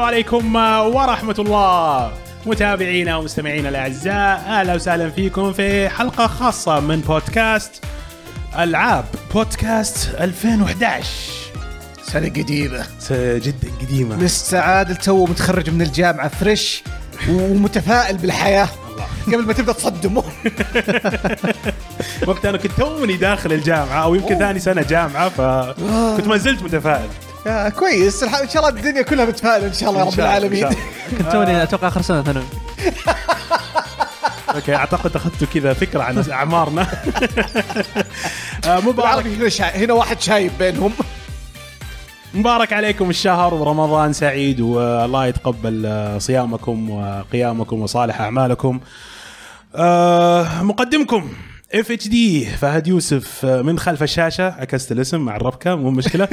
عليكم آه، ورحمة الله متابعينا ومستمعينا الأعزاء أهلا وسهلا فيكم في حلقة خاصة من بودكاست ألعاب بودكاست 2011 سنة قديمة جدا قديمة لسه عادل تو متخرج من الجامعة فريش ومتفائل بالحياة قبل ما تبدا تصدمه وقت أنا كنت توني داخل الجامعة أو يمكن ثاني سنة جامعة فكنت ما زلت متفائل آه، كويس الح- ان شاء الله الدنيا كلها متفائلة ان شاء الله يا رب إن شاء الله- العالمين إن شاء الله. كنت توني اتوقع اخر سنه ثانوي أوكي أعتقد أخذتوا كذا فكرة عن أعمارنا آه، مبارك بالعربي هنا شا... هنا واحد شايب بينهم مبارك عليكم الشهر ورمضان سعيد والله يتقبل آه، صيامكم وقيامكم وصالح اعمالكم. آه، مقدمكم اف اتش دي فهد يوسف آه، من خلف الشاشه عكست الاسم مع الربكه مو مشكله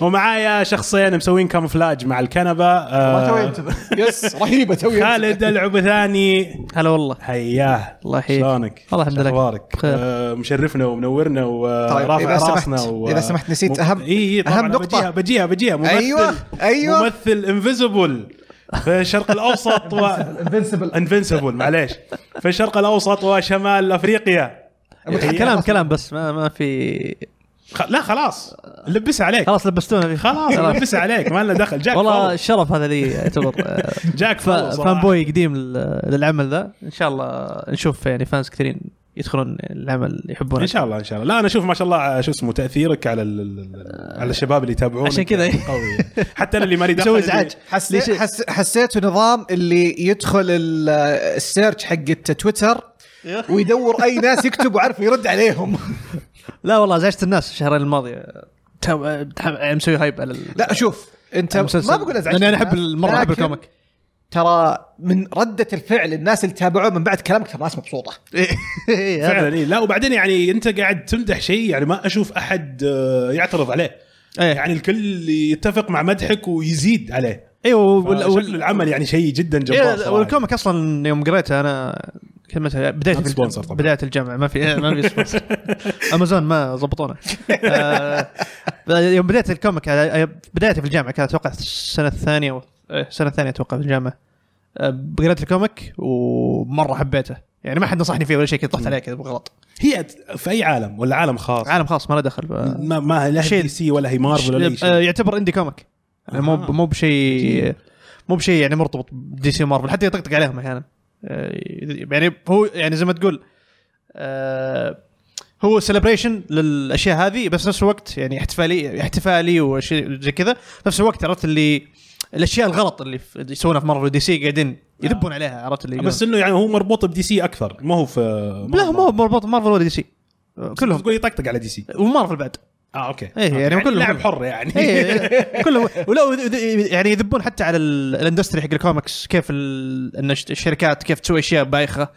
ومعايا شخصين مسوين كاموفلاج مع الكنبه آه، يس رهيبة توي خالد العبثاني هلا والله حياه الله يحييك. شلونك؟ والله الحمد لله. اخبارك؟ بخير. آه، مشرفنا ومنورنا طيب، ورافع إذا سمحت- راسنا و... إذا سمحت نسيت أهم- اي أهم نقطة. بجيها بجيها بجيها ممثل أيوة، أيوة. ممثل انفيزبل في الشرق الاوسط و انفنسبل انفنسبل معليش في الشرق الاوسط وشمال افريقيا هي- إيه، كلام كلام بس ما, ما في خ... لا خلاص لبسها عليك خلاص لبستونا فيه خلاص لبسها عليك ما لنا دخل جاك والله والله الشرف هذا لي يعتبر آه، جاك ف- فول فان صراحة. بوي قديم لل- للعمل ذا ان شاء الله نشوف يعني فانز كثيرين يدخلون العمل يحبونه ان شاء الله ان شاء الله لا انا اشوف ما شاء الله آه، شو اسمه تاثيرك على ال- ال- ال- على الشباب اللي يتابعون آه. عشان كذا. قوي حتى انا اللي ماني دخل مسوي ازعاج حسيت حس... حسيته نظام اللي يدخل ال- السيرش حقت تويتر إيه. ويدور اي ناس يكتب وعارف يرد عليهم لا والله ازعجت الناس الشهرين الماضيه تم- تم- يعني مسوي هايب على ال- لا شوف انت المسلسل. ما بقول ازعج لاني انا احب المره احب لكن الكوميك ترى من رده الفعل الناس اللي تابعوه من بعد كلامك ترى ناس مبسوطه فعلا إيه. لا وبعدين يعني انت قاعد تمدح شيء يعني ما اشوف احد آه، يعترض عليه ايه يعني الكل يتفق مع مدحك ويزيد عليه ايوه وال- وال... وال- شكل العمل يعني شيء جدا جبار إيه صراحة. والكوميك اصلا يوم قريته انا كلمة بدايه Not sponsor طبعاً. بدايه الجامعه ما في إيه، ما في sponsor. امازون ما ضبطونا آه، يوم بديت الكوميك آه، بدايتي في الجامعه كانت اتوقع السنه الثانيه و... إيه، السنه الثانيه اتوقع في الجامعه آه، قريت الكوميك ومره حبيته يعني ما حد نصحني فيه ولا شيء كنت طحت عليه كذا بالغلط هي ت- في اي عالم ولا عالم خاص عالم خاص ما له دخل ف- ما, ما لا شيء- دي سي ولا هي مارفل ولا اي آه، شيء يعتبر اندي كوميك يعني مو آه. ب- مو بشيء مو بشيء يعني مرتبط بدي سي مارفل حتى يطقطق عليهم احيانا آه، يعني هو يعني زي ما تقول آه، هو سيلبريشن للاشياء هذه بس نفس الوقت يعني احتفالي احتفالي وشيء زي كذا نفس الوقت عرفت اللي الاشياء الغلط اللي في- اللي يسوونها في مارفل ودي سي قاعدين يذبون عليها عرفت اللي بس انه يعني هو مربوط بدي سي اكثر ما هو في آه، لا هو مو مربوط مارفل ولا دي سي آه، كلهم تقول يطقطق على دي سي ومارفل بعد اه اوكي إيه، يعني أوكي. كلهم- لاعب حر يعني إيه، كلهم ولو ذ- ذ- يعني يذبون حتى على ال- الاندستري حق الكوميكس كيف ال- إن الش- الشركات كيف تسوي اشياء بايخه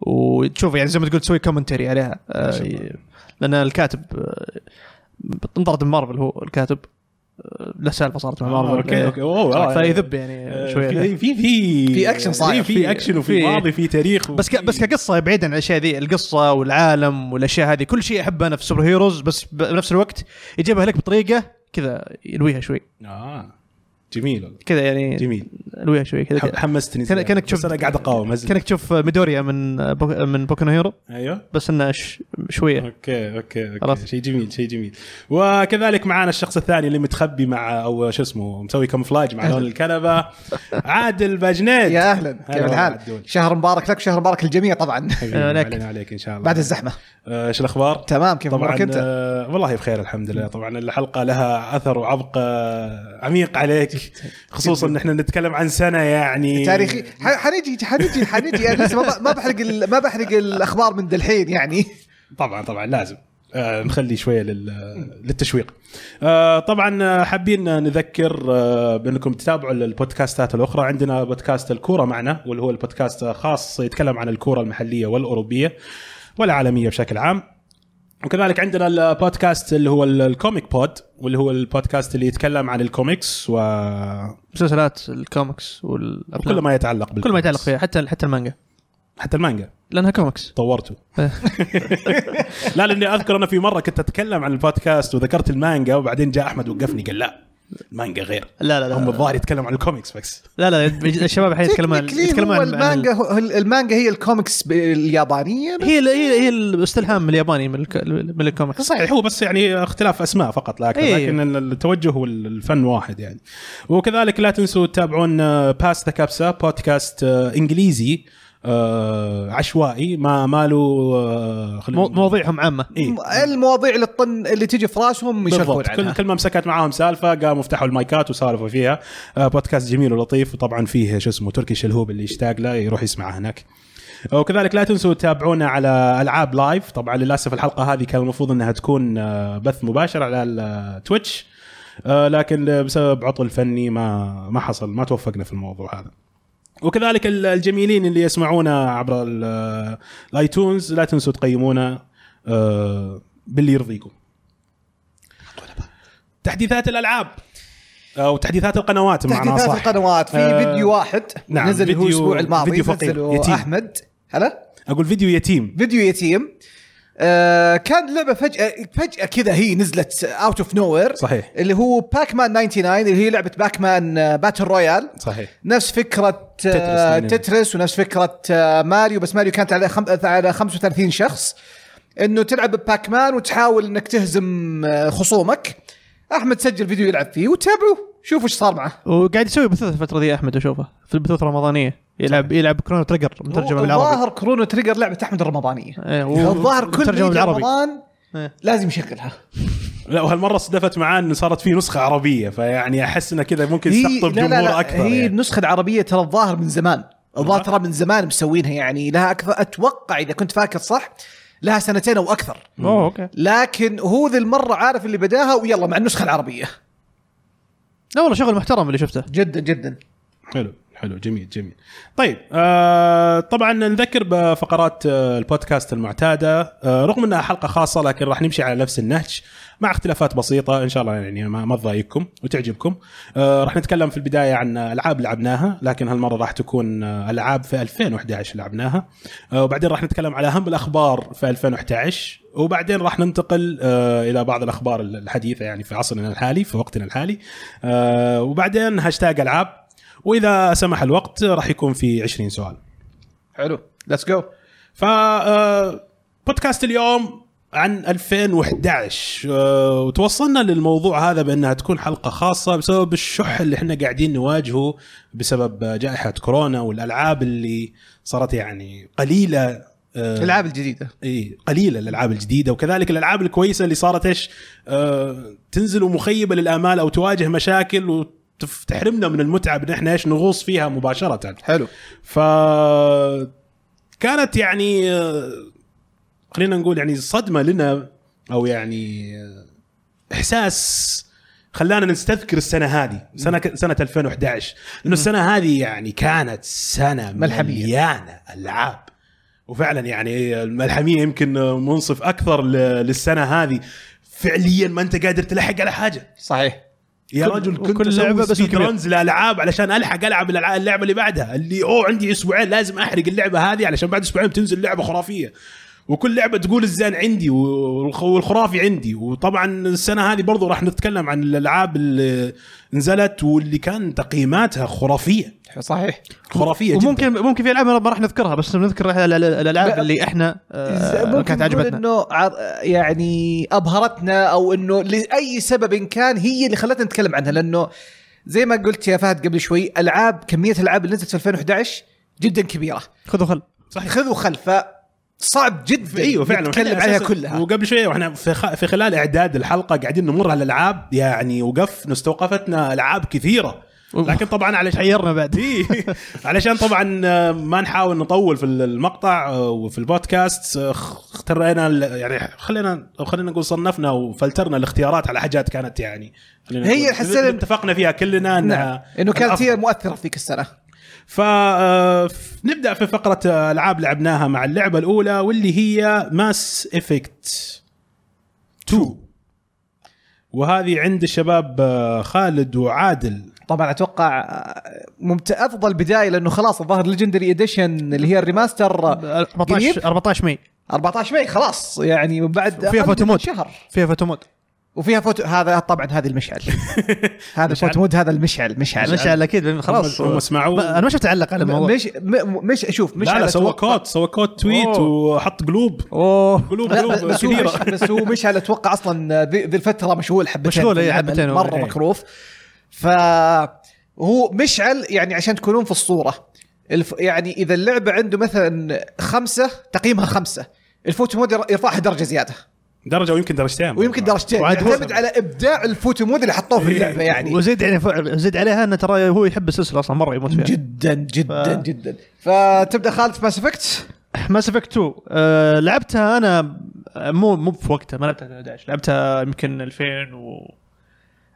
وتشوف يعني زي ما تقول تسوي كومنتري عليها آه، لان الكاتب آه، انطرد من مارفل هو الكاتب آه، له سالفه صارت مع آه، مارفل أوكي، إيه. أوكي، أوه، آه، فيذب آه، يعني شويه في في في في أكشن صاير. في- في في- اكشن وفي في- ماضي في تاريخ بس ك... وفي- بس كقصه بعيدا عن الاشياء ذي القصه والعالم والاشياء هذه كل شيء احبه انا في السوبر هيروز بس ب- بنفس الوقت يجيبها لك بطريقه كذا يلويها شوي اه جميل والله كذا يعني جميل الويها شوي كذا ح- حمستني كان- زيادة. كانك بس شفت- انا قاعد اقاوم أزلق. كانك تشوف ميدوريا من بوك من بوكو هيرو ايوه بس انه ش... شويه اوكي اوكي اوكي إيه. خلاص. شيء جميل شيء جميل وكذلك معانا الشخص الثاني اللي متخبي مع او شو اسمه مسوي كاموفلاج مع لون الكنبه عادل باجنيد يا هلا اهلا كيف والله الحال؟ عدول. شهر مبارك لك وشهر مبارك للجميع طبعا حبيبي، أهلا علينا لك. عليك ان شاء الله بعد الزحمه آه، شو الاخبار؟ تمام كيف طبعا امورك انت؟ آه، والله بخير الحمد لله طبعا الحلقه لها اثر وعبق آه، عميق عليك خصوصا ان احنا نتكلم عن سنه يعني تاريخي ح- حنجي حنجي حنجي انا لسه يعني ما ب- ما بحرق ال- ما بحرق الاخبار من دلحين يعني طبعا طبعا لازم آه نخلي شويه لل... للتشويق آه طبعا آه، حابين نذكر آه بانكم تتابعوا البودكاستات الاخرى عندنا بودكاست الكوره معنا واللي هو البودكاست خاص يتكلم عن الكوره المحليه والاوروبيه والعالميه بشكل عام وكذلك عندنا البودكاست اللي هو ال- الكوميك بود واللي هو البودكاست اللي يتكلم عن الكوميكس و... مسلسلات الكوميكس والافلام وكل ما يتعلق نعم. كل ما بالكوميكس. يتعلق فيها حتى حتى المانجا حتى المانجا لانها كوميكس طورته إيه. لا لاني اذكر انا في مره كنت اتكلم عن البودكاست وذكرت المانجا وبعدين جاء احمد وقفني قال لا المانجا غير لا لا لا هم الظاهر يتكلموا عن الكوميكس بس لا لا الشباب الحين يتكلمون يتكلمون يتكلمون هو عن- عن المانجا هو المانجا هي الكوميكس ب- اليابانيه هي ال- هي هي الاستلهام الياباني من الك- من الكوميكس صحيح هو بس يعني اختلاف اسماء فقط لا اكثر إيه. لكن التوجه والفن واحد يعني وكذلك لا تنسوا تتابعون آه، باس ذا كابسا بودكاست آه، انجليزي آه، عشوائي ما ماله آه، خلينا مو- نقول- مواضيعهم عامه إيه. المواضيع اللي تطن اللي تجي في راسهم يشرفون بالضبط كل, عنها كل ما مسكت معاهم سالفه قاموا فتحوا المايكات وسالفوا فيها آه، بودكاست جميل ولطيف وطبعا فيه شو اسمه تركي شلهوب اللي يشتاق له يروح يسمعه هناك وكذلك لا تنسوا تتابعونا على العاب لايف طبعا للاسف الحلقه هذه كان المفروض انها تكون آه، بث مباشر على التويتش آه، لكن بسبب عطل فني ما ما حصل ما توفقنا في الموضوع هذا وكذلك ال- الجميلين اللي يسمعونا عبر ال- آه، الايتونز لا تنسوا تقيمونا آه، باللي يرضيكم تحديثات الالعاب او تحديثات القنوات معناها تحديثات صح القنوات في آه، فيديو واحد نعم، نزل هو فيديو- الاسبوع الماضي فيديو فقير، نزله يتيم. احمد هلا اقول فيديو يتيم فيديو يتيم آه كان لعبه فجاه فجاه كذا هي نزلت اوت اوف نو وير صحيح. اللي هو باك مان 99 اللي هي لعبه باك مان آه، باتل رويال صحيح نفس فكره آه، يعني. تترس ونفس فكره آه، ماريو بس ماريو كانت على خم... على 35 شخص انه تلعب بباك مان وتحاول انك تهزم آه، خصومك احمد سجل فيديو يلعب فيه وتابعوه شوفوا ايش صار معه وقاعد يسوي بثوث الفتره دي احمد اشوفه في البثوث الرمضانيه يلعب يلعب كرونو تريجر مترجمه بالعربي الظاهر كرونو تريجر لعبه احمد الرمضانيه إيه، و- الظاهر كل مترجمة عيد بالعربي. رمضان إيه. لازم يشغلها لا وهالمره صدفت معاه انه صارت فيه نسخه عربيه فيعني احس انه كذا ممكن يستقطب لا لا جمهور لا اكثر هي يعني. النسخه العربيه ترى الظاهر من زمان الظاهر والله؟ ترى من زمان مسوينها يعني لها اكثر اتوقع اذا كنت فاكر صح لها سنتين او اكثر اوه اوكي لكن هو ذي المره عارف اللي بداها ويلا مع النسخه العربيه لا والله شغل محترم اللي شفته جدا جدا حلو حلو جميل جميل طيب آه طبعا نذكر بفقرات آه البودكاست المعتاده آه رغم انها حلقه خاصه لكن راح نمشي على نفس النهج مع اختلافات بسيطه ان شاء الله يعني ما ما تضايقكم وتعجبكم آه راح نتكلم في البدايه عن العاب لعبناها لكن هالمره راح تكون آه العاب في 2011 لعبناها آه وبعدين راح نتكلم على اهم الاخبار في 2011 وبعدين راح ننتقل آه الى بعض الاخبار الحديثه يعني في عصرنا الحالي في وقتنا الحالي آه وبعدين هاشتاج العاب واذا سمح الوقت راح يكون في 20 سؤال حلو ليتس جو ف آه، بودكاست اليوم عن 2011 آه، وتوصلنا للموضوع هذا بانها تكون حلقه خاصه بسبب الشح اللي احنا قاعدين نواجهه بسبب آه، جائحه كورونا والالعاب اللي صارت يعني قليله آه، الالعاب الجديده اي قليله الالعاب الجديده وكذلك الالعاب الكويسه اللي صارت ايش آه تنزل ومخيبه للامال او تواجه مشاكل وتحرمنا من المتعه بان احنا ايش نغوص فيها مباشره حلو ف كانت يعني آه، خلينا نقول يعني صدمه لنا او يعني آه، احساس خلانا نستذكر السنه هذه سنه سنه 2011 لانه السنه هذه يعني كانت سنه ملحمية. مليانه العاب وفعلا يعني الملحميه يمكن منصف اكثر ل- للسنه هذه فعليا ما انت قادر تلحق على حاجه صحيح يا كل- رجل كنت وكل كل لعبة لعبه باسم بس كبير. رنز لالعاب علشان الحق العب الألع- اللعبه اللي بعدها اللي اوه عندي اسبوعين لازم احرق اللعبه هذه علشان بعد اسبوعين بتنزل لعبه خرافيه وكل لعبه تقول الزين عندي و- والخ- والخرافي عندي وطبعا السنه هذه برضو راح نتكلم عن الالعاب اللي نزلت واللي كان تقييماتها خرافيه صحيح خرافيه جدا وممكن ممكن في العاب ما راح نذكرها بس نذكر ال- ال- الالعاب لا. اللي احنا آه، كانت عجبتنا انه عر- يعني ابهرتنا او انه لاي سبب كان هي اللي خلتنا نتكلم عنها لانه زي ما قلت يا فهد قبل شوي العاب كميه الالعاب اللي نزلت في 2011 جدا كبيره خذ وخل صحيح. خذوا خلفه صعب جدا ايوه فعلا نتكلم وإحنا إيوه، عليها أساساً- كلها وقبل شويه واحنا في, خ... في خلال اعداد الحلقه قاعدين نمر على الالعاب يعني وقفنا استوقفتنا العاب كثيره لكن طبعا علشان حيرنا بعد إيه. علشان طبعا آه، ما نحاول نطول في المقطع آه، وفي البودكاست آه، خ- اخترنا ال- يعني خلينا او خلينا نقول صنفنا وفلترنا الاختيارات على حاجات كانت يعني خلينا هي نقول حسنا- اتفقنا فيها كلنا انها نعم انه كانت الأفضل. هي مؤثره فيك السنه فنبدا آه، في فقره آه، العاب لعبناها مع اللعبه الاولى واللي هي ماس افكت 2 وهذه عند الشباب آه، خالد وعادل طبعا اتوقع آه، ممت... افضل بدايه لانه خلاص الظاهر ليجندري اديشن اللي هي الريماستر آه، قريب 14 14 مي 14 ماي خلاص يعني بعد فيها أقل من فوتومود شهر فيها فوتومود وفيها فوتو هذا طبعا هذا المشعل هذا فوتو مود هذا المشعل مشعل مش على اكيد خلاص هم- هم سمعوا. ما- انا ما شفت علق على الموضوع مش م- مش شوف مش لا لا سوى أتوقع- كوت سوى كوت تويت أوه. وحط قلوب اوه قلوب لا، بس- قلوب بس هو مش كثيره بس هو مشعل اتوقع اصلا ذي ذي الفتره مشغول حبتين مشغول، في إيه، العمل، حبتين هو، مره إيه. مكروف ف هو مشعل يعني عشان تكونون في الصوره الف يعني اذا اللعبه عنده مثلا خمسه تقييمها خمسه الفوتو مود ير- يرفعها درجه زياده درجه ويمكن درجتين ويمكن درجتين يعني وعاد هو- يعتمد على ابداع الفوتو مود اللي حطوه في اللعبه يعني وزيد يعني فعل- زيد عليها انه ترى هو يحب السلسله اصلا مره يموت فيها جدا جدا جدا فتبدا خالد في ماس افكت ماس افكت 2 أه لعبتها انا مو مو في وقتها ما لعبتها 2011 لعبتها يمكن 2000 و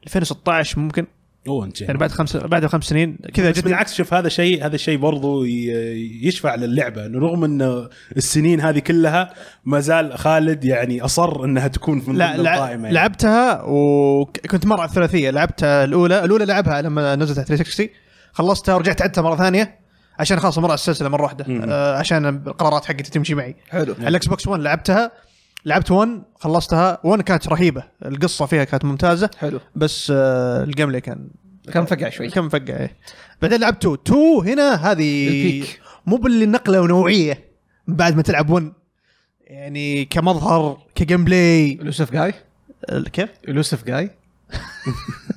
2016 ممكن اوه انت يعني بعد خمس بعد خمس سنين كذا بس جت بالعكس شوف هذا شيء هذا الشيء برضو ي- يشفع للعبه إنه رغم ان السنين هذه كلها ما زال خالد يعني اصر انها تكون من لا ضمن لع... القائمه يعني. لعبتها وكنت مره على الثلاثيه لعبتها الاولى الاولى لعبها لما نزلت على 360 خلصتها ورجعت عدتها مره ثانيه عشان خلاص مره على السلسله مره واحده مم. نعم. آه عشان القرارات حقتي تمشي معي حلو على الاكس بوكس 1 لعبتها لعبت 1 خلصتها 1 كانت رهيبه القصه فيها كانت ممتازه حلو بس آه الجيم بلاي كان كان فقع شوي كان فقع ايه بعدين لعبت 2 2 هنا هذه البيك. مو باللي نقله نوعيه بعد ما تلعب 1 يعني كمظهر كجيم بلاي اليوسف جاي كيف؟ اليوسف جاي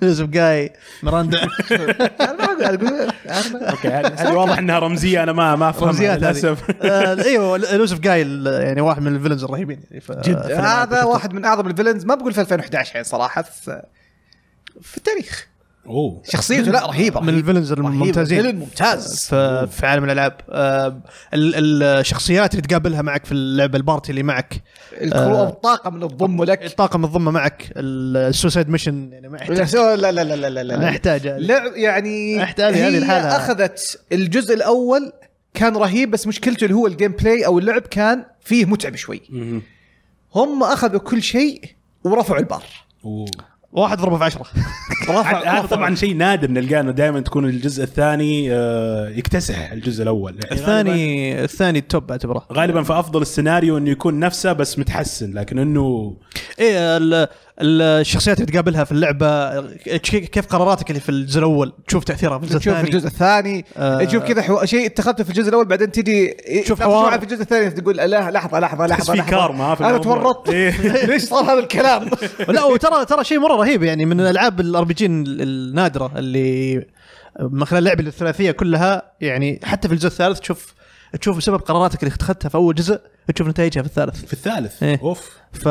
يوسف جاي مراندا انا ما اقول أقول- أنا ما- اوكي هذه هذه واضح انها رمزيه انا ما ما افهمها رمزيات للاسف هذه. آه، ايوه يوسف جاي ال- يعني واحد من الفيلنز الرهيبين يعني ف... جدا هذا واحد من اعظم الفيلنز ما بقول في 2011 يعني صراحه في في التاريخ اوه شخصيته لا رهيبه من الفيلنز الممتازين فيلن ممتاز ف... في عالم الالعاب آه، ال- الشخصيات اللي تقابلها معك في اللعبه البارتي اللي معك الكرو او الطاقه من الضم لك الطاقم الضمه معك ال- السوسايد ميشن يعني ما يحتاج لا لا لا لا لا لا, ما لا. يحتاج يعني. لعب يعني أحت- هذه- هذه هي لحالها. اخذت الجزء الاول كان رهيب بس مشكلته اللي هو الجيم بلاي او اللعب كان فيه متعب شوي مهم. هم اخذوا كل شيء ورفعوا البار أوه. واحد ضربه في عشرة عاد رفع هذا طبعا شيء نادر نلقاه انه دائما تكون الجزء الثاني آه، يكتسح الجزء الاول يعني غالباً- الثاني الثاني التوب اعتبره غالبا في افضل السيناريو انه يكون نفسه بس متحسن لكن انه ايه ال- ال- الشخصيات اللي تقابلها في اللعبه ك- كيف قراراتك اللي في الجزء الاول تشوف تاثيرها في الجزء تشوف في الثاني الجزء الثاني آه. تشوف كذا حو... شيء اتخذته في الجزء الاول بعدين تجي تشوف تعطي حوار. شعور في الجزء الثاني تقول لا لحظه لحظه تحس لحظه في لحظه كارما في انا الموضوع. تورطت إيه. ليش صار هذا الكلام؟ لا وترى ترى شيء مره رهيب يعني من الالعاب الار بي جي النادره اللي من خلال لعبي للثلاثيه كلها يعني حتى في الجزء الثالث تشوف تشوف بسبب قراراتك اللي اتخذتها في اول جزء تشوف نتائجها في الثالث في الثالث إيه. اوف ف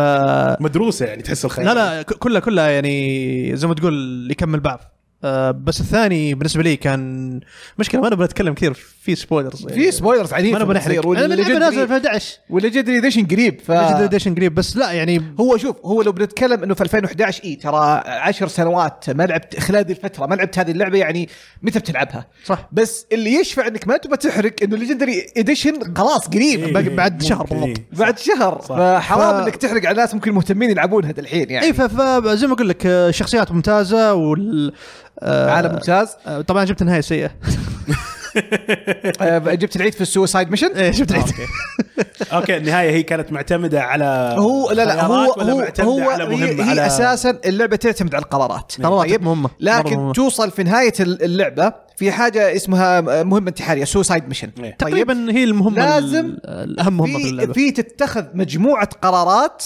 مدروسه يعني تحس الخيال لا لا ك- كلها كلها يعني زي ما تقول يكمل بعض آه، بس الثاني بالنسبه لي كان مشكله ما نبغى نتكلم كثير في سبويلرز في سبويلرز عنيف ما نبغى نحرق انا اللعبه نازله في 11 والليجندري اديشن قريب ف ليجندري اديشن قريب بس لا يعني هو شوف هو لو بنتكلم انه في 2011 اي ترى 10 سنوات ما لعبت خلال هذه الفتره ما لعبت هذه اللعبه يعني متى بتلعبها؟ صح بس اللي يشفع انك ما تبغى تحرق انه الليجندري اديشن خلاص قريب إيه. بعد- بعد شهر ممكن، بالضبط. إيه. بعد شهر صح. فحرام ف- إيه. انك تحرق على ناس ممكن مهتمين يلعبونها الحين يعني اي فزي ما اقول لك آه، شخصيات ممتازه وال آه، عالم ممتاز آه، طبعا جبت نهايه سيئه آه، جبت العيد في السوسايد ميشن إيه، جبت العيد اوكي النهايه هي كانت معتمده على هو لا لا هو خيارات ولا هو معتمدة هو على هي, مهمة، هي على- اساسا اللعبه تعتمد على القرارات طيب. قرارات مهمة. مرة لكن مهمة. توصل في نهايه اللعبه في حاجه اسمها مهمه انتحاريه سوسايد ميشن إيه. تقريبا هي المهمه لازم ال- الاهم مهمه في طيب. في, اللعبه في تتخذ مجموعه قرارات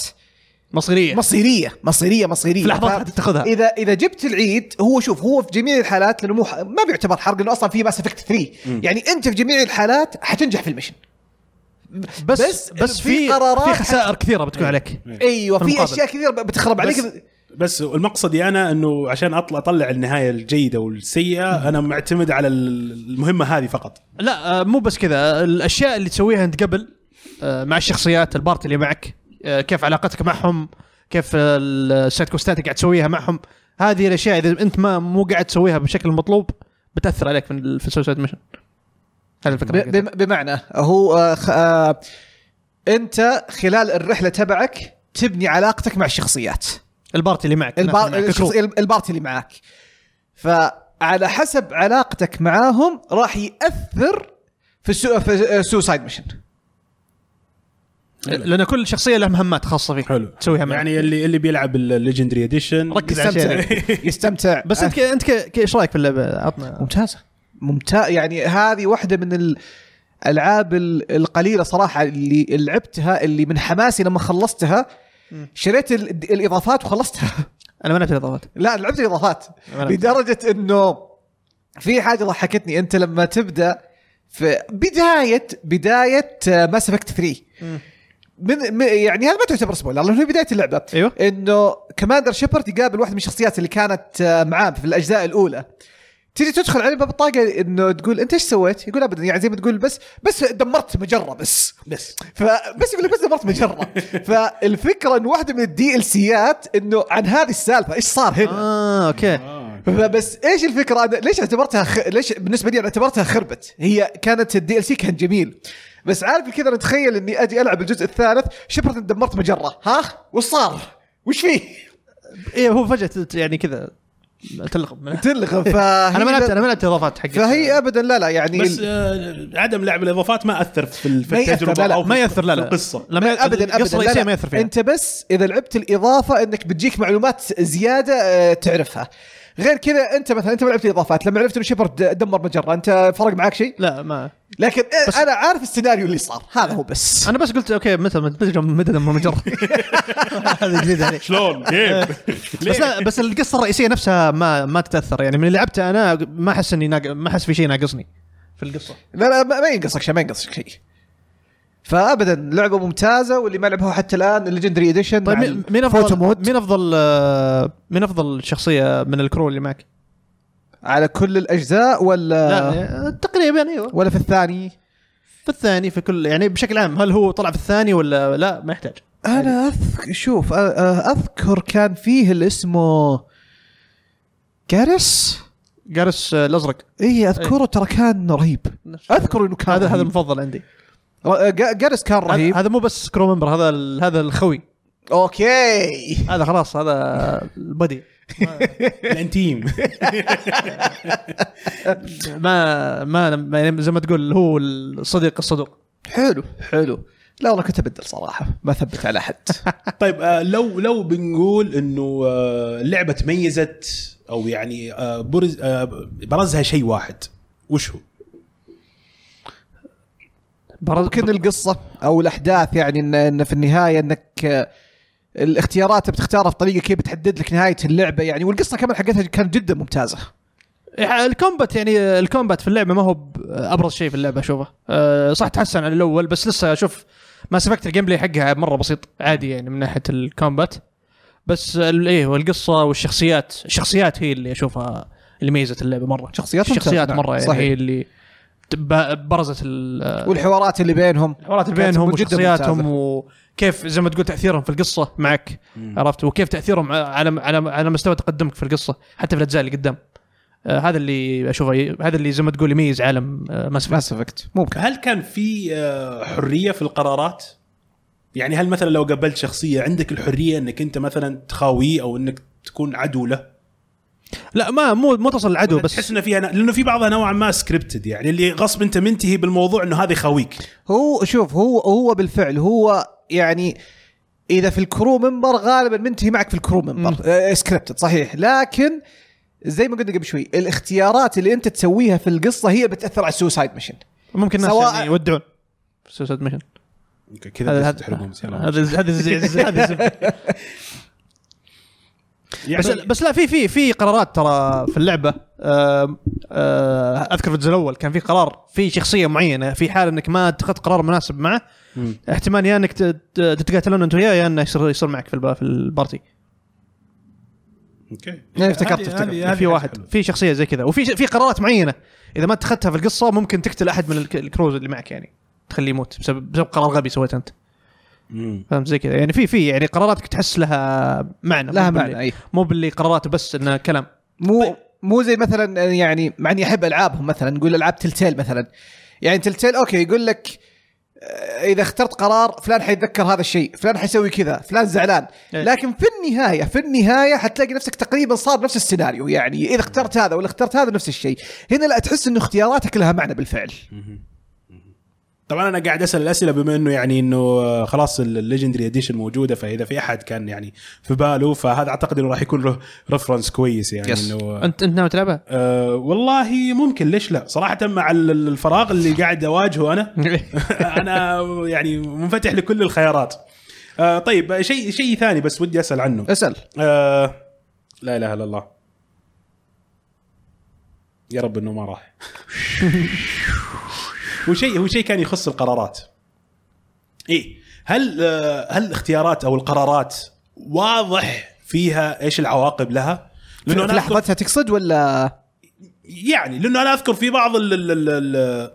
مصيريه مصيريه مصيريه مصيريه في لحظات ف- حتتخذها. اذا اذا جبت العيد هو شوف هو في جميع الحالات لانه مو ح- ما بيعتبر حرق لانه اصلا في ماس افكت 3 يعني انت في جميع الحالات حتنجح في المشن بس بس- بس, بس في في قرارات في خسائر كثيره بتكون عليك ايوه في في المقابل. اشياء كثيره ب- بتخرب عليك بس, بس مقصدي انا انه عشان اطلع اطلع النهايه الجيده والسيئه انا معتمد على المهمه هذه فقط لا آه، مو بس كذا الاشياء اللي تسويها انت قبل آه، مع الشخصيات البارتي اللي معك آه، كيف علاقتك معهم كيف السايد كوستات اللي قاعد تسويها معهم هذه الاشياء اذا انت ما مو قاعد تسويها بالشكل المطلوب بتاثر عليك في ال- في السوسايد ميشن هذه الفكره ب- بم- بمعنى هو آه، خ- آه، انت خلال الرحله تبعك تبني علاقتك مع الشخصيات البارتي اللي معك البار... معك الكرو. الشخص... البارتي اللي معاك فعلى حسب علاقتك معاهم راح ياثر في السو... في السوسايد ميشن لان كل شخصيه لها مهمات خاصه فيه حلو تسويها معه. يعني اللي اللي بيلعب الليجندري اديشن ركز على يستمتع شيء يستمتع آه، بس انت ك- انت ك- ك- ايش رايك في اللعبه؟ عطنا ممتازه ممتاز يعني هذه واحده من الالعاب ال- القليله صراحه اللي لعبتها اللي من حماسي لما خلصتها شريت ال- الاضافات وخلصتها انا ما لعبت الاضافات لا لعبت الاضافات ما لعبت. لدرجه انه في حاجه ضحكتني انت لما تبدا في بدايه بدايه ماس افكت 3 مم. من م- يعني هذا ما تعتبر سبويلر لانه هي بدايه اللعبه أيوه. انه كماندر شيبرد يقابل واحده من الشخصيات اللي كانت آه، معاه في الاجزاء الاولى تيجي تدخل عليه بطاقه انه تقول انت ايش سويت؟ يقول ابدا يعني زي ما تقول بس بس دمرت مجره بس بس فبس يقول لك بس دمرت مجره فالفكره انه واحده من الدي ال سيات انه عن هذه السالفه ايش صار هنا؟ اه اوكي آه. فبس ايش الفكره أنا ليش اعتبرتها خ... ليش بالنسبه لي انا اعتبرتها خربت هي كانت الدي ال سي كان جميل بس عارف كذا انا اتخيل اني اجي العب الجزء الثالث شبرت إن دمرت مجره ها وش صار وش فيه ايه هو فجاه تلت- يعني كذا تلغم تلغى فهي انا ما لعبت انا ما لعبت اضافات حقت فهي ابدا لا لا يعني بس ال- آه عدم لعب الاضافات ما اثر في ال- في ما يأثر، التجربه لا، لا، او في ما ياثر لا في لا القصه ابدا لما القصة ابدا لا، الرئيسية لا. ما ياثر فيها انت بس اذا لعبت الاضافه انك بتجيك معلومات زياده آه، تعرفها غير كذا انت مثلا انت ما لعبت الاضافات لما عرفت انه شيبرد دمر مجره انت فرق معك شيء لا ما لكن آه، انا عارف السيناريو اللي صار هذا هو بس انا بس قلت اوكي متى متى متى لما مجرد هذا جديد علي شلون؟ كيف؟ بس لا بس القصه الرئيسيه نفسها ما ما تتاثر يعني من اللي لعبته انا ما احس اني ناق... ما احس في شيء ناقصني في طيب، القصه لا لا ما ما ينقصك شيء ما ينقصك شيء فابدا لعبه ممتازه واللي ما لعبها حتى الان الليجندري اديشن طيب مع مين- مين الفوتو افضل مود مين افضل آه، مين افضل شخصيه من الكرو اللي معك؟ على كل الاجزاء ولا لا آه، تقريبا ايوه ولا في الثاني في الثاني في كل يعني بشكل عام هل هو طلع في الثاني ولا لا ما يحتاج انا أذك... شوف أ- أ- اذكر كان فيه اللي اسمه جارس جارس آه، الازرق اي اذكره إيه، ترى كان رهيب اذكر انه كان هذا هذا رهيب. المفضل عندي ر- جا- جارس كان رهيب هذا- هذا مو بس كرو ممبر هذا ال- هذا الخوي اوكي هذا خلاص هذا البدي الانتيم ما ما ما- يعني زي ما تقول هو الصديق الصدوق حلو حلو لا والله كنت ابدل صراحه ما ثبت على حد طيب آه، لو لو بنقول انه آه، اللعبه تميزت او يعني آه، برز آه، برزها شيء واحد وش هو؟ ممكن القصه او الاحداث يعني ان ان في النهايه انك آه، الاختيارات بتختارها بطريقه كيف بتحدد لك نهايه اللعبه يعني والقصه كمان حقتها كانت جدا ممتازه الكومبات يعني الكومبات في اللعبه ما هو ب- ابرز شيء في اللعبه اشوفه أه، صح تحسن عن الاول بس لسه اشوف ما سبقت الجيم بلاي حقها مره بسيط عادي يعني من ناحيه الكومبات بس ال- ايه والقصه والشخصيات الشخصيات هي اللي اشوفها اللي ميزت اللعبه مره شخصيات ممتازة، الشخصيات نعم، مره يعني صحيح. هي اللي تب- برزت ال- والحوارات اللي بينهم الحوارات كانت بينهم جداً وشخصياتهم ممتازة. وكيف زي ما تقول تاثيرهم في القصه معك عرفت وكيف تاثيرهم على على على مستوى تقدمك في القصه حتى في الاجزاء اللي قدام آه هذا اللي اشوفه ي- هذا اللي زي ما تقول يميز عالم آه ماس ماس افكت ممكن هل كان في آه، حريه في القرارات؟ يعني هل مثلا لو قابلت شخصيه عندك الحريه انك انت مثلا تخاويه او انك تكون عدو له؟ لا ما مو مو تصل العدو بس تحس بس انه فيها لانه في بعضها نوعا ما سكريبتد يعني اللي غصب انت منتهي بالموضوع انه هذا يخاويك هو شوف هو هو بالفعل هو يعني اذا في الكرو منبر غالبا منتهي معك في الكرو منبر آه، سكريبتد صحيح لكن زي ما قلنا قبل شوي الاختيارات اللي انت تسويها في القصه هي بتاثر على السوسايد ميشن ممكن الناس سواء- يعني يودعون سوسايد ميشن كذا هذا تحرقهم هذا هذا الز- هذا الزبدة. بس يعني بس لا في في في قرارات ترى في اللعبه آه آه اذكر في الجزء الاول كان في قرار في شخصيه معينه في حال انك ما اتخذت قرار مناسب معه مم. احتمال يا انك ت- ت- تتقاتلون انت وياه يا انه يصير يصير معك في الب- في البارتي اوكي يعني افتكرت- هذه- افتكرت. هذه- هذه في حاجة واحد حلوة. في شخصيه زي كذا وفي في قرارات معينه اذا ما اتخذتها في القصه ممكن تقتل احد من الك- الكروز اللي معك يعني تخليه يموت بسبب بسبب قرار غبي سويته انت مم. فهمت زي كذا يعني في في يعني قراراتك تحس لها معنى لها مو باللي- معنى اي مو باللي قرارات بس انها كلام مو مو زي مثلا يعني مع اني احب العابهم مثلا نقول العاب تلتيل مثلا يعني تلتيل اوكي يقول لك آه، اذا اخترت قرار فلان حيتذكر هذا الشيء فلان حيسوي كذا فلان زعلان إيه. لكن في النهايه في النهايه حتلاقي نفسك تقريبا صار نفس السيناريو يعني اذا اخترت هذا ولا اخترت هذا نفس الشيء هنا لا تحس انه اختياراتك لها معنى بالفعل طبعا انا قاعد اسال الاسئله بما انه يعني انه آه، خلاص الليجندري اديشن موجوده فاذا في احد كان يعني في باله فهذا اعتقد انه راح يكون ريفرنس كويس يعني Yes. انه انت انت ناوي تلعبها؟ أه والله ممكن ليش لا صراحه مع ال- ال- الفراغ اللي قاعد اواجهه انا انا يعني منفتح لكل الخيارات أه طيب شيء شيء ثاني بس ودي اسال عنه اسال آه لا اله الا الله يا رب انه ما راح هو شيء هو شيء كان يخص القرارات ايه هل آه هل الاختيارات او القرارات واضح فيها ايش العواقب لها؟ في لانه انا أذكر لحظتها تقصد ولا يعني لانه انا اذكر في بعض ال ال ال ال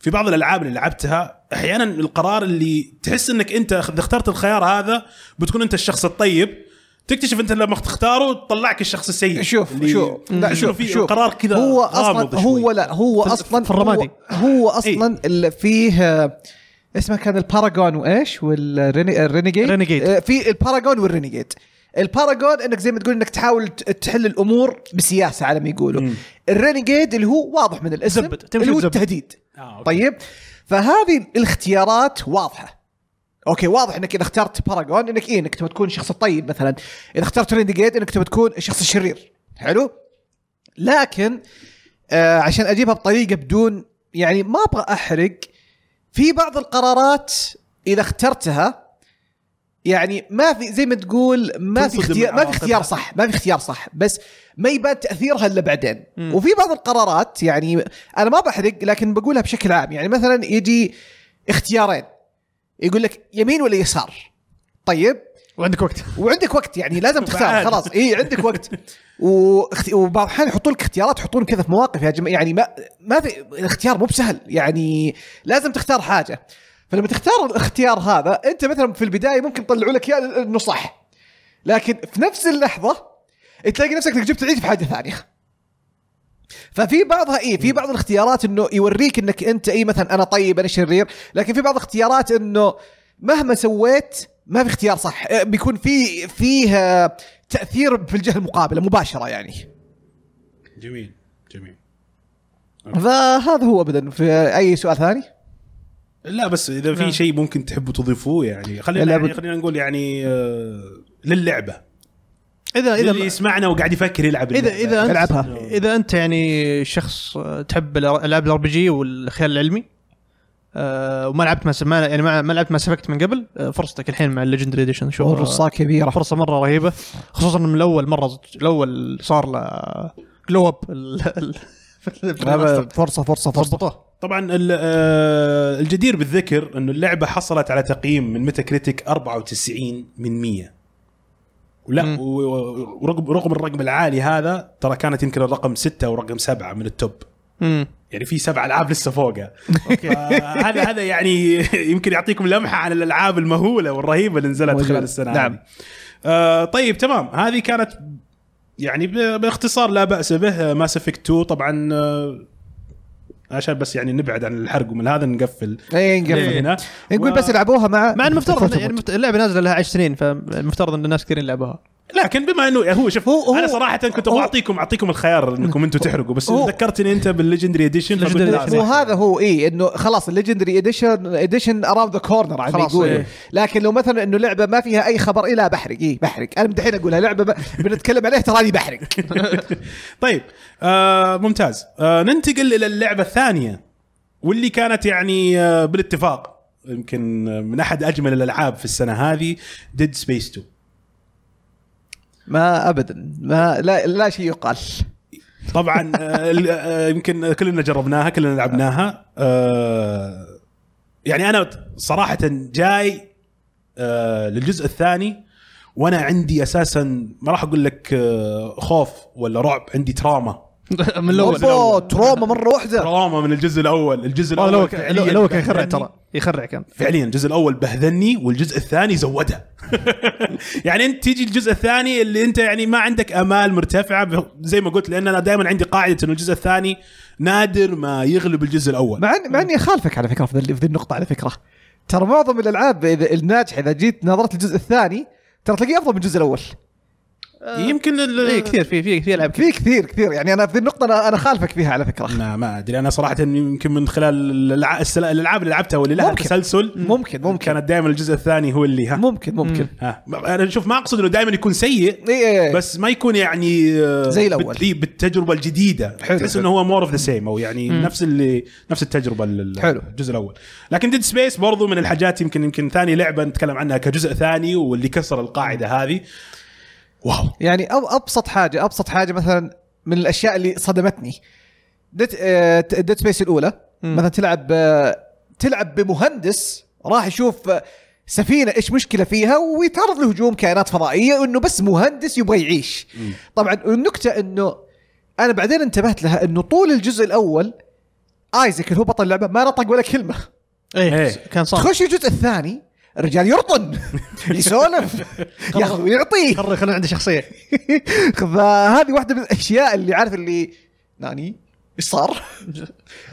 في بعض الالعاب اللي لعبتها احيانا القرار اللي تحس انك انت اخ- إذا اخترت الخيار هذا بتكون انت الشخص الطيب تكتشف انت لما تختاره طلعك الشخص السيء إيه، شوف إيه، اللي- شوف لا اللي شوف فيه شوف قرار كذا هو اصلا هو لا هو في- اصلا في الرمادي. هو, هو اصلا اللي فيه آه، اسمه كان الباراجون وايش والرينيجيد Renegade. إيه، في الباراجون والرينيجيد الباراجون انك زي ما تقول انك تحاول ت- تحل الامور بسياسه على ما يقولوا مم. الرينيجيد اللي هو واضح من الاسم زبد، تمشي اللي هو تزبد. التهديد آه طيب طيب فهذه الاختيارات واضحه اوكي واضح انك اذا اخترت باراجون انك ايه انك تبغى تكون الشخص الطيب مثلا اذا اخترت رينديجيت انك تبغى تكون الشخص الشرير حلو لكن آه عشان اجيبها بطريقه بدون يعني ما ابغى احرق في بعض القرارات اذا اخترتها يعني ما في زي ما تقول ما في تنصدم اختيار ما في العواقب. اختيار صح ما في اختيار صح بس ما يبان تاثيرها الا بعدين مم. وفي بعض القرارات يعني انا ما بحرق لكن بقولها بشكل عام يعني مثلا يجي اختيارين يقول لك يمين ولا يسار طيب وعندك وقت وعندك وقت يعني لازم تختار بعد. خلاص اي عندك وقت واخت... وبعض الاحيان يحطون لك اختيارات يحطون كذا في مواقف يا جماعه يعني ما ما في الاختيار مو بسهل يعني لازم تختار حاجه فلما تختار الاختيار هذا انت مثلا في البدايه ممكن يطلعوا لك اياه انه صح لكن في نفس اللحظه تلاقي نفسك انك جبت العيد في حاجه ثانيه ففي بعضها ايه في بعض الاختيارات انه يوريك انك انت ايه مثلا انا طيب انا شرير لكن في بعض الاختيارات انه مهما سويت ما في اختيار صح آه، بيكون في فيه آه، تاثير في الجهه المقابله مباشره يعني جميل جميل فهذا هو ابدا في اي سؤال ثاني لا بس اذا في نعم. شيء ممكن تحبوا تضيفوه يعني خلينا لا يعني بد- خلينا نقول يعني آه للعبه اذا اذا اللي يسمعنا وقاعد يفكر يلعب اذا اللعبة. اذا انت العبها اذا انت يعني شخص آه، تحب الأر- العاب الار بي جي والخيال العلمي آه وما لعبت ما ما يعني ما, ما لعبت ما سبقت من قبل آه فرصتك الحين مع الليجندري اديشن شوف آه، الرصاصه كبيره فرصه مره رهيبه خصوصا من الاول مره الاول صار له جلو اب هذا فرصه فرصه فرصه ضبطوه طبعا ال- آه، الجدير بالذكر انه اللعبه حصلت على تقييم من ميتا كريتيك 94 من 100 ولا مم. و- و- ورغم رغم الرقم العالي هذا ترى كانت يمكن الرقم 6 او رقم 7 من التوب امم يعني في سبع العاب لسه فوقها آه، هذا هذا يعني يمكن يعطيكم لمحه عن الالعاب المهوله والرهيبه اللي نزلت موجود. خلال السنه نعم. هذه. آه طيب تمام هذه كانت يعني ب- باختصار لا باس به آه، ماس افكت 2 طبعا آه، عشان بس يعني نبعد عن الحرق ومن هذا نقفل اي إيه، نقفل هنا إيه، نقول نعم. و- بس العبوها مع مع المفترض إن- يعني يعني المفت- اللعبه نازله لها 10 سنين فالمفترض ان الناس كثيرين لعبوها لكن بما انه هو شوف هو- هو- انا صراحه كنت هو- ابغى اعطيكم اعطيكم الخيار انكم انتم تحرقوا بس هو- ذكرتني انت بالليجندري اديشن Legendary Edition. وهذا هو اي انه خلاص الليجندري اديشن اديشن اراوند ذا كورنر على ما خلاص، يقولوا إيه. لكن لو مثلا انه لعبه ما فيها اي خبر الا بحرق اي بحرق انا من دحين اقولها لعبه ب- بنتكلم عليها تراني بحرق طيب آه ممتاز آه ننتقل الى اللعبه الثانيه واللي كانت يعني آه بالاتفاق يمكن آه، من احد اجمل الالعاب في السنه هذه ديد سبيس 2 ما ابدا ما لا لا شيء يقال طبعا آه، ال- آه، يمكن كلنا جربناها كلنا لعبناها آه، يعني انا صراحه جاي آه، للجزء الثاني وانا عندي اساسا ما راح اقول لك آه، خوف ولا رعب عندي تراما من أوبا، الاول تروما مره واحده تراما من الجزء الاول الجزء الاول آه، الاول كان- فعلياً الاول كان يخرع بهذني. ترى يخرع كان فعليا الجزء الاول بهذلني والجزء الثاني زودها يعني انت تيجي الجزء الثاني اللي انت يعني ما عندك امال مرتفعه ب- زي ما قلت لان انا دائما عندي قاعده انه الجزء الثاني نادر ما يغلب الجزء الاول مع إن- مع اني اخالفك على فكره في ذي- في ذي النقطه على فكره ترى معظم الالعاب اذا الناجحه اذا جيت نظرت الجزء الثاني ترى تلاقيه افضل من الجزء الاول يمكن لل... اي إيه، كثير في في في العاب في كثير كثير كثير يعني انا في النقطه انا, أنا خالفك فيها على فكره ما ما ادري انا صراحه يمكن من خلال الألع- السل- الالعاب اللي لعبتها واللي لها ممكن. تسلسل ممكن ممكن كانت دائما الجزء الثاني هو اللي ها ممكن ممكن ها انا شوف ما اقصد انه دائما يكون سيء اي اي بس ما يكون يعني آه، زي الأول. بت- إيه، بالتجربه الجديده حلو، تحس حلو. انه هو مور اوف ذا سيم او يعني مم. نفس اللي نفس التجربه لل- حلو. الجزء الاول لكن ديد سبيس برضو من الحاجات يمكن يمكن ثاني لعبه نتكلم عنها كجزء ثاني واللي كسر القاعده هذه واو يعني أب ابسط حاجه ابسط حاجه مثلا من الاشياء اللي صدمتني ديت آه، ديت سبيس الاولى مم. مثلا تلعب آه، تلعب بمهندس راح يشوف آه، سفينه ايش مشكله فيها ويتعرض لهجوم كائنات فضائيه وانه بس مهندس يبغى يعيش مم. طبعا النكته انه انا بعدين انتبهت لها انه طول الجزء الاول ايزك اللي هو بطل اللعبه ما نطق ولا كلمه اي إيه. كان صار تخش الجزء الثاني الرجال يرطن يسولف ياخذ ويعطيه قرر خلونا عندي شخصيه فهذه واحده من الاشياء اللي عارف اللي ناني ايش صار؟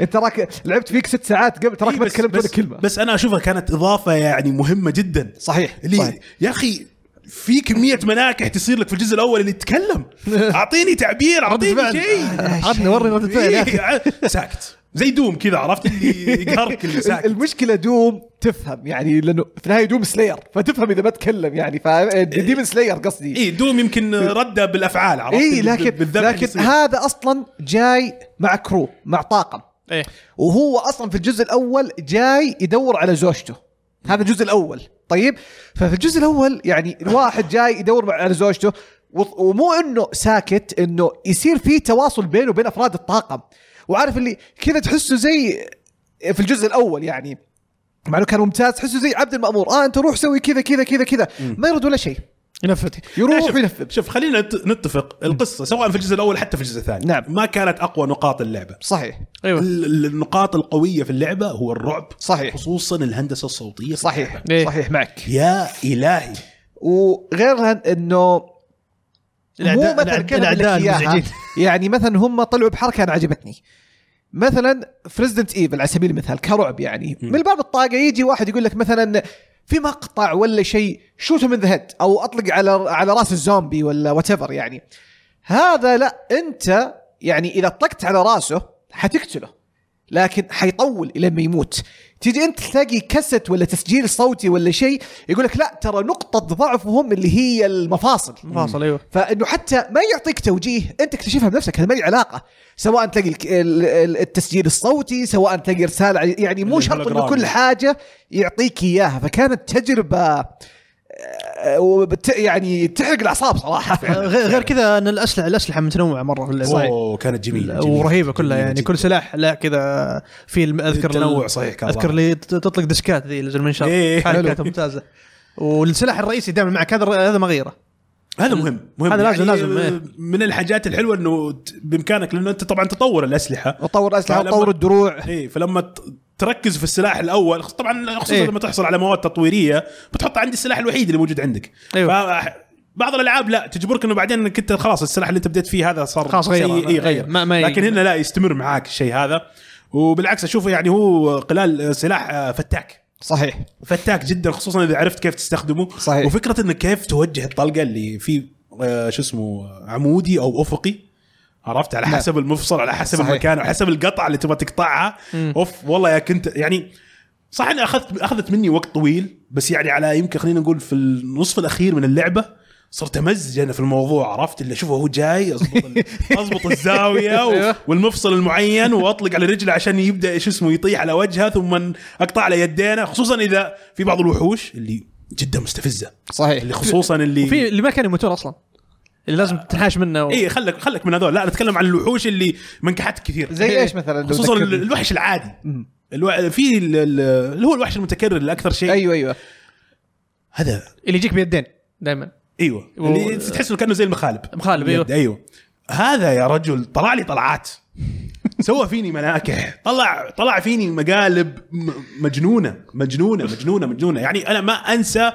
انت راك لعبت فيك ست ساعات قبل تراك إيه، ما بس- تكلمت بس- ولا كلمه بس انا اشوفها كانت اضافه يعني مهمه جدا صحيح اللي صحيح. يا اخي في كميه مناكح تصير لك في الجزء الاول اللي يتكلم اعطيني تعبير اعطيني فعل. شيء عطنا ورني ردة فعل يا أخي. إيه، ع- ساكت زي دوم كذا عرفت اللي يقهرك اللي ساكت المشكله دوم تفهم يعني لانه في النهايه دوم سلاير فتفهم اذا ما تكلم يعني فاهم ديمن سلاير قصدي اي إيه، دوم يمكن رده بالافعال عرفت إيه، اي اللي لكن بالذبح اللي لكن يصير. هذا اصلا جاي مع كرو مع طاقم إيه. ايه وهو اصلا في الجزء الاول جاي يدور على زوجته هذا الجزء الاول طيب ففي الجزء الاول يعني الواحد جاي يدور على زوجته وط- ومو انه ساكت انه يصير في تواصل بينه وبين افراد الطاقم وعارف اللي كذا تحسه زي في الجزء الاول يعني مع انه كان ممتاز تحسه زي عبد المامور اه انت روح سوي كذا كذا كذا كذا ما يرد ولا شيء ينفذ لا، يروح شوف- ويلفف شوف خلينا نت- نتفق القصه سواء في الجزء الاول حتى في الجزء الثاني نعم. ما كانت اقوى نقاط اللعبه صحيح ايوه ال- ال- النقاط القويه في اللعبه هو الرعب صحيح. خصوصا الهندسه الصوتيه في صحيح اللعبة. إيه. صحيح معك يا الهي وغيرها انه مو مثلا كان أقول لك الاعداء إياها. المزعجين يعني مثلا هم طلعوا بحركه انا عجبتني مثلا في ريزدنت ايفل على سبيل المثال كرعب يعني مم. من باب الطاقه يجي واحد يقول لك مثلا في مقطع ولا شيء شوته من ذا هيد او اطلق على على راس الزومبي ولا وات يعني هذا لا انت يعني اذا طقت على راسه حتقتله لكن حيطول الى ما يموت تيجي انت تلاقي كست ولا تسجيل صوتي ولا شيء يقول لك لا ترى نقطه ضعفهم اللي هي المفاصل فاصل أيوه. ايوه فانه حتى ما يعطيك توجيه انت اكتشفها بنفسك هذا ما لي علاقه سواء تلاقي الك- ال- ال- التسجيل الصوتي سواء تلاقي رساله على- يعني مو شرط انه الهولوجرام. كل حاجه يعطيك اياها فكانت تجربه آه، وبت- يعني تحرق الاعصاب صراحه غير غير كذا ان الاسلحه الاسلحه متنوعه مره في اللعبه اوه كانت جميله جميلة. ورهيبه كلها جميلة يعني جداً. كل سلاح لا كذا في الم- اذكر التنوع صحيح كان اذكر رائع. اللي ت- تطلق دشكات ذي اللي زي المنشار إيه، هذه حلو. كانت ممتازه والسلاح الرئيسي دائما معك هذا الر- هذا ما غيره هذا مهم مهم يعني هذا لازم- لازم، إيه. من الحاجات الحلوه انه ت- بامكانك لانه انت طبعا تطور الاسلحه وطور اسلحه فلما- وطور الدروع ايه فلما ت- تركز في السلاح الاول خص- طبعا خصوصا إيه. لما تحصل على مواد تطويريه بتحط عندي السلاح الوحيد اللي موجود عندك أيوة. ف- بعض الالعاب لا تجبرك انه بعدين انك انت خلاص السلاح اللي انت بديت فيه هذا صار خلاص غيره. سيء، إيه غير ما- ما ي- لكن هنا لا يستمر معاك الشيء هذا وبالعكس اشوفه يعني هو قلال سلاح آه، فتاك صحيح فتاك جدا خصوصا اذا عرفت كيف تستخدمه صحيح. وفكره انك كيف توجه الطلقه اللي في آه، شو اسمه عمودي او افقي عرفت على نعم. حسب المفصل على حسب صحيح. المكان على حسب القطعه اللي تبغى تقطعها اوف والله يا كنت يعني صح اني اخذت اخذت مني وقت طويل بس يعني على يمكن خلينا نقول في النصف الاخير من اللعبه صرت امزج انا في الموضوع عرفت اللي اشوفه هو جاي اضبط ال- اضبط الزاويه و... أيوه. أيوة. والمفصل المعين واطلق على رجله عشان يبدا شو اسمه يطيح على وجهه ثم اقطع على يدينا خصوصا اذا في بعض الوحوش اللي جدا مستفزه صحيح اللي خصوصا اللي في اللي ما كان يموتون اصلا اللي لازم تنحاش منه و... اي إيه، خلك خلك من هذول لا نتكلم عن الوحوش اللي منكحات كثير زي ايش مثلا لو خصوصا ذكرني؟ الوحش العادي مم. الو... في ال- ال- اللي هو الوحش المتكرر الاكثر شيء ايوه ايوه هذا اللي يجيك بيدين دائما ايوه و- اللي تحس انه كانه زي المخالب مخالب، أيوة. اليد، ايوه هذا يا رجل طلع لي طلعات سوى فيني مناكح طلع طلع فيني مقالب م- مجنونه مجنونه مجنونه مجنونه يعني انا ما انسى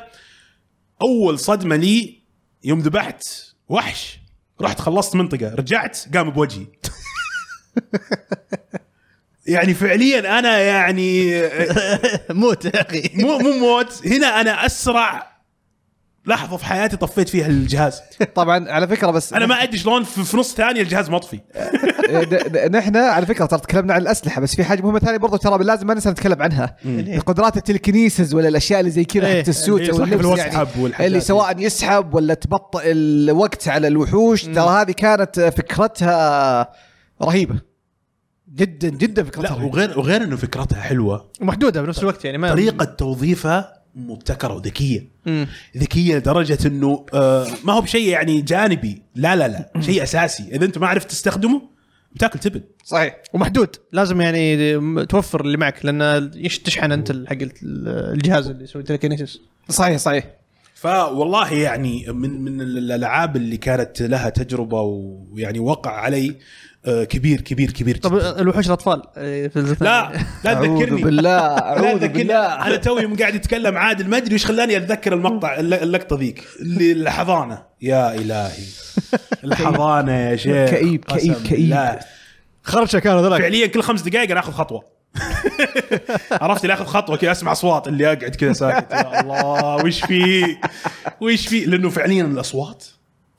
اول صدمه لي يوم ذبحت وحش رحت خلصت منطقه رجعت قام بوجهي يعني فعليا انا يعني موت يا اخي مو مو موت هنا انا اسرع لحظه في حياتي طفيت فيها الجهاز طبعا على فكره بس انا ما ادري شلون في, في نص ثانيه الجهاز مطفي د- د- نحن على فكره ترى تكلمنا عن الاسلحه بس في حاجه مهمه ثانيه برضو ترى لازم ما ننسى نتكلم عنها قدرات التلكنيسز ولا الاشياء اللي زي كذا إيه، حتى السوت إيه. اللي او يسحب اللبس والوسحب يعني والحاجات اللي دي. سواء يسحب ولا تبطئ الوقت على الوحوش ترى هذه كانت فكرتها رهيبه جدا جدا لا فكرتها رهيبة. وغير وغير انه فكرتها حلوه محدوده بنفس الوقت يعني ما طريقه توظيفها مبتكره وذكيه مم. ذكيه لدرجه انه آه ما هو بشيء يعني جانبي لا لا لا شيء اساسي اذا انت ما عرفت تستخدمه بتاكل تبن صحيح ومحدود لازم يعني توفر اللي معك لان يش- تشحن انت حق الجهاز اللي يسوي تلكينيسيس صحيح صحيح فوالله يعني من من الالعاب اللي كانت لها تجربه ويعني وقع علي آه، كبير كبير كبير طب جداً. الوحوش الاطفال إيه، في الزفاف. لا لا اعوذ تذكرني آه، بالله لا اعوذ تذكرني بالله انا توي من قاعد يتكلم عادل ما ادري ايش خلاني اتذكر المقطع الل- اللقطه ذيك اللي الحضانه يا الهي الحضانه يا شيخ كئيب- قسم كئيب- كئيب. بالله. خرشه كانوا ذولاك فعليا طيب. كل خمس دقائق انا اخذ خطوه عرفت اللي اخذ خطوه كذا اسمع اصوات اللي اقعد كذا ساكت يا الله وش في وش في لانه فعليا الاصوات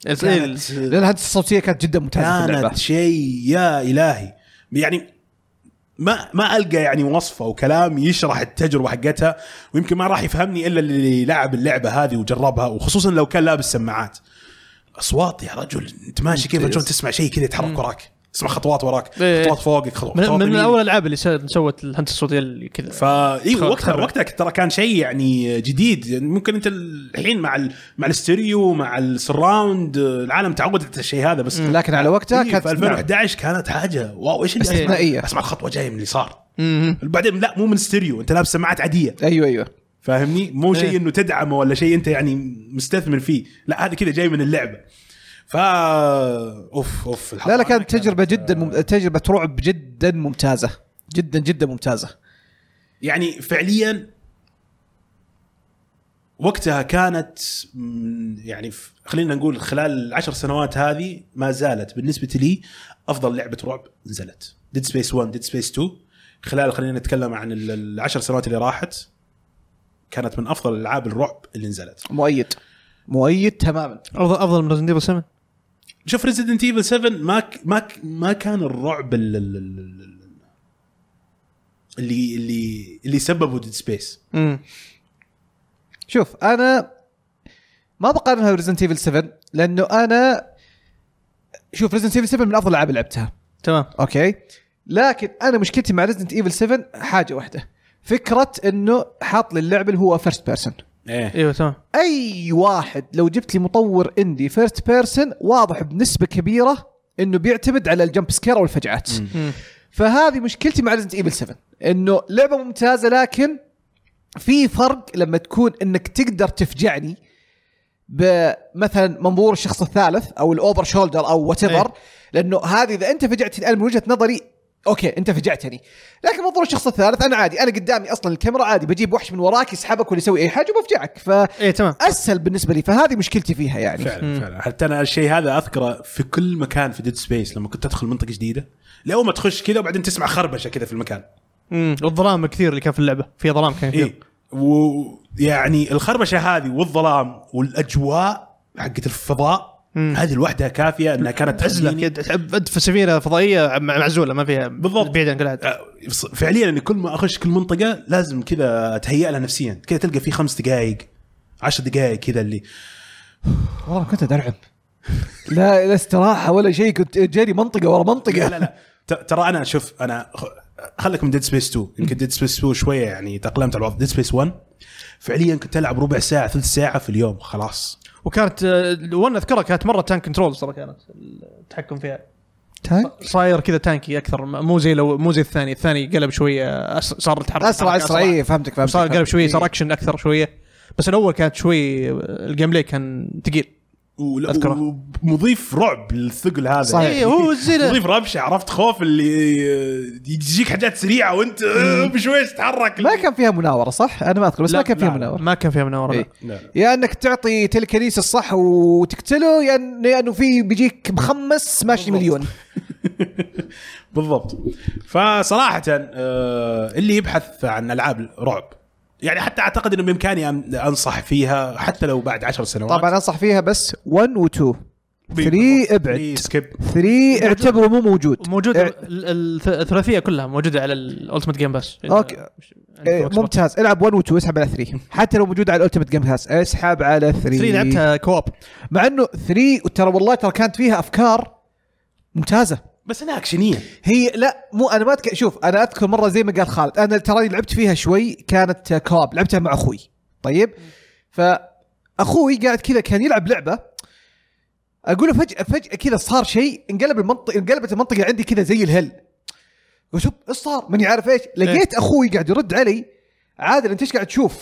إيه، لان الهندسه الصوتيه كانت جدا ممتازه في اللعبه كانت شيء يا الهي يعني ما ما القى يعني وصفه وكلام يشرح التجربه حقتها ويمكن ما راح يفهمني الا اللي لعب اللعبه هذه وجربها وخصوصا لو كان لابس سماعات اصوات يا رجل انت ماشي كيف شلون تسمع شيء كذا يتحرك وراك تسمع خطوات وراك إيه. خطوات فوقك خطوات من, من يمين. اول الالعاب اللي س- سوت الهندسه الصوتيه اللي كذا فا ايوه تخرب- وقتها تخرب. وقتها ترى كان شيء يعني جديد يعني ممكن انت الحين مع ال... مع الاستيريو مع السراوند العالم تعود على الشيء هذا بس لكن على وقتها إيه، كانت في 2011 كانت حاجه واو ايش اللي استثنائية. اسمع الخطوه جايه من اليسار مم. بعدين لا مو من ستيريو انت لابس سماعات عاديه ايوه ايوه فاهمني مو إيه. شيء انه تدعمه ولا شيء انت يعني مستثمر فيه لا هذا كذا جاي من اللعبه فا اوف اوف لا لا الحضانة كانت تجربه جدا آه. مم... تجربه رعب جدا ممتازه جدا جدا ممتازه يعني فعليا وقتها كانت مم، يعني ف- خلينا نقول خلال العشر سنوات هذه ما زالت بالنسبه لي افضل لعبه رعب نزلت ديد سبيس 1 ديد سبيس 2 خلال خلينا نتكلم عن ال- العشر سنوات اللي راحت كانت من افضل العاب الرعب اللي نزلت مؤيد مؤيد تماما افضل افضل من ريزن ديفل 7 شوف ريزيدنت ايفل 7 ما ك- ما ك- ما كان الرعب ال- ال- ال- ال- اللي اللي اللي سببه ديد سبيس مم. شوف انا ما بقارنها بريزنت ايفل 7 لانه انا شوف ريزنت ايفل 7 من افضل الالعاب اللي لعبتها تمام اوكي لكن انا مشكلتي مع ريزنت ايفل 7 حاجه واحده فكره انه حاط لي اللعبه اللي هو فيرست بيرسون ايه ايوه تمام اي واحد لو جبت لي مطور اندي فيرست بيرسون واضح بنسبه كبيره انه بيعتمد على الجمب سكير او الفجعات مم. فهذه مشكلتي مع ريزنت ايفل 7 انه لعبه ممتازه لكن في فرق لما تكون انك تقدر تفجعني بمثلا منظور الشخص الثالث او الاوفر شولدر او وات أي. لانه هذه اذا انت فجعتني انا من وجهه نظري اوكي انت فجعتني لكن منظور الشخص الثالث انا عادي انا قدامي اصلا الكاميرا عادي بجيب وحش من وراك يسحبك ولا يسوي اي حاجه وبفجعك ف ايه تمام اسهل بالنسبه لي فهذه مشكلتي فيها يعني فعلا فعلا حتى انا الشيء هذا اذكره في كل مكان في ديد سبيس لما كنت ادخل منطقه جديده لاول ما تخش كذا وبعدين تسمع خربشه كذا في المكان إيه. مم. والظلام كثير اللي كان في اللعبه في ظلام كان كثير اي ويعني الخربشه يعني هذه والظلام والاجواء حقت الفضاء هذه لوحدها كافيه انها كانت عزله تخليني- كده، تعب- انت في سفينه فضائيه مع- معزوله ما فيها يعني- بالضبط. بعيد عن كل احد آه، ص- فعليا اني كل ما اخش كل منطقه لازم كذا اتهيأ لها نفسيا كذا تلقى في خمس دقائق عشر دقائق كذا اللي والله كنت ادرعم لا لا استراحه ولا شيء كنت جاري منطقه ورا منطقه لا لا لا ت- ترى انا شوف انا خ- خلك من ديد سبيس 2 يمكن ديد سبيس 2 شويه يعني تاقلمت على الوضع ديد سبيس 1 فعليا كنت العب ربع ساعه ثلث ساعه في اليوم خلاص وكانت وانا اذكرها كانت مره تانك كنترول ترى كانت التحكم فيها تانك صاير كذا تانكي اكثر م- مو زي لو مو زي الثاني الثاني قلب شويه أس- صار التحرك اسرع حركة اسرع اي فهمتك فهمتك صار قلب فهمتك. إيه. شويه صار اكشن اكثر شويه بس الاول كانت شوي الجيم بلاي كان ثقيل أذكره. أذكره. ومضيف رعب للثقل هذا إيه، صحيح. اي هو زي مضيف ربشه عرفت خوف اللي آه، تجيك حاجات سريعه وانت آه، بشويش تتحرك ما كان فيها مناوره صح؟ انا ما اذكر بس لا، ما كان فيها لا، مناوره ما كان فيها مناوره إيه. لا. لا، لا. يا انك تعطي تلكنيس الصح وتقتله يا انه يعني في بيجيك مخمس ماشي مليون بالضبط فصراحه آه، اللي يبحث عن العاب رعب يعني حتى اعتقد انه بامكاني أن- انصح فيها حتى لو بعد عشر سنوات طبعا انصح فيها بس 1 و 2 بي- 3 ابعد سكيب 3 اعتبره مو موجود موجود إيه. ال- الث- الثلاثيه كلها موجوده على الالتيمت جيم باس أوكي. إيه، ممتاز العب 1 و 2 اسحب على 3 حتى لو موجود على الالتيميت جيم باس اسحب على 3 3 لعبتها كواب مع انه 3 ترى والله ترى كانت فيها افكار ممتازه بس انها اكشنيه هي لا مو انا ما أتك... شوف انا اذكر مره زي ما قال خالد انا تراني لعبت فيها شوي كانت كواب لعبتها مع اخوي طيب فاخوي قاعد كذا كان يلعب لعبه اقول له فجاه فجاه كذا صار شيء انقلب المنطقه انقلبت المنطقه عندي كذا زي الهل وشوف ايش صار ماني عارف ايش لقيت اخوي قاعد يرد علي عادل انت ايش قاعد تشوف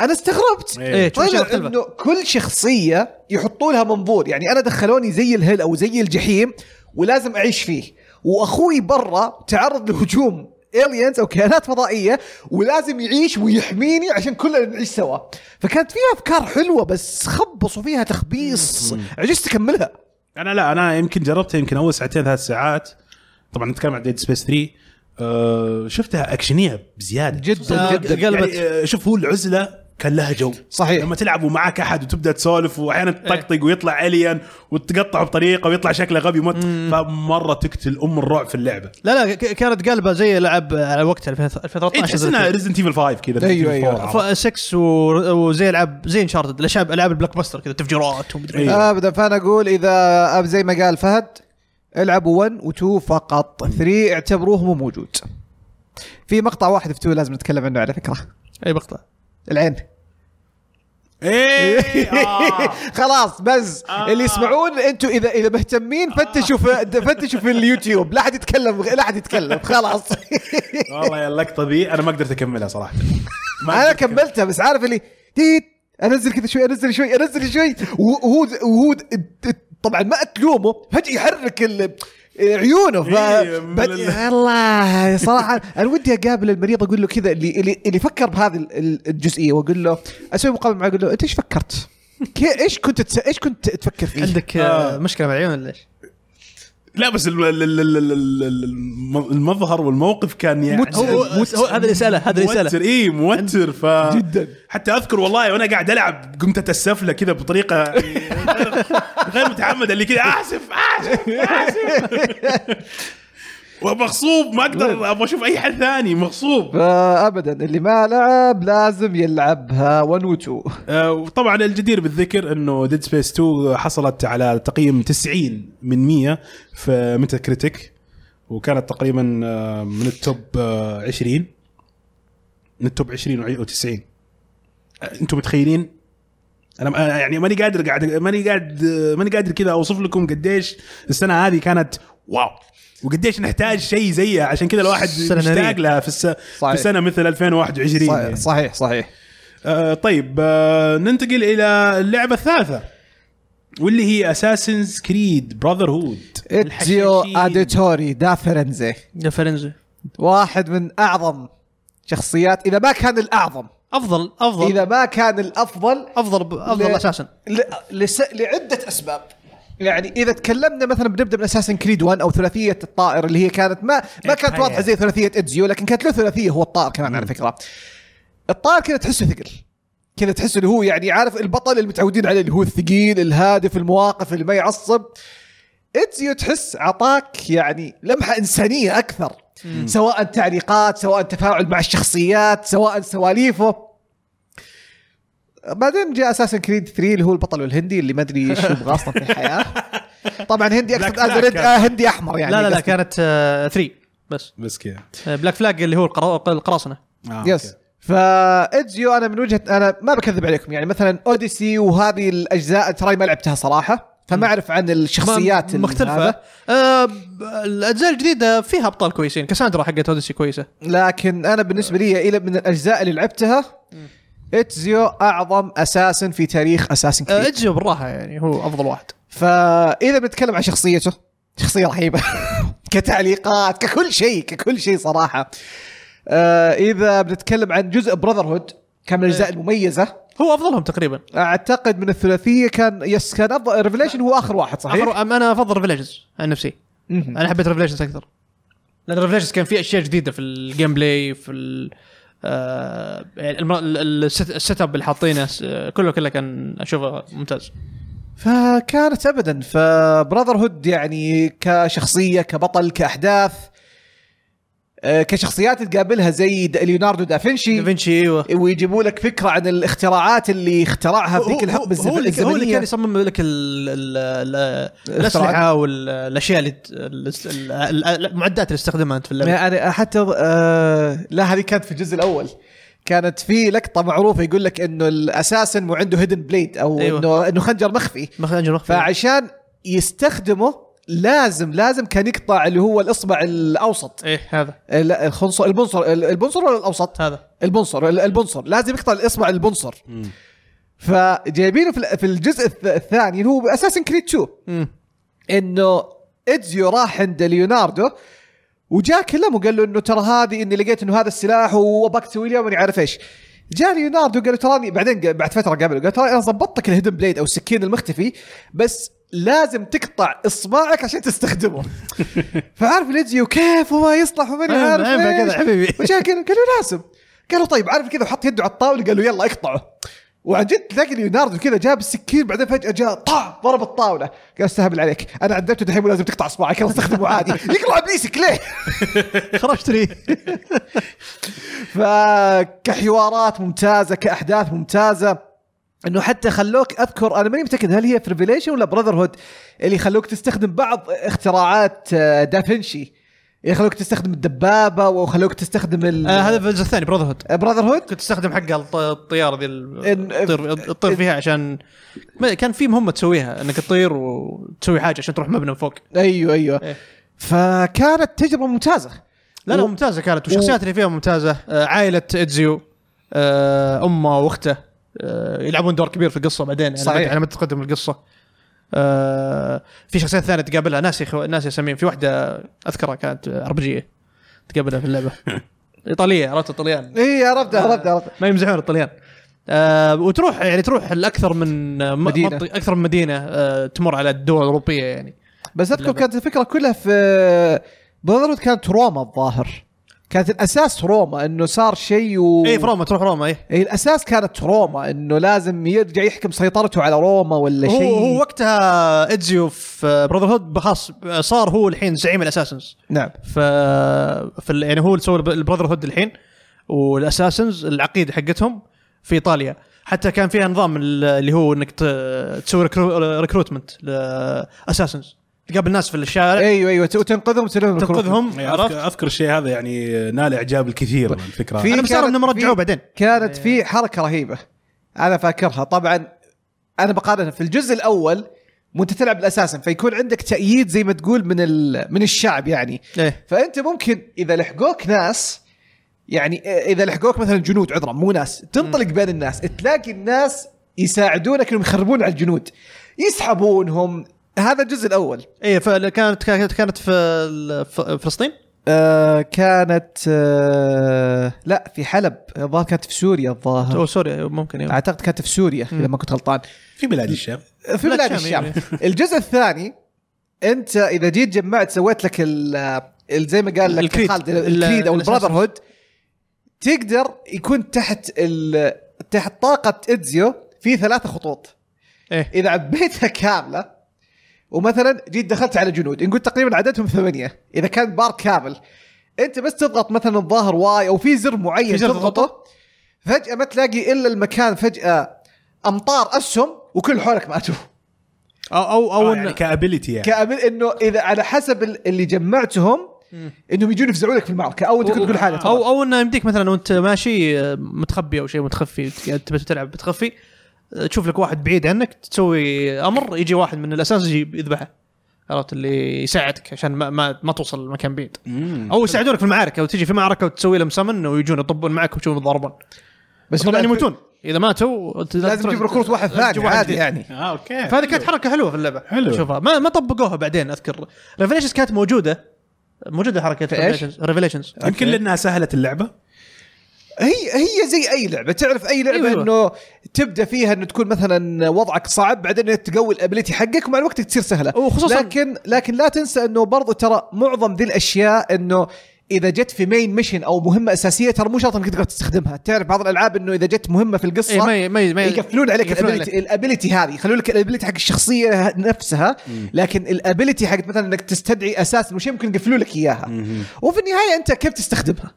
انا استغربت إيه. ايه تشوف طلع أشياء مختلفة. انه كل شخصيه يحطوا لها منظور يعني انا دخلوني زي الهل او زي الجحيم ولازم اعيش فيه واخوي برا تعرض لهجوم الينز او كائنات فضائيه ولازم يعيش ويحميني عشان كلنا نعيش سوا فكانت فيها افكار حلوه بس خبصوا فيها تخبيص عجزت اكملها انا لا انا يمكن جربتها يمكن اول ساعتين ثلاث ساعات طبعا نتكلم عن ديد سبيس 3 آه شفتها اكشنيه بزياده جدا آه، جدا قلبت. يعني آه، شوف هو العزله كان لها جو صحيح. لما تلعب ومعك احد وتبدا تسولف واحيانا إيه. تطقطق ويطلع الين وتقطعه بطريقه ويطلع شكله غبي موت فمره تقتل ام الرعب في اللعبه لا لا ك- كانت قلبه زي لعب على وقتها 2013 إيه، تحس انها ريزنت ايفل 5 كذا أيوة، Resident Evil أيوة. 4. 6 و- وزي العاب زي انشارتد الاشياء العاب البلاك باستر كذا تفجيرات ومدري إيه. إيه. ابدا آه، فانا اقول اذا أب- زي ما قال فهد العبوا 1 و2 فقط 3 اعتبروه مو موجود في مقطع واحد في 2 لازم نتكلم عنه على فكره اي مقطع العين ايه آه. خلاص بس آه. اللي يسمعون انتم اذا اذا مهتمين فتشوا في فتشوا في اليوتيوب لا حد يتكلم لا حد يتكلم خلاص والله يا اللقطه ذي انا ما قدرت اكملها صراحه ما انا قدرت أكملها. كملتها بس عارف اللي تيت انزل كذا شوي انزل شوي انزل شوي وهو وهو طبعا ما اتلومه فجاه يحرك ال- عيونه ف إيه، من بعد- ال- الله صراحه انا ودي اقابل المريض اقول له كذا اللي اللي, اللي فكر بهذه ال- ال- الجزئيه واقول له اسوي مقابله معه اقول له انت ايش فكرت؟ كي- ايش كنت تس- ايش كنت تفكر فيه؟ عندك آه. مشكله مع العيون ولا ايش؟ لا بس الم- ال- ال- ال- ال- ال- المظهر والموقف كان يعني مت- هو هو هذا اللي ساله هذا اللي موتر ساله اي موتر ف جداً. حتى اذكر والله وانا قاعد العب قمت اتسف له كذا بطريقه غير- غير متعمده اللي كذا اسف اسف اسف ومغصوب ما اقدر ابغى اشوف اي حد ثاني مغصوب فابدا اللي ما لعب لازم يلعبها 1 و 2 آه، وطبعا الجدير بالذكر انه ديد سبيس 2 حصلت على تقييم 90 من 100 في ميتا كريتيك وكانت تقريبا آه، من التوب آه، 20 من التوب 20 و90 آه، انتم متخيلين انا أنا يعني ماني قادر قاعد ماني قاعد ماني قادر كذا اوصف لكم قديش السنه هذه كانت واو وقديش نحتاج شيء زيها عشان كذا الواحد سنة نارية. مشتاق لها في, الس... في صحيح. سنه مثل 2021 يعني. صحيح صحيح آه طيب آه ننتقل الى اللعبه الثالثه واللي هي اساسنز كريد براذر هود اتزيو اديتوري دا فرنزي يا فرنزي واحد من اعظم شخصيات اذا ما كان الاعظم افضل افضل اذا ما كان الافضل افضل ب- افضل لا. اساسا ل... لس... لعده اسباب يعني اذا تكلمنا مثلا بنبدا من اساسن كريد 1 او ثلاثيه الطائر اللي هي كانت ما ما كانت هيا. واضحه زي ثلاثيه ادزيو لكن كانت له ثلاثيه هو الطائر كمان على فكره الطائر كذا تحسه ثقل كذا تحس اللي هو يعني عارف البطل اللي متعودين عليه اللي هو الثقيل الهادف المواقف اللي ما يعصب اتزيو تحس عطاك يعني لمحه انسانيه اكثر سواء تعليقات سواء تفاعل مع الشخصيات سواء سواليفه بعدين جاء اساسن كريد 3 اللي هو البطل الهندي اللي ما ادري ايش يبغى اصلا في الحياه طبعا هندي اقصد Black Flag ازرق كان. آه هندي احمر يعني لا لا لا قصدي. كانت 3 بس بس كذا بلاك فلاج اللي هو القرا- القراصنه آه يس أوكي. فادزيو انا من وجهه انا ما بكذب عليكم يعني مثلا اوديسي وهذه الاجزاء تراي ما لعبتها صراحه فما اعرف عن الشخصيات ما- ال- مختلفه هذا. آه، ب- الاجزاء الجديده فيها ابطال كويسين كاساندرا حقت اوديسي كويسه لكن انا بالنسبه لي الى من الاجزاء اللي لعبتها اتزيو اعظم اساسا في تاريخ اساسن آه، كريد اجيو بالراحه يعني هو افضل واحد فاذا بنتكلم عن شخصيته شخصيه رهيبه كتعليقات ككل شيء ككل شيء صراحه آه اذا بنتكلم عن جزء براذر هود كان من الاجزاء المميزه هو افضلهم تقريبا إيه. اعتقد من الثلاثيه كان يس كان افضل ريفليشن هو اخر واحد صحيح؟ أخر أم- انا افضل ريفليجنز عن نفسي مهم. انا حبيت ريفليجنز اكثر لان ريفليجنز كان فيه اشياء جديده في الجيم بلاي في ال- آه، يعني الم- ال- ال- الست- السيت اب اللي حاطينه س- آه، كله كله كان اشوفه ممتاز فكانت ابدا فبراذر هود يعني كشخصيه كبطل كاحداث آه، كشخصيات تقابلها زي د- ليوناردو دافنشي دافنشي ايوه ويجيبوا لك فكره عن الاختراعات اللي اخترعها في هو- ذيك هو- الحقبه هو اللي- الزمنيه هو اللي كان يصمم لك يعني ال- ال- ال- الاسلحه والاشياء اللي ت- ال- ال- ال- المعدات اللي استخدمها انت في اللعبه يعني حتى آه لا هذه كانت في الجزء الاول كانت في لقطه معروفه يقول لك انه الاساسن مو عنده هيدن بليد او أيوة. أيوة. انه انه خنجر مخفي مخرج مخفي فعشان يستخدمه لازم لازم كان يقطع اللي هو الاصبع الاوسط ايه هذا إيه، لا الخنصر البنصر البنصر ولا الاوسط؟ هذا البنصر البنصر لازم يقطع الاصبع البنصر مم. فجايبينه في ال- في الجزء الث- الثاني اللي هو اساسا كريد 2 مم. انه ادزيو راح عند ليوناردو وجاء كلمه وقال له انه ترى هذه اني لقيت انه هذا السلاح وابغاك تسوي لي وماني عارف ايش جاء ليوناردو قال له تراني بعدين ق- بعد فتره قابله قال ترى انا ظبطت لك الهيدن بليد او السكين المختفي بس لازم تقطع اصبعك عشان تستخدمه فعارف ليدزيو كيف وما يصلح وماني ما عارف ينفع كذا ايش حبيبي وجاء قال قال له لازم قال له طيب عارف كذا وحط يده على الطاوله قال له يلا اقطعه وعن جد تلاقي ليوناردو كذا جاب السكين بعدين فجاه جاء طع ضرب الطاوله قال استهبل عليك انا عدلته دحين مو لازم تقطع اصبعك يلا استخدمه عادي يقرع ابليسك ليه؟ خرجت لي فكحوارات ممتازه كاحداث ممتازه انه حتى خلوك اذكر انا ماني متاكد هل هي في ريفيليشن ولا براذر هود اللي خلوك تستخدم بعض اختراعات آه، دافنشي اللي خلوك تستخدم الدبابه وخلوك تستخدم ال- آه، آه، هذا في الجزء الثاني براذر هود براذر هود كنت استخدم حق الط- الطياره ذي إن- ال- تطير تطير فيها عشان ما- كان في مهمه تسويها انك تطير وتسوي حاجه عشان تروح مبنى من فوق ايوه ايوه إيه. فكانت تجربه ممتازه لا لا و- ممتازه كانت والشخصيات اللي فيها ممتازه آه، عائله اتزيو آه، امه واخته آه، يلعبون دور كبير في القصه بعدين يعني صحيح. بعد- على ما تتقدم القصه آه، في شخصيات ثانيه تقابلها ناسي خو... ناسي اساميهم في واحده اذكرها كانت عربجيه تقابلها في اللعبه ايطاليه عرفت الطليان اي إيه، عرفت عرفت عرفت ما يمزحون الطليان آه وتروح يعني تروح لاكثر من آه، م- مدينة. منطقة- اكثر من مدينه آه تمر على الدول الاوروبيه يعني بس اذكر اللعبة. كانت الفكره كلها في براذر هود كانت روما الظاهر كانت الاساس روما انه صار شيء و... اي في روما إيه، تروح روما اي إيه، الاساس كانت روما انه لازم يرجع يحكم سيطرته على روما ولا هو, شيء هو وقتها آه، ادزيو في براذر هود خلاص آه، صار هو الحين زعيم الاساسنز نعم ف في ال- يعني هو اللي سوى البراذر هود الحين والاساسنز العقيده حقتهم في ايطاليا حتى كان فيها نظام ال- اللي هو انك ت- تسوي ريكروتمنت لاساسنز تقابل ناس في الشارع ايوه ايوه وتنقذهم وتسلمهم تنقذهم عرفت اذكر يعني أذكر الشيء هذا يعني نال اعجاب الكثير من الفكره في- انا مستغرب كانت- انهم رجعوه بعدين كانت في حركه رهيبه انا فاكرها طبعا انا بقارنها في الجزء الاول وانت تلعب الاساسا فيكون عندك تأييد زي ما تقول من ال- من الشعب يعني ايه فانت ممكن اذا لحقوك ناس يعني اذا لحقوك مثلا جنود عذرا مو ناس تنطلق بين الناس تلاقي الناس يساعدونك انهم يخربون على الجنود يسحبونهم هذا الجزء الاول ايه فكانت كانت كانت في ال- في فلسطين آه كانت آه لا في حلب الظاهر كانت في سوريا الظاهر او سوريا ممكن ايوه اعتقد كانت في سوريا اذا ما كنت غلطان في بلاد الشام في بلاد الشام، الشام الجزء الثاني انت اذا جيت جمعت سويت لك ال ال- زي ما قال لك الكريد. خالد ال- الكريد او الأساس. البراذر هود تقدر يكون تحت ال تحت طاقه ادزيو في ثلاثة خطوط ايه اذا عبيتها كامله ومثلا جيت دخلت على جنود نقول تقريبا عددهم ثمانيه اذا كان بار كامل انت بس تضغط مثلا الظاهر واي او في زر معين في زر تضغطه تضغطه؟ فجاه ما تلاقي الا المكان فجاه امطار اسهم وكل حولك ماتوا او او او او يعني إن- كابيلتي يعني كامل انه اذا على حسب ال- اللي جمعتهم انهم يجون يفزعوا لك في المعركه او انت كنت تقول حاجه او او انه يمديك مثلا وانت ماشي آه، متخبي او شيء متخفي قاعد تبي تلعب متخفي آه، تشوف لك واحد بعيد عنك تسوي امر يجي واحد من الاساس يجي يذبحه عرفت اللي يساعدك عشان ما ما, ما توصل لمكان بعيد مم. او يساعدونك في المعارك او تجي في معركه وتسوي لهم سمن ويجون يطبون معك ويشوفون يتضاربون بس طبعا يموتون اذا ماتوا ت- لازم تروح- تجيب ركروت واحد ثاني تجيب واحد عادي جديد. يعني اه اوكي فهذه كانت حركه حلوه في اللعبه حلوة. شوفها ما ما طبقوها بعدين اذكر ريفليشنز كانت موجوده موجوده حركه في إيش؟ ريفليشنز ريفليشنز يمكن لانها سهلت اللعبه هي هي زي اي لعبه تعرف اي لعبه أيوة. أيوة. انه تبدا فيها انه تكون مثلا وضعك صعب بعدين تقوي الابيلتي حقك ومع الوقت تصير سهله وخصوصاً- لكن لكن لا تنسى انه برضو ترى معظم ذي الاشياء انه اذا جت في مين ميشن او مهمه اساسيه ترى مو شرط انك تقدر تستخدمها تعرف بعض الالعاب انه اذا جت مهمه في القصه اي إيه، ما ي- ما ي- ما ي- يقفلون عليك يقفلون الابيلتي الابيلتي هذه يخلون لك الابيلتي حق الشخصيه نفسها لكن الابيلتي حق مثلا انك تستدعي اساس وشيء ممكن يقفلوا لك اياها وفي النهايه انت كيف تستخدمها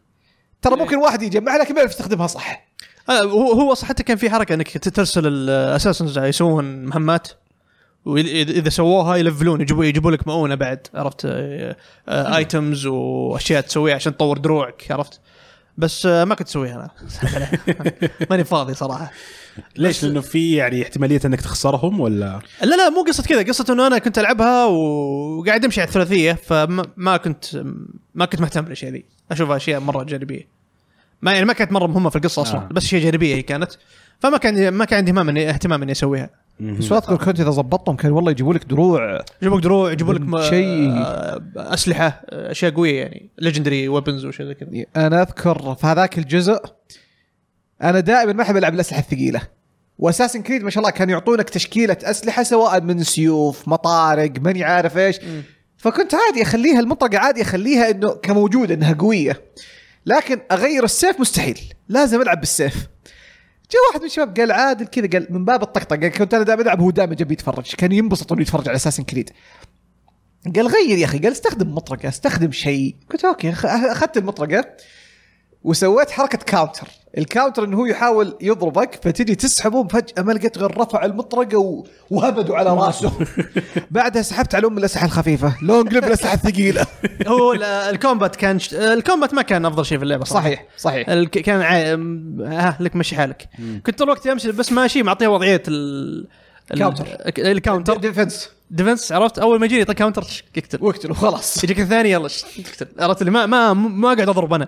ترى ممكن واحد يجمع لكن ما يعرف يستخدمها صح آه، هو هو اصلا حتى كان في حركه انك ترسل الاساسنز يسوون مهمات واذا سووها يلفلون يجيبوا يجيبوا لك مؤونه بعد عرفت آه، ايتمز واشياء تسويها عشان تطور دروعك عرفت بس آه، ما كنت اسويها انا ماني فاضي صراحه ليش؟ لانه في يعني احتماليه انك تخسرهم ولا لا لا مو قصه كذا قصه انه انا كنت العبها وقاعد امشي على الثلاثيه فما ما كنت ما كنت مهتم بالاشياء ذي اشوفها اشياء مره جانبيه ما يعني ما كانت مره مهمه في القصه اصلا آه. آه. بس اشياء جانبيه هي كانت فما كان ما كان عندي اهتمام اني اهتمام اني اسويها بس اذكر كنت اذا ضبطتهم كان والله يجيبوا لك دروع يجيبوا لك دروع يجيبوا لك م- شيء. آه، اسلحه آه، اشياء قويه يعني ليجندري ويبنز وشيء زي كذا انا اذكر في هذاك الجزء انا دائما ما احب العب الاسلحه الثقيله واساسن كريد ما شاء الله كانوا يعطونك تشكيله اسلحه سواء من سيوف مطارق ماني عارف ايش فكنت عادي اخليها المطرقه عادي اخليها انه كموجوده انها قويه لكن اغير السيف مستحيل لازم العب بالسيف جاء واحد من الشباب قال عادل كذا قال من باب الطقطقه قال كنت انا دائما العب هو دائما جنبي يتفرج كان ينبسط انه يتفرج على اساسن كريد قال غير يا اخي قال استخدم مطرقه استخدم شيء قلت اوكي أخ- اخذت المطرقه وسويت حركه كاونتر الكاونتر انه هو يحاول يضربك فتجي تسحبه فجاه ما لقيت غير رفع المطرقه و... وهبدوا على راسه بعدها سحبت على ام الاسلحه الخفيفه لونج ليف الاسلحه الثقيله هو ال- الكومبات كان ش- الكومبات ما كان افضل شيء في اللعبه صراحه صحيح صحيح الك- كان عا... م- ها لك مشي حالك كنت طول الوقت امشي بس ماشي معطيه وضعيه ال ال- كاونتر. الكاونتر ديفنس ديفنس عرفت اول ما يجيني يعطيك كاونتر تش- يقتل واقتله خلاص يجيك الثاني يلا ش- تقتل عرفت اللي ما ما ما اقعد اضرب انا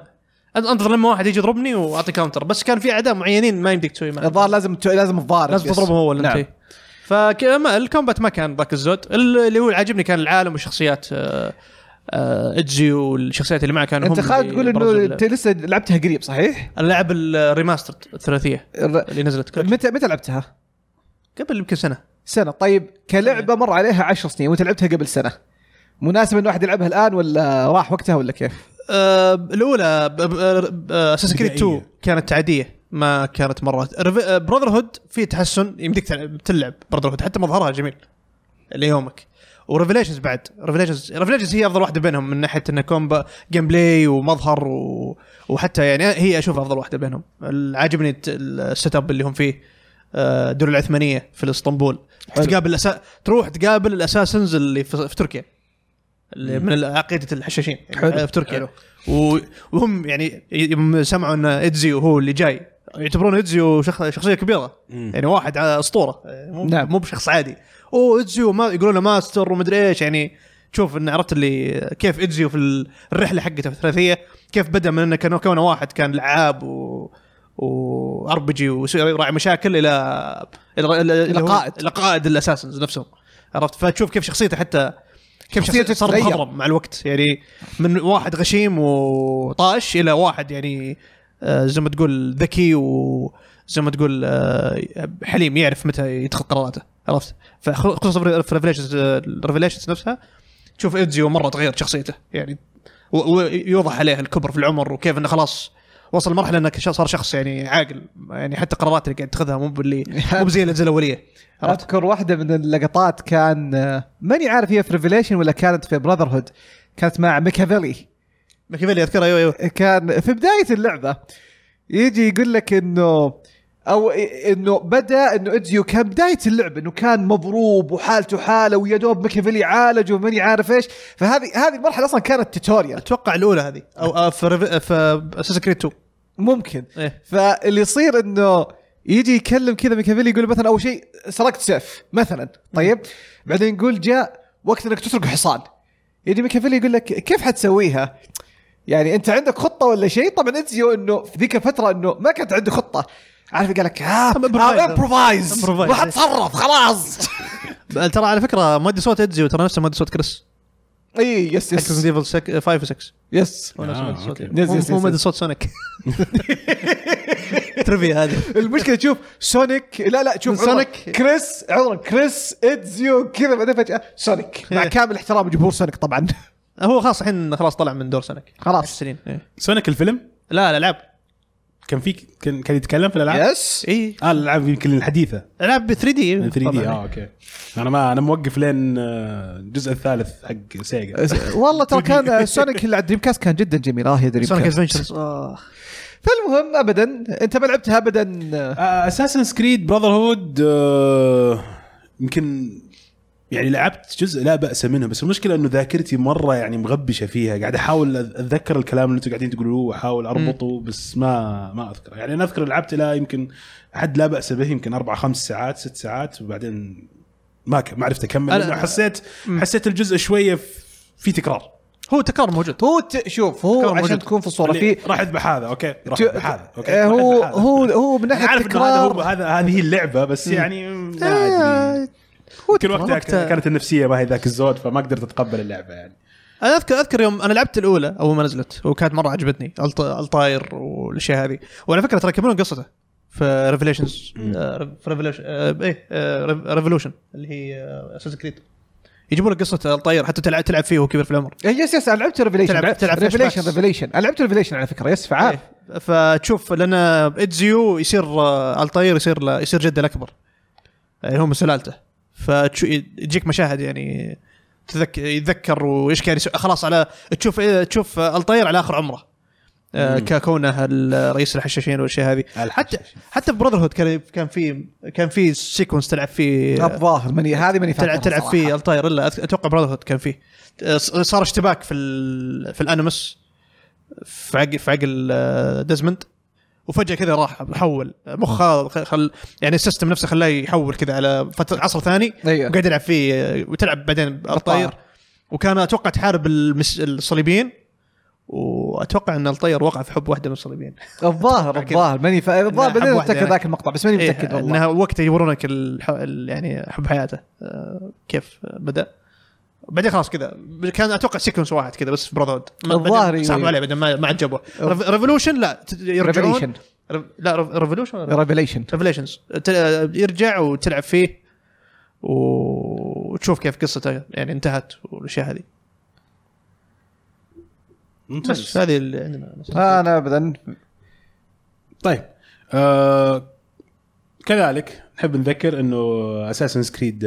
أن- انتظر لما واحد يجي يضربني واعطي كاونتر بس كان في اعداء معينين ما يمديك تسوي معهم الظاهر لازم ت... لازم الظاهر لازم يس. تضربه هو ولا نعم. نعم. فما الكومبات ما كان ذاك الزود ال- اللي هو اللي عاجبني كان العالم والشخصيات آه، آه، اتزي والشخصيات اللي معه كانوا انت هم خالد اللي تقول برزوا انه اللعبة. انت لسه لعبتها قريب صحيح؟ اللعب الريماستر الثلاثيه الر- اللي نزلت متى متى لعبتها؟ قبل يمكن سنه سنه طيب كلعبه مر عليها عشر سنين وانت لعبتها قبل سنه مناسب ان واحد يلعبها الان ولا راح وقتها ولا كيف؟ آه، الاولى أه، اساس كريد 2 بدائية. كانت عاديه ما كانت مره براذر هود في تحسن يمديك تلعب- تلعب براذر هود حتى مظهرها جميل ليومك وريفليشنز بعد ريفليشنز ريفليشنز هي افضل واحده بينهم من ناحيه انه كومبا جيم بلاي ومظهر و... وحتى يعني هي اشوف افضل واحده بينهم ال- عاجبني الت- ال- السيت اب اللي هم فيه آه، الدول العثمانيه في اسطنبول حلو. تقابل أسا... تروح تقابل الاساسنز اللي في, في تركيا اللي من عقيده الحشاشين يعني حلو. في تركيا و... وهم يعني يوم سمعوا ان ادزيو هو اللي جاي يعتبرون ادزيو شخ... شخصيه كبيره يعني واحد على اسطوره مو نعم. نعم. مو بشخص عادي اوه ادزيو ما يقولون له ماستر ومدري ايش يعني تشوف ان عرفت اللي كيف ادزيو في الرحله حقته في الثلاثيه كيف بدا من انه كان كونه واحد كان لعاب و وار بي جي وراعي مشاكل الى الى إلى قائد. الى قائد الاساسنز نفسهم عرفت فتشوف كيف شخصيته حتى كيف شخصيته شخصيته صار تتغير. مخضرم مع الوقت يعني من واحد غشيم وطاش الى واحد يعني آه، زي ما تقول ذكي وزي ما تقول آه، حليم يعرف متى يدخل قراراته عرفت فخ- خصوصا في ريفليشنز ريفليشنز نفسها تشوف ايدزيو مره تغيرت شخصيته يعني و- ويوضح عليه الكبر في العمر وكيف انه خلاص وصل لمرحله انه ش- صار شخص يعني عاقل يعني حتى قراراته اللي قاعد تاخذها مو باللي مو زي الاجزاء الاوليه عرفت اذكر واحده من اللقطات كان آه، ماني عارف هي في ريفيليشن ولا كانت في براذر هود كانت مع ميكافيلي ماكيافيلي اذكرها ايوه ايوه كان في بدايه اللعبه يجي يقول لك انه او إ- انه بدا انه ادزيو كان بدايه اللعبه انه كان مضروب وحالته حاله ويا دوب ميكافيلي عالجه وماني عارف ايش فهذه هذه المرحله اصلا كانت توتوريال اتوقع الاولى هذه او آه، في ريف- في اساس كريد 2 ممكن إيه. فاللي يصير انه يجي يكلم كذا ميكافيلي يقول مثلا اول شيء سرقت سيف مثلا طيب بعدين يقول جاء وقت انك تسرق حصان يجي ميكافيلي يقول لك كيف حتسويها؟ يعني انت عندك خطه ولا شيء؟ طبعا اتزيو انه في ذيك الفتره انه ما كانت عنده خطه عارف قال لك "آه، ها improvise. امبروفايز improvise. روح اتصرف خلاص بل ترى على فكره مؤدي صوت ادزيو ترى نفسه مؤدي صوت كريس اي يس حق يس ريزنت ايفل 5 و 6 يس هو نفس آه، مؤدي صوت أوكي. يس- يس- مو- مو يس- مؤدي يس. صوت سونيك ترفيه هذه المشكله شوف سونيك لا لا شوف من عذرا، سونيك. كريس عذرا كريس اتزيو كذا بعدين فجاه سونيك مع كامل احترام جمهور سونيك طبعا هو خلاص الحين خلاص طلع من دور سونيك خلاص. 10 سنين إيه. سونيك الفيلم لا الالعاب كان في كان كان يتكلم في الالعاب؟ يس اي اه الالعاب يمكن الحديثه العاب 3 دي من 3 دي اه اوكي انا ما انا موقف لين آه، الجزء الثالث حق سيجا والله ترى كان سونيك اللي على دريم كاست كان جدا جميل اه يا دريم سونيك كاست ادفنشرز آه. فالمهم ابدا انت ما لعبتها ابدا آه، اساسن سكريد براذر هود آه، يمكن يعني لعبت جزء لا باس منه بس المشكله انه ذاكرتي مره يعني مغبشه فيها قاعد احاول أذ- اتذكر الكلام اللي انتم قاعدين تقولوه واحاول اربطه بس ما ما اذكره يعني انا اذكر لعبت الى يمكن حد لا باس به يمكن اربع خمس ساعات ست ساعات وبعدين ما ك- ما عرفت اكمل أنا- لأنه حسيت حسيت الجزء شويه ف- في تكرار هو تكرار موجود هو ت- شوف هو كان عشان موجود. تكون في الصوره في راح اذبح هذا اوكي راح ت- اذبح هذا اوكي آه، راح هو أذبح هذا. هو هو من أنا ناحيه عارف انه هذا هو التكرار هذا هذه اللعبه بس آه، يعني ما أدري. هو يمكن وقتها وقتها- كانت النفسيه ما هي ذاك الزود فما قدرت اتقبل اللعبه يعني انا اذكر اذكر يوم انا لعبت الاولى اول ما نزلت وكانت مره عجبتني الط- الطاير والاشياء هذه وعلى فكره ترى يكملون قصته في آه، ريفليشنز ريفليشن ايه ريفولوشن اللي هي آه، اساس كريد يجيبوا لك قصه الطاير حتى تلعب تلعب فيه وهو كبير في العمر إيه، يس يس انا لعبت ريفليشن تلعب- تلعب فلاش ريفليشن باكس. ريفليشن انا لعبت ريفليشن على فكره يس فعال إيه. فتشوف لان ادزيو يصير آه، الطاير يصير ل- يصير جده الاكبر اللي هو من سلالته فتجيك مشاهد يعني تذك... يتذكر وايش كان يسوي خلاص على تشوف إيه، تشوف آه، الطاير على اخر عمره آه، ككونه ال- رئيس الحشاشين والاشياء هذه آه، حتى حتى في براذر هود كان كان في كان في سيكونس تلعب فيه الظاهر ماني هذه ماني فاكرها إيه. تلعب تلعب صراحة. أيوه. فيه الطاير الا أت- اتوقع براذر هود كان فيه آه، ص- صار اشتباك في ال... في الانمس في عقل في عقل آه، ديزموند وفجاه كذا راح حول مخه خ- خل يعني السيستم نفسه خلاه يحول كذا على فتره عصر ثاني أيوه. وقاعد يلعب فيه آه، وتلعب بعدين الطاير وكان اتوقع تحارب المس... الصليبيين واتوقع ان الطير وقع في حب واحده من الصليبيين الظاهر أتذكر. الظاهر ماني فا- الظاهر حب بعدين واحدة اتذكر يعني. ذاك المقطع بس ماني متاكد إيه، والله انها وقت يورونك الح... ال- يعني حب حياته آه، كيف بدا بعدين خلاص كذا كان اتوقع سيكونس واحد كذا بس في براذرود الظاهر بعدين سحبوا إيه. عليه بعدين ما ما عاد جابوه ريفولوشن لا ت- يرجعون Revolution. ريف- لا ريفولوشن ريفليشن ريفليشنز يرجع وتلعب فيه و- وتشوف كيف قصته يعني انتهت والاشياء هذه بس ممتاز هذه اللي عندنا انا ابدا طيب آه كذلك نحب نذكر انه اساسن سكريد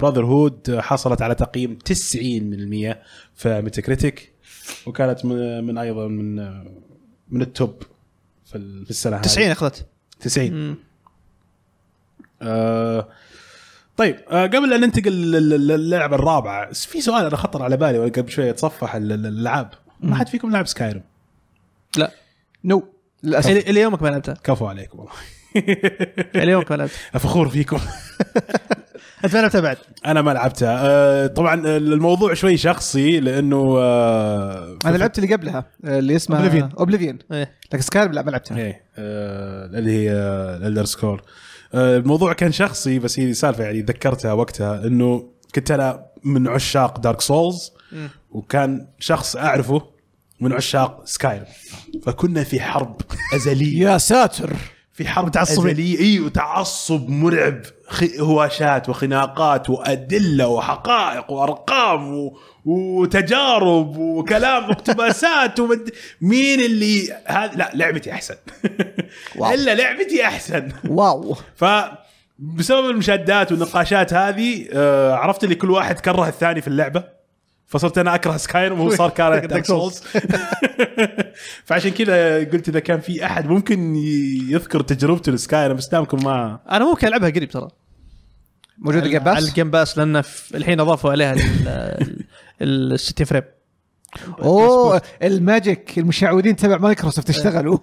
براذر هود آه، حصلت على تقييم 90 من المية في ميتاكريتيك وكانت من, من ايضا من آه، من التوب في ال- في السنه هذه. 90 اخذت 90 مم. آه طيب آه قبل ان ننتقل لل- لل- للعبه الرابعه بس في سؤال انا خطر على بالي وانا قبل شويه اتصفح ال- ال- الالعاب ما حد فيكم لعب سكايرم لا نو للاسف الى إلى يومك ما لعبتها كفو عليكم والله الى يومك ما لعبتها فخور فيكم انت ما لعبتها بعد انا ما لعبتها آه طبعا الموضوع شوي شخصي لانه آه انا لعبت اللي قبلها اللي اسمها Oblivion. اوبليفيون إيه. لكن سكايرم لا ما لعبتها ايه آه، اللي هي الالدر سكور الموضوع كان شخصي بس هي سالفه يعني ذكرتها وقتها انه كنت انا من عشاق دارك سولز وكان شخص اعرفه من عشاق سكاير فكنا في حرب ازليه يا ساتر في حرب تعصبيه ازليه اي وتعصب مرعب خ- هواشات وخناقات وادله وحقائق وارقام و... وتجارب وكلام واقتباسات ومد... مين اللي هذا لا لعبتي احسن واو. الا لعبتي احسن واو ف بسبب المشادات والنقاشات هذه آه، عرفت اللي كل واحد كره الثاني في اللعبه فصرت انا اكره سكايرم وهو صار كاره Dark دارك Souls. سولز فعشان كذا قلت اذا كان في احد ممكن ي- يذكر تجربته لسكايرم بس دامكم ما انا ممكن العبها قريب ترى موجود الجيم على باس الجيم باس لان في- الحين اضافوا عليها ال- ال ال 60 فريم اوه الماجيك المشعوذين تبع مايكروسوفت اشتغلوا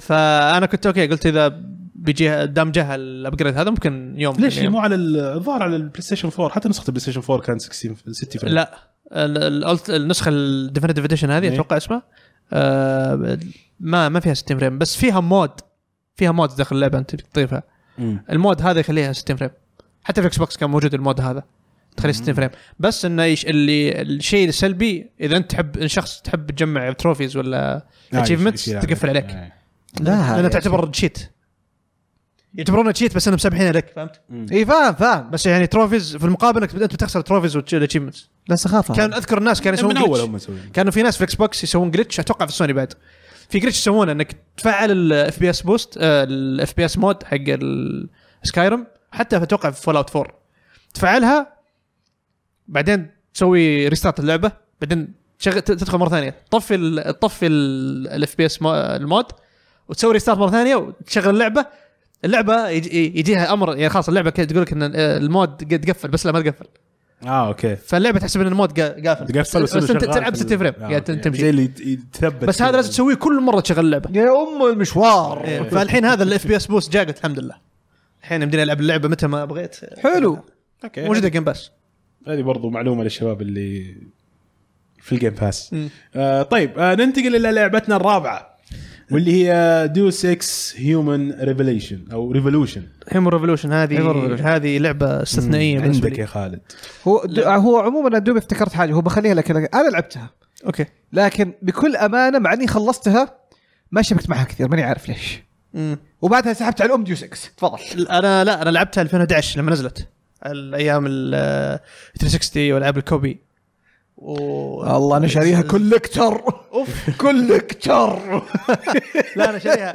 فانا كنت اوكي قلت اذا بيجيها دام جاها الابجريد هذا ممكن يوم ليش يعني مو على ال- الظاهر على البلاي ستيشن 4 حتى نسخه البلاي ستيشن 4 كانت 60 60 فريم لا ال- ال- الألت- النسخه الديفينيتيف اديشن هذه إيه. اتوقع اسمها آه، ما ما فيها 60 فريم بس فيها مود فيها مود داخل اللعبه انت تضيفها مم. المود هذا يخليها 60 فريم حتى في الاكس بوكس كان موجود المود هذا تخليه 60 فريم بس انه يش... اللي الشيء السلبي اذا انت تحب إن شخص تحب تجمع تروفيز ولا آه، اتشيفمنتس يصير- يصير تقفل عليك آه. لا لانها تعتبر تشيت يعتبرونه تشيت بس انهم مسامحينه لك فهمت؟ اي فاهم فاهم بس يعني تروفيز في المقابل انك انت بتخسر تروفيز والاتشيفمنتس لا سخافه كان اذكر الناس كانوا يسوون يعني من اول glitch. هم مسويين كانوا في ناس في اكس بوكس يسوون جلتش اتوقع في سوني بعد في جلتش يسوونه انك تفعل الاف بي اس بوست الاف بي اس مود حق السكايرم حتى اتوقع في فول اوت 4 تفعلها بعدين تسوي ريستارت اللعبه بعدين تشغل ت- تدخل مره ثانيه تطفي ال- تطفي الاف بي اس المود وتسوي ريستارت مره ثانيه وتشغل اللعبه اللعبه يجي يجيها امر يعني خلاص اللعبه كده تقول لك ان آه، المود قد قفل بس لا ما تقفل اه اوكي فاللعبه تحسب ان المود قا- قافل تقفل بس وتصير انت شغال تلعب في 60 فريم ال- آه، قاعد يعني تمشي زي اللي يت- يتثبت بس يعني- هذا لازم تسويه كل مره تشغل اللعبه يا ام المشوار إيه. فالحين هذا الاف بي اس بوست جاء قلت الحمد لله الحين يمديني العب اللعبه متى ما بغيت حلو اوكي موجوده جيم باس هذه برضو معلومه للشباب اللي في الجيم باس مم. آه طيب آه ننتقل الى لعبتنا الرابعه واللي هي ديو 6 هيومن ريفليشن او ريفولوشن هيمو ريفولوشن Human Revolution. هذه هذه لعبه استثنائيه بالنسبه عندك لي يا خالد هو دو هو عموما انا دوبي افتكرت حاجه هو بخليها لك لك- انا لعبتها اوكي لكن بكل امانه مع اني خلصتها ما شبكت معها كثير ماني عارف ليش مم. وبعدها سحبت على الام ديو 6 تفضل انا لا انا لعبتها 2011 لما نزلت على ايام ال 360 والعاب الكوبي و... الله انا شاريها كولكتر اوف كولكتر لا انا شاريها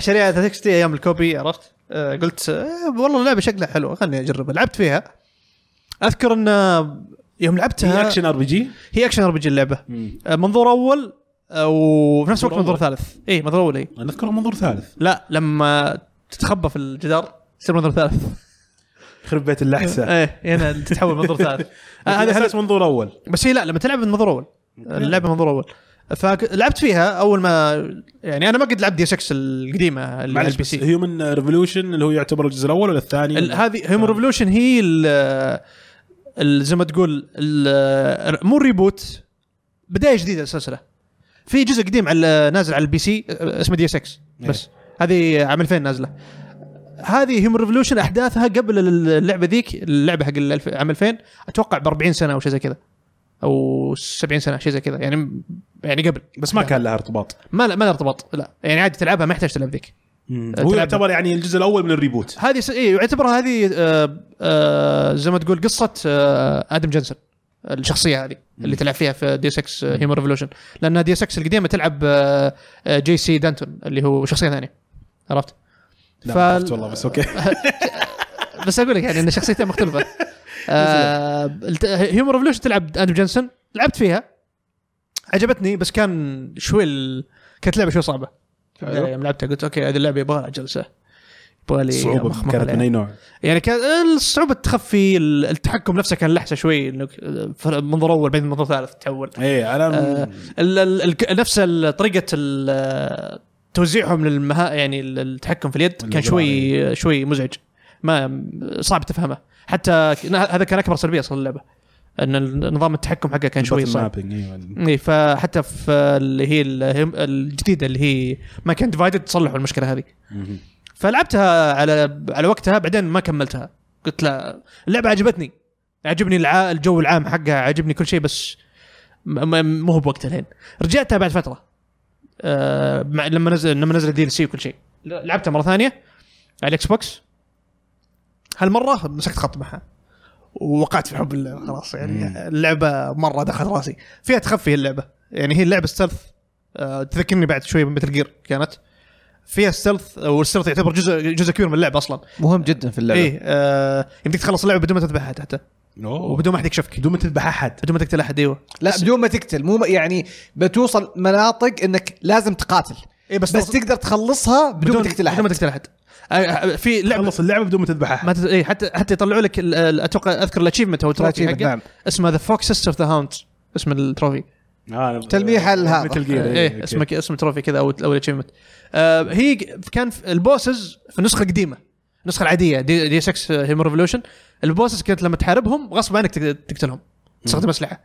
شاريها 360 ايام الكوبي عرفت آه، قلت آه، والله اللعبه شكلها حلو خلني اجربها لعبت فيها اذكر ان آه، يوم هي لعبتها اكشن ار بي جي هي اكشن ار بي جي اللعبه آه، منظور اول آه، وفي نفس الوقت منظور منظور ثالث اي منظور اول اي انا اذكرها منظور ثالث لا لما تتخبى في الجدار يصير منظور ثالث يخرب بيت اللحسه ايه هنا تتحول منظور ثالث آه، هذا هذا هذا- اساس منظور اول بس هي لا لما تلعب منظور اول اللعبه منظور اول فلعبت فيها اول ما يعني انا ما قد لعبت دي 6 القديمه اللي على البي معلش سي هيومن ريفولوشن اللي هو يعتبر الجزء الاول ولا الثاني ال- هذه هيومن ريفولوشن هي ال- ال- زي ما تقول ال- مو الريبوت بدايه جديده للسلسله في جزء قديم على نازل على البي سي أه، اسمه دي اس اكس بس هذه عام 2000 نازله هذه هيومن ريفولوشن احداثها قبل اللعبه ذيك اللعبه حق الألف- عام 2000 اتوقع ب 40 سنه او شيء زي كذا او 70 سنه شيء زي كذا يعني يعني قبل بس ما كان لها ارتباط ما ما لها ارتباط لا يعني عادي تلعبها ما يحتاج تلعب ذيك هو تلعب- يعتبر يعني الجزء الاول من الريبوت هذه س... إيه يعتبرها هذه آه آه زي ما تقول قصه آه ادم جنسن الشخصيه هذه اللي تلعب فيها في آه، دي 6 هيومن ريفولوشن لان دي 6 القديمه تلعب آه آه جي سي دانتون اللي هو شخصيه ثانيه عرفت؟ لا فال- ما عرفت والله بس اوكي بس اقول لك يعني ان شخصيتها مختلفه آه هيومن ريفولوشن تلعب ادم جنسن لعبت فيها عجبتني بس كان شوي ال... كانت لعبه شوي صعبه يوم لعبتها قلت اوكي هذه اللعبه يبغى لها جلسه يبغى لي صعوبه مخمخة كانت عليها. من اي نوع يعني كان الصعوبه تخفي ال- التحكم نفسه كان لحسه شوي انك فر- منظور اول بعدين منظور ثالث تحول ايه انا آه، ال- ال- الك- نفس ال- طريقه ال- توزيعهم للمها يعني ال- التحكم في اليد كان الجوار، شوي شوي مزعج ما صعب تفهمه حتى ك- هذا كان اكبر سلبيه اصلا اللعبه ان نظام التحكم حقه كان شوي button صعب mapping، ايوه اي فحتى في اللي هي الهم- الجديده اللي هي ما كان ديفايدد صلحوا المشكله هذه مهم. فلعبتها على على وقتها بعدين ما كملتها قلت لا اللعبه عجبتني عجبني الع... الجو العام حقها عجبني كل شيء بس م- م- مو هو بوقتها الحين رجعتها بعد فتره آه مع... لما نزل لما نزل الديل سي وكل شيء لعبتها مره ثانيه على الاكس بوكس هالمره مسكت خط معها ووقعت في حب اللعبه خلاص مم. يعني اللعبه مره دخل راسي فيها تخفي اللعبه يعني هي اللعبه ستلث آه، تذكرني بعد شوي مثل جير كانت فيها ستلث والستلث يعتبر جزء جزء كبير من اللعبه اصلا مهم جدا في اللعبه اي آه يمديك تخلص اللعبه بدون ما تذبح احد حتى أوه. وبدون ما احد يكشفك بدون ما تذبح احد بدون ما تقتل احد ايوه لا بدون ما تقتل مو يعني بتوصل مناطق انك لازم تقاتل اي بس, بس تقدر تخلصها بدون, ما تقتل احد إيه، بدون ما تقتل احد آه، آه، في لعبه خلص اللعبه بدون ما تذبح احد ما تت... اي حتى حتى يطلعوا لك ال- ال- اتوقع اذكر الاتشيفمنت او التروفي Achievement، حقه نعم. اسمه ذا فوكس سيستر ذا هاوند اسم التروفي آه، أنا- تلميح على هذا. مثل جير ايه, إيه اسمه ك- اسم تروفي كذا او او الاتشيفمنت آه هي ك- كان في- البوسز في النسخه القديمه النسخه العاديه دي, دي 6 هيومن ريفولوشن البوسز كانت لما تحاربهم غصب عنك تقت- تقتلهم تستخدم اسلحه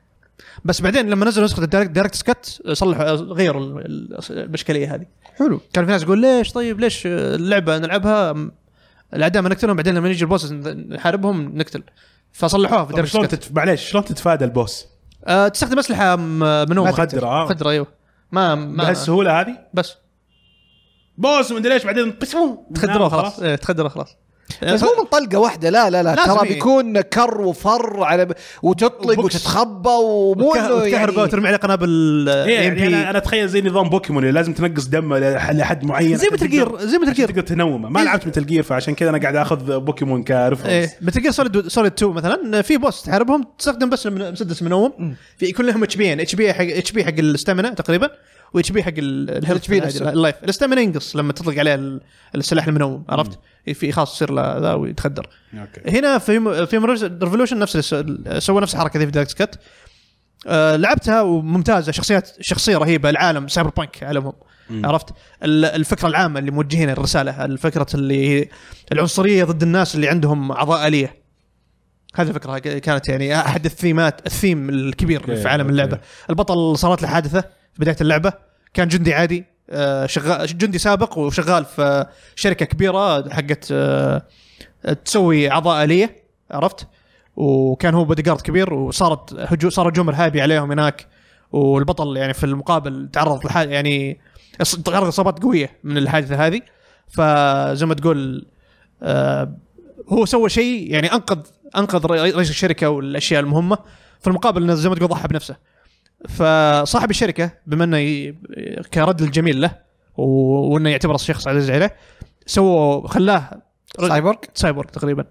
بس بعدين لما نزلوا نسخه الدايركت دايركت سكت صلحوا آه، غيروا ال- ال- الاشكاليه هذه حلو كان في ناس يقول ليش طيب ليش اللعبه نلعبها م- الاعداء ما نقتلهم بعدين لما يجي البوسز نحاربهم نقتل فصلحوها في طب دايركت شلون سكت تتف... معليش شلون تتفادى البوس؟ أه تستخدم اسلحه م- منوعه مخدرة، آه. مخدره ايوه أيوه. ما ما بهالسهوله هذه؟ بس بوس ومدري ايش بعدين نعم، طشوم تخدروه خلاص إيه، تخدروه خلاص بس مو من طلقه واحده لا لا لا أه، لازم ترى إيه. بيكون كر وفر على وتطلق وبوكس. وتتخبى ومو انه تكهرباء يعني وترمي عليه قنابل آه، ايه يعني EMP. انا انا اتخيل زي نظام بوكيمون اللي لازم تنقص دمه لح- لحد معين زي عشان متل جير- تقدر- زي متل عشان جير. تقدر تنومه ما إيه. لعبت متل جير فعشان كذا انا قاعد اخذ بوكيمون كريفرنس ايه متل جير سوليد سوليد 2 مثلا في بوس تحاربهم تستخدم بس من- مسدس منوم في يكون لهم اتش بيين اتش بي يعني، حق اتش بي حق الاستامنا تقريبا واتش بي حق ال- الهيلث HP اللايف نفسه. اللايف الاستامنا ينقص لما تطلق عليه ال- السلاح المنوم عرفت؟ في خاص يصير له ذا ويتخدر اوكي هنا في في ريفولوشن نفس الس- سوى نفس الحركه ذي في دايركت كات آه، لعبتها وممتازه شخصيات شخصيه رهيبه العالم سايبر بانك عالمهم عرفت ال- الفكره العامه اللي موجهينها الرساله الفكره اللي هي العنصريه ضد الناس اللي عندهم اعضاء اليه هذه الفكره ك- كانت يعني احد الثيمات الثيم الكبير أوكي، في عالم أوكي. اللعبه البطل صارت له حادثه في بدايه اللعبه كان جندي عادي آه، شغال جندي سابق وشغال في آه، شركه كبيره حقت آه، تسوي اعضاء اليه عرفت وكان هو بودي جارد كبير وصارت هجو صار هجوم ارهابي عليهم هناك والبطل يعني في المقابل تعرض لحال يعني إص- تعرض اصابات قويه من الحادثه هذه فزي ما تقول آه هو سوى شيء يعني انقذ انقذ رئي- رئيس الشركه والاشياء المهمه في المقابل إنه زي ما تقول ضحى بنفسه فصاحب الشركه بما انه ي- كرد الجميل له و- وانه يعتبر شخص عزيز عليه سووا خلاه سايبورغ سايبورغ تقريبا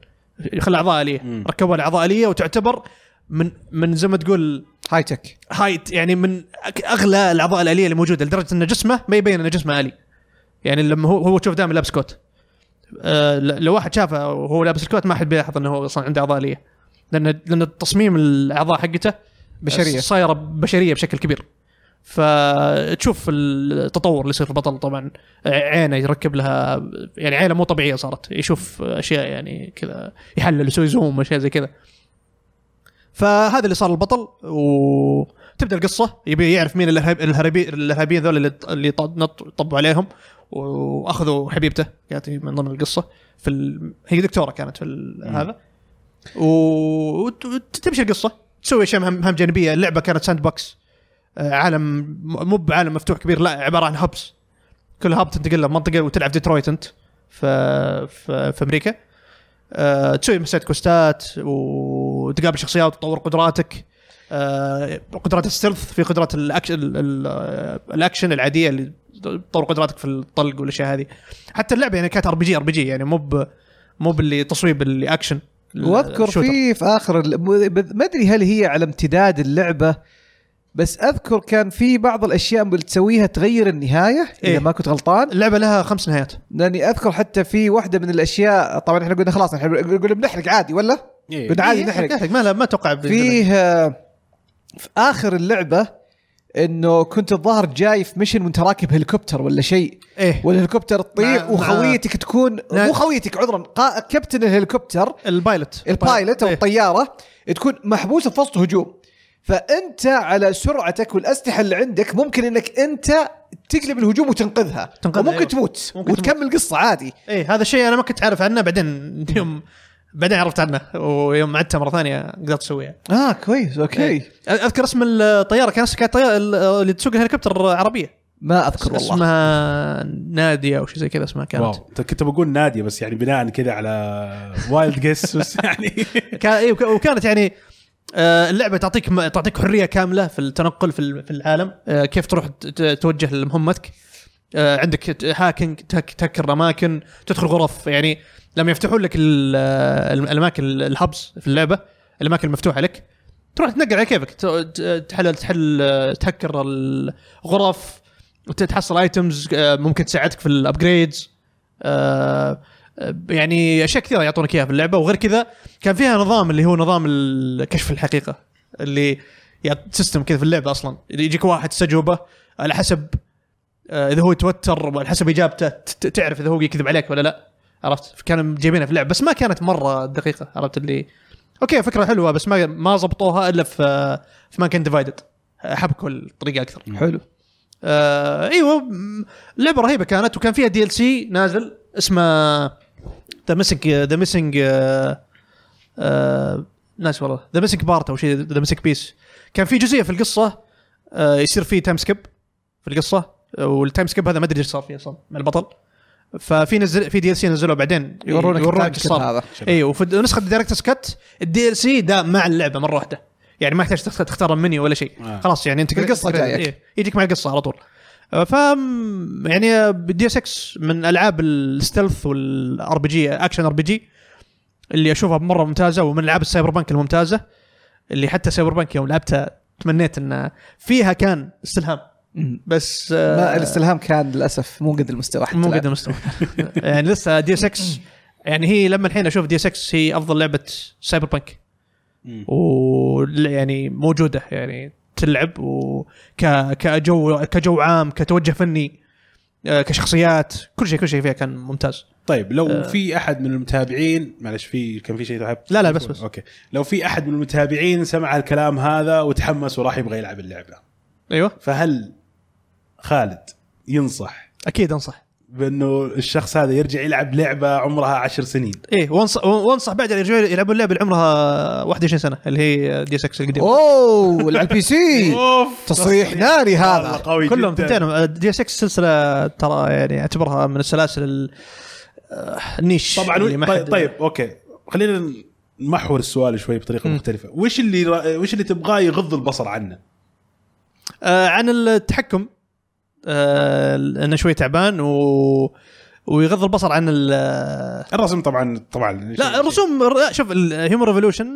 خلى اعضاء اليه ركبوا له اعضاء اليه وتعتبر من من زي ما تقول هاي تك هايت يعني من أك- اغلى الاعضاء الاليه اللي موجوده لدرجه ان جسمه ما يبين انه جسمه الي يعني لما هو هو تشوف دائما لابس كوت آه، ل- لو واحد شافه وهو لابس الكوت ما حد بيلاحظ انه هو اصلا عنده اعضاء اليه لان لان تصميم الاعضاء حقته بشرية. صايره بشريه بشكل كبير فتشوف التطور اللي يصير في البطل طبعا عينه يركب لها يعني عينه مو طبيعيه صارت يشوف اشياء يعني كذا يحلل يسوي زوم واشياء زي كذا فهذا اللي صار البطل وتبدا القصه يبي يعرف مين الارهاب الارهابي الارهابيين ذول اللي اللي طب- نط- طبوا عليهم واخذوا حبيبته كانت هي من ضمن القصه في ال... هي دكتوره كانت في ال... هذا و- وت- وتمشي القصه تسوي اشياء مهام مهام جانبيه اللعبه كانت ساند بوكس آه، عالم م- مو بعالم مفتوح كبير لا عباره عن هبس كل هب تنتقل له منطقه وتلعب ديترويت انت في في, في امريكا آه، تسوي مسات كوستات وتقابل شخصيات وتطور قدراتك آه، قدرات السيلث في قدرات الاكشن ال- ال- الاكشن العاديه اللي تطور قدراتك في الطلق والاشياء هذه حتى اللعبه يعني كانت ار بي جي ار بي جي يعني مو ب- مو باللي تصويب اللي اكشن واذكر الشوتر. في في اخر ال- ب- ب- ما ادري هل هي على امتداد اللعبه بس اذكر كان في بعض الاشياء اللي تسويها تغير النهايه إيه. اذا ما كنت غلطان اللعبه لها خمس نهايات لاني اذكر حتى في واحده من الاشياء طبعا احنا قلنا خلاص احنا قلنا بنحرق عادي ولا؟ إيه. قلنا عادي إيه، نحرق نحرق ما لا ما توقع فيه آه، في اخر اللعبه انه كنت الظاهر جاي في ميشن وانت راكب هليكوبتر ولا شيء ايه والهليكوبتر تطير مع- وخويتك تكون نعم. مو خويتك عذرا قا- كابتن الهليكوبتر البايلوت البايلوت او إيه. الطياره تكون محبوسه في وسط هجوم فانت على سرعتك والاسلحه اللي عندك ممكن انك انت تقلب الهجوم وتنقذها تنقذها، وممكن أيوة. تموت ممكن وتكمل قصه عادي ايه هذا الشيء انا ما كنت عارف عنه بعدين يوم بعدين عرفت عنه ويوم عدتها مره ثانيه قدرت اسويها اه كويس اوكي إيه. اذكر اسم الطياره كان كانت طيارة اللي تسوق الهليكوبتر عربيه ما اذكر والله اسمها ناديه او شيء زي كذا اسمها كانت واو كنت بقول ناديه بس يعني بناء كذا على وايلد جيس بس يعني كان إيه، وك- وكانت يعني آه، اللعبه تعطيك م- تعطيك حريه كامله في التنقل في ال- في العالم آه، كيف تروح ت- ت- توجه لمهمتك آه، عندك ت- هاكينج تهك- تهكر اماكن تدخل غرف يعني لما يفتحون لك ال- آه، الم- الاماكن ال- الهبس في اللعبه الاماكن المفتوحه لك تروح تنقل على كيفك ت- ت- تحل تحل آه، تهكر الغرف وتتحصل ايتمز ممكن تساعدك في الابجريدز يعني اشياء كثيره يعطونك اياها في اللعبه وغير كذا كان فيها نظام اللي هو نظام ال- كشف الحقيقه اللي يعط- سيستم كذا في اللعبه اصلا اللي يجيك واحد استجوبه على حسب آه، اذا هو يتوتر وعلى حسب اجابته ت- ت- تعرف اذا هو يكذب عليك ولا لا عرفت كانوا جايبينها في اللعبه بس ما كانت مره دقيقه عرفت اللي اوكي فكره حلوه بس ما ما ضبطوها الا في آه، في مان كان ديفايدد حبكوا الطريقه اكثر حلو إيه، آه ايوه م- لعبه رهيبه كانت وكان فيها دي ال سي نازل اسمه ذا ميسنج ذا ميسنج ناس آه، والله ذا ميسنج بارت او شيء ذا ميسنج بيس كان في جزئيه في القصه آه يصير فيه تايم سكيب في القصه والتايم سكيب هذا ما ادري ايش صار فيه اصلا مع البطل ففي نزل في دي ال سي نزلوه بعدين يورونك يورونك التايم ايش سكيب صار هذا. اي إيه، وفي نسخه دايركتس كات الدي ال سي ده مع اللعبه مره واحده يعني ما يحتاج تخت- تختار المنيو ولا شيء آه. خلاص يعني انت القصة جايك. إيه، يجيك مع القصه على طول آه، ف يعني دي اس اكس من العاب الستلث والار بي جي اكشن ار بي جي اللي اشوفها مره ممتازه ومن العاب السايبر بانك الممتازه اللي حتى سايبر بانك يوم لعبتها تمنيت ان فيها كان استلهام مم. بس آه، ما الاستلهام كان للاسف مو قد المستوى حتى مو الآن. قد المستوى يعني لسه دي اس اكس يعني هي لما الحين اشوف دي اس اكس هي افضل لعبه سايبر بانك مم. و يعني موجوده يعني تلعب و ك كجو كجو عام كتوجه فني آه، كشخصيات كل شيء كل شيء فيها كان ممتاز طيب لو في احد من المتابعين معلش في كان في شيء تحب لا، لا، بس- بس. اوكي لو في احد من المتابعين سمع الكلام هذا وتحمس وراح يبغى يلعب اللعبه ايوه فهل خالد ينصح اكيد انصح بانه الشخص هذا يرجع يلعب لعبه عمرها عشر سنين ايه وانصح وانصح بعد يرجعوا يلعبون لعبه اللي عمرها 21 سنه اللي هي دي اس اكس القديمه اوه على البي إيه. سي اوف تصريح ناري هذا. والله قوي طيب، كلهم جداً. ثنتين دي اس اكس سلسله ترى يعني اعتبرها من السلاسل ال- آه، النيش طبعا اللي ما طيب, حد- طيب اوكي خلينا نمحور السؤال شوي بطريقه مم. مختلفه وش اللي را... وش اللي تبغاه يغض البصر عنه آه عن التحكم آه انه شوي تعبان و ويغض البصر عن ال آه، الرسم طبعا طبعا لا الرسوم لا، شوف الهيومن ريفولوشن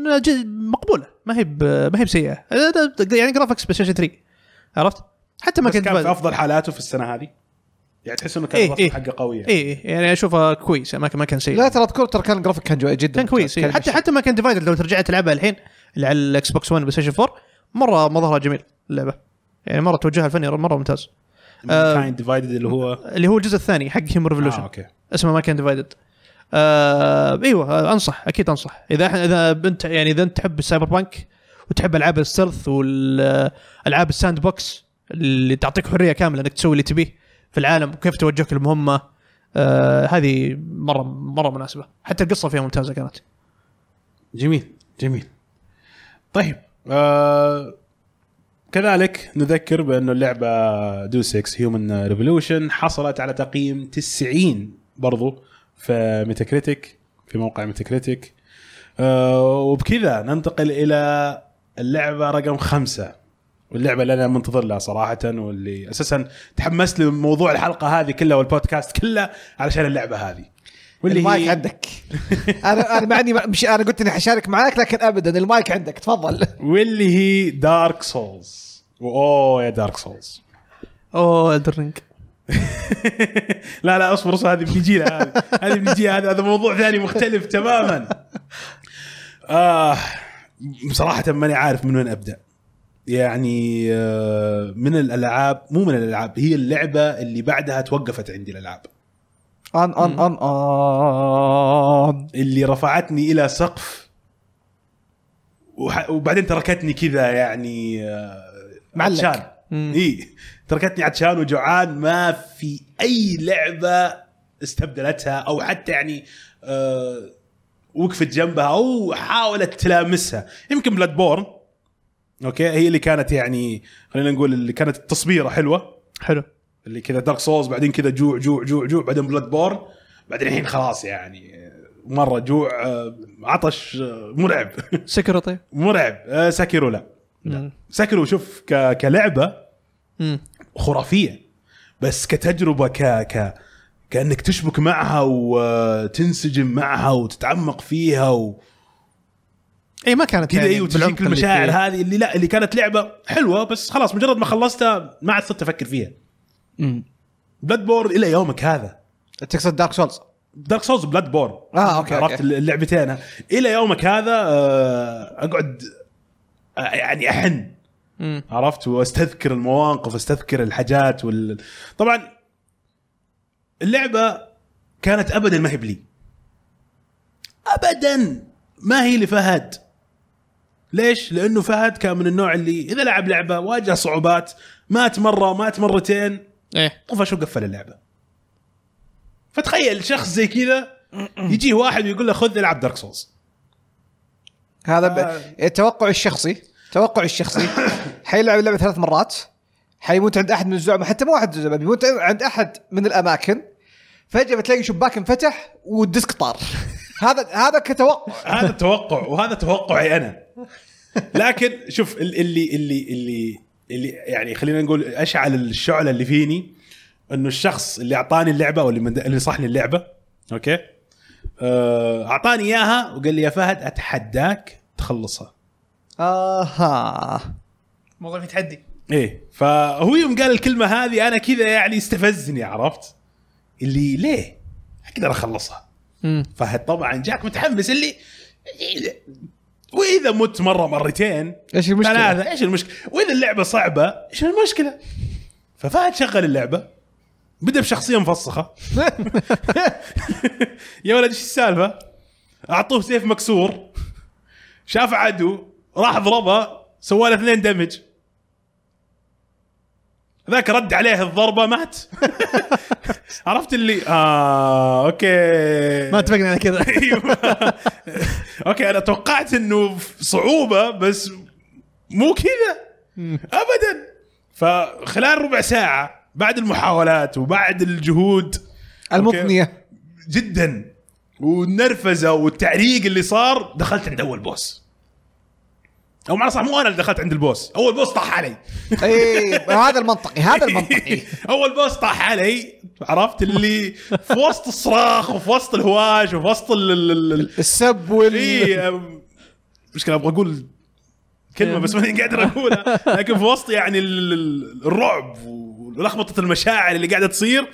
مقبوله آه، ما هي ب- ما هي بسيئه آه، يعني جرافكس بلاي ستيشن 3 عرفت؟ حتى ما ما كنت كان في اي افضل حالاته في السنه هذه يعني تحس انه كان إيه، الرسم إيه. حقه قوي يعني. إيه يعني اشوفها كويس ما كان ما كان سيء لا ترى اذكر ترى كان الجرافيك كان جوا- جدا كان كويس إيه. حتى حتى ما كان ديفايدد لو ترجع تلعبها الحين اللي على الاكس بوكس 1 بلاي ستيشن 4 مره مظهرها جميل اللعبه يعني مره توجهها الفني مره ممتاز آه. كاين ديفايدد اللي هو اللي هو الجزء الثاني حق هيومن ريفولوشن آه اوكي اسمه ما كان ديفايدد آه ايوه آه، انصح اكيد انصح اذا اذا انت يعني اذا انت تحب السايبر بانك وتحب العاب الستيلث والالعاب الساند بوكس اللي تعطيك حريه كامله انك تسوي اللي تبيه في العالم وكيف توجهك المهمه آه هذه مره مره مناسبه حتى القصه فيها ممتازه كانت جميل جميل طيب آه كذلك نذكر بأن اللعبة دو 6 هيومن ريفولوشن حصلت على تقييم 90 برضو في ميتاكريتيك في موقع ميتاكريتيك آه وبكذا ننتقل إلى اللعبة رقم خمسة واللعبة اللي أنا منتظر لها صراحة واللي أساسا تحمست لموضوع الحلقة هذه كلها والبودكاست كله علشان اللعبة هذه واللي المايك عندك انا انا مع اني مش انا قلت اني حشارك معاك لكن ابدا المايك عندك تفضل واللي هي دارك سولز اوه يا دارك سولز اوه الدرينج لا لا اصبر اصبر هذه بنجي لها هذه هذه بنجي هذا هذا موضوع ثاني مختلف تماما آه بصراحة ماني عارف من وين ابدا يعني آه من الالعاب مو من الالعاب هي اللعبة اللي بعدها توقفت عندي الالعاب ان ان ان ان اللي رفعتني الى سقف وح- وبعدين تركتني كذا يعني آه، معلق. عطشان مم. اي تركتني عطشان وجوعان ما في اي لعبه استبدلتها او حتى يعني آه، وقفت جنبها او حاولت تلامسها يمكن بلاد بورن اوكي هي اللي كانت يعني خلينا نقول اللي كانت التصبيره حلوه حلو اللي كذا دارك سولز بعدين كذا جوع جوع جوع جوع بعدين بلاد بورن بعدين الحين خلاص يعني مره جوع آه، عطش آه، مرعب سكر طيب مرعب آه، ساكيرو لا مم. ساكيرو شوف ك- كلعبه مم. خرافيه بس كتجربه ك ك كانك تشبك معها وتنسجم معها وتتعمق فيها أيوة، وكذا اي إيه، ما كانت اي يعني بالعمق وتجيك اللي المشاعر فيه. هذه اللي لا اللي كانت لعبه حلوه بس خلاص مجرد ما خلصتها ما عاد صرت افكر فيها بلاد بورن الى يومك هذا تقصد دارك سولز دارك سولز بلاد بورن آه، أوكي، عرفت أوكي. اللعبتين الى يومك هذا آه، اقعد آه، يعني احن مم. عرفت واستذكر المواقف استذكر الحاجات وال... طبعا اللعبه كانت ابدا ما هي بلي ابدا ما هي لفهد ليش؟ لانه فهد كان من النوع اللي اذا لعب لعبه واجه صعوبات مات مره مات مرتين ايه طفش وقفل اللعبه فتخيل شخص زي كذا يجيه واحد ويقول له خذ العب دارك سولز هذا ب... التوقع الشخصي توقع الشخصي حيلعب اللعبه ثلاث مرات حيموت عند احد من الزعماء حتى مو واحد من الزعماء بيموت عند احد من الاماكن فجاه بتلاقي شباك انفتح والديسك طار هذا هذا كتوقع هذا توقع وهذا توقعي انا لكن شوف ال- اللي اللي اللي اللي يعني خلينا نقول اشعل الشعله اللي فيني انه الشخص اللي اعطاني اللعبه او اللي مند- اللي صحني اللعبه اوكي آه، اعطاني اياها وقال لي يا فهد اتحداك تخلصها اها الموضوع في تحدي ايه فهو يوم قال الكلمه هذه انا كذا يعني استفزني عرفت اللي ليه اقدر اخلصها فهد طبعا جاك متحمس اللي واذا مت مره مرتين ايش المشكله؟ ثلاثه ايش المشكله؟ واذا اللعبه صعبه ايش المشكله؟ ففهد شغل اللعبه بدا بشخصيه مفسخه يا ولد ايش السالفه؟ اعطوه سيف مكسور شاف عدو راح ضربه سوى له اثنين دمج ذاك رد عليه الضربه مات عرفت اللي اه اوكي ما اتفقنا على كذا ايوه اوكي انا توقعت انه صعوبه بس مو كذا ابدا فخلال ربع ساعه بعد المحاولات وبعد الجهود المضنيه جدا والنرفزه والتعريق اللي صار دخلت عند اول بوس او معنى صح مو انا اللي دخلت عند البوس اول بوس طاح علي اي إيه، هذا المنطقي هذا المنطقي اول بوس طاح علي عرفت اللي في وسط الصراخ وفي وسط الهواج وفي وسط ال- ال- ال- ال- السب وال إيه. اي إيه، أم- مشكله ابغى اقول كلمه بس ماني قادر اقولها لكن في وسط يعني ال- ال- الرعب ولخبطه المشاعر اللي قاعده تصير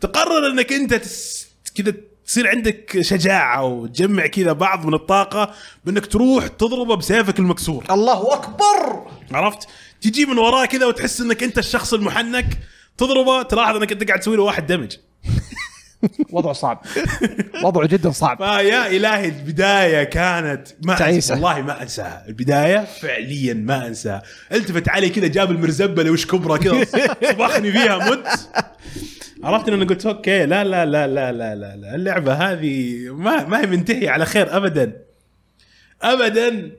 تقرر انك انت تس- كذا تصير عندك شجاعه وتجمع كذا بعض من الطاقه بانك تروح تضربه بسيفك المكسور الله اكبر عرفت تجي من وراه كذا وتحس انك انت الشخص المحنك تضربه تلاحظ انك انت قاعد تسوي له واحد دمج وضعه صعب وضعه جدا صعب فيا الهي البدايه كانت ما تعيسة. أنسى والله ما انساها البدايه فعليا ما انساها التفت علي كذا جاب المرزبه اللي وش كبرى كذا صبخني فيها مت عرفت ان انا قلت اوكي لا لا لا لا لا لا, لا. اللعبه هذه ما ما هي منتهيه على خير ابدا ابدا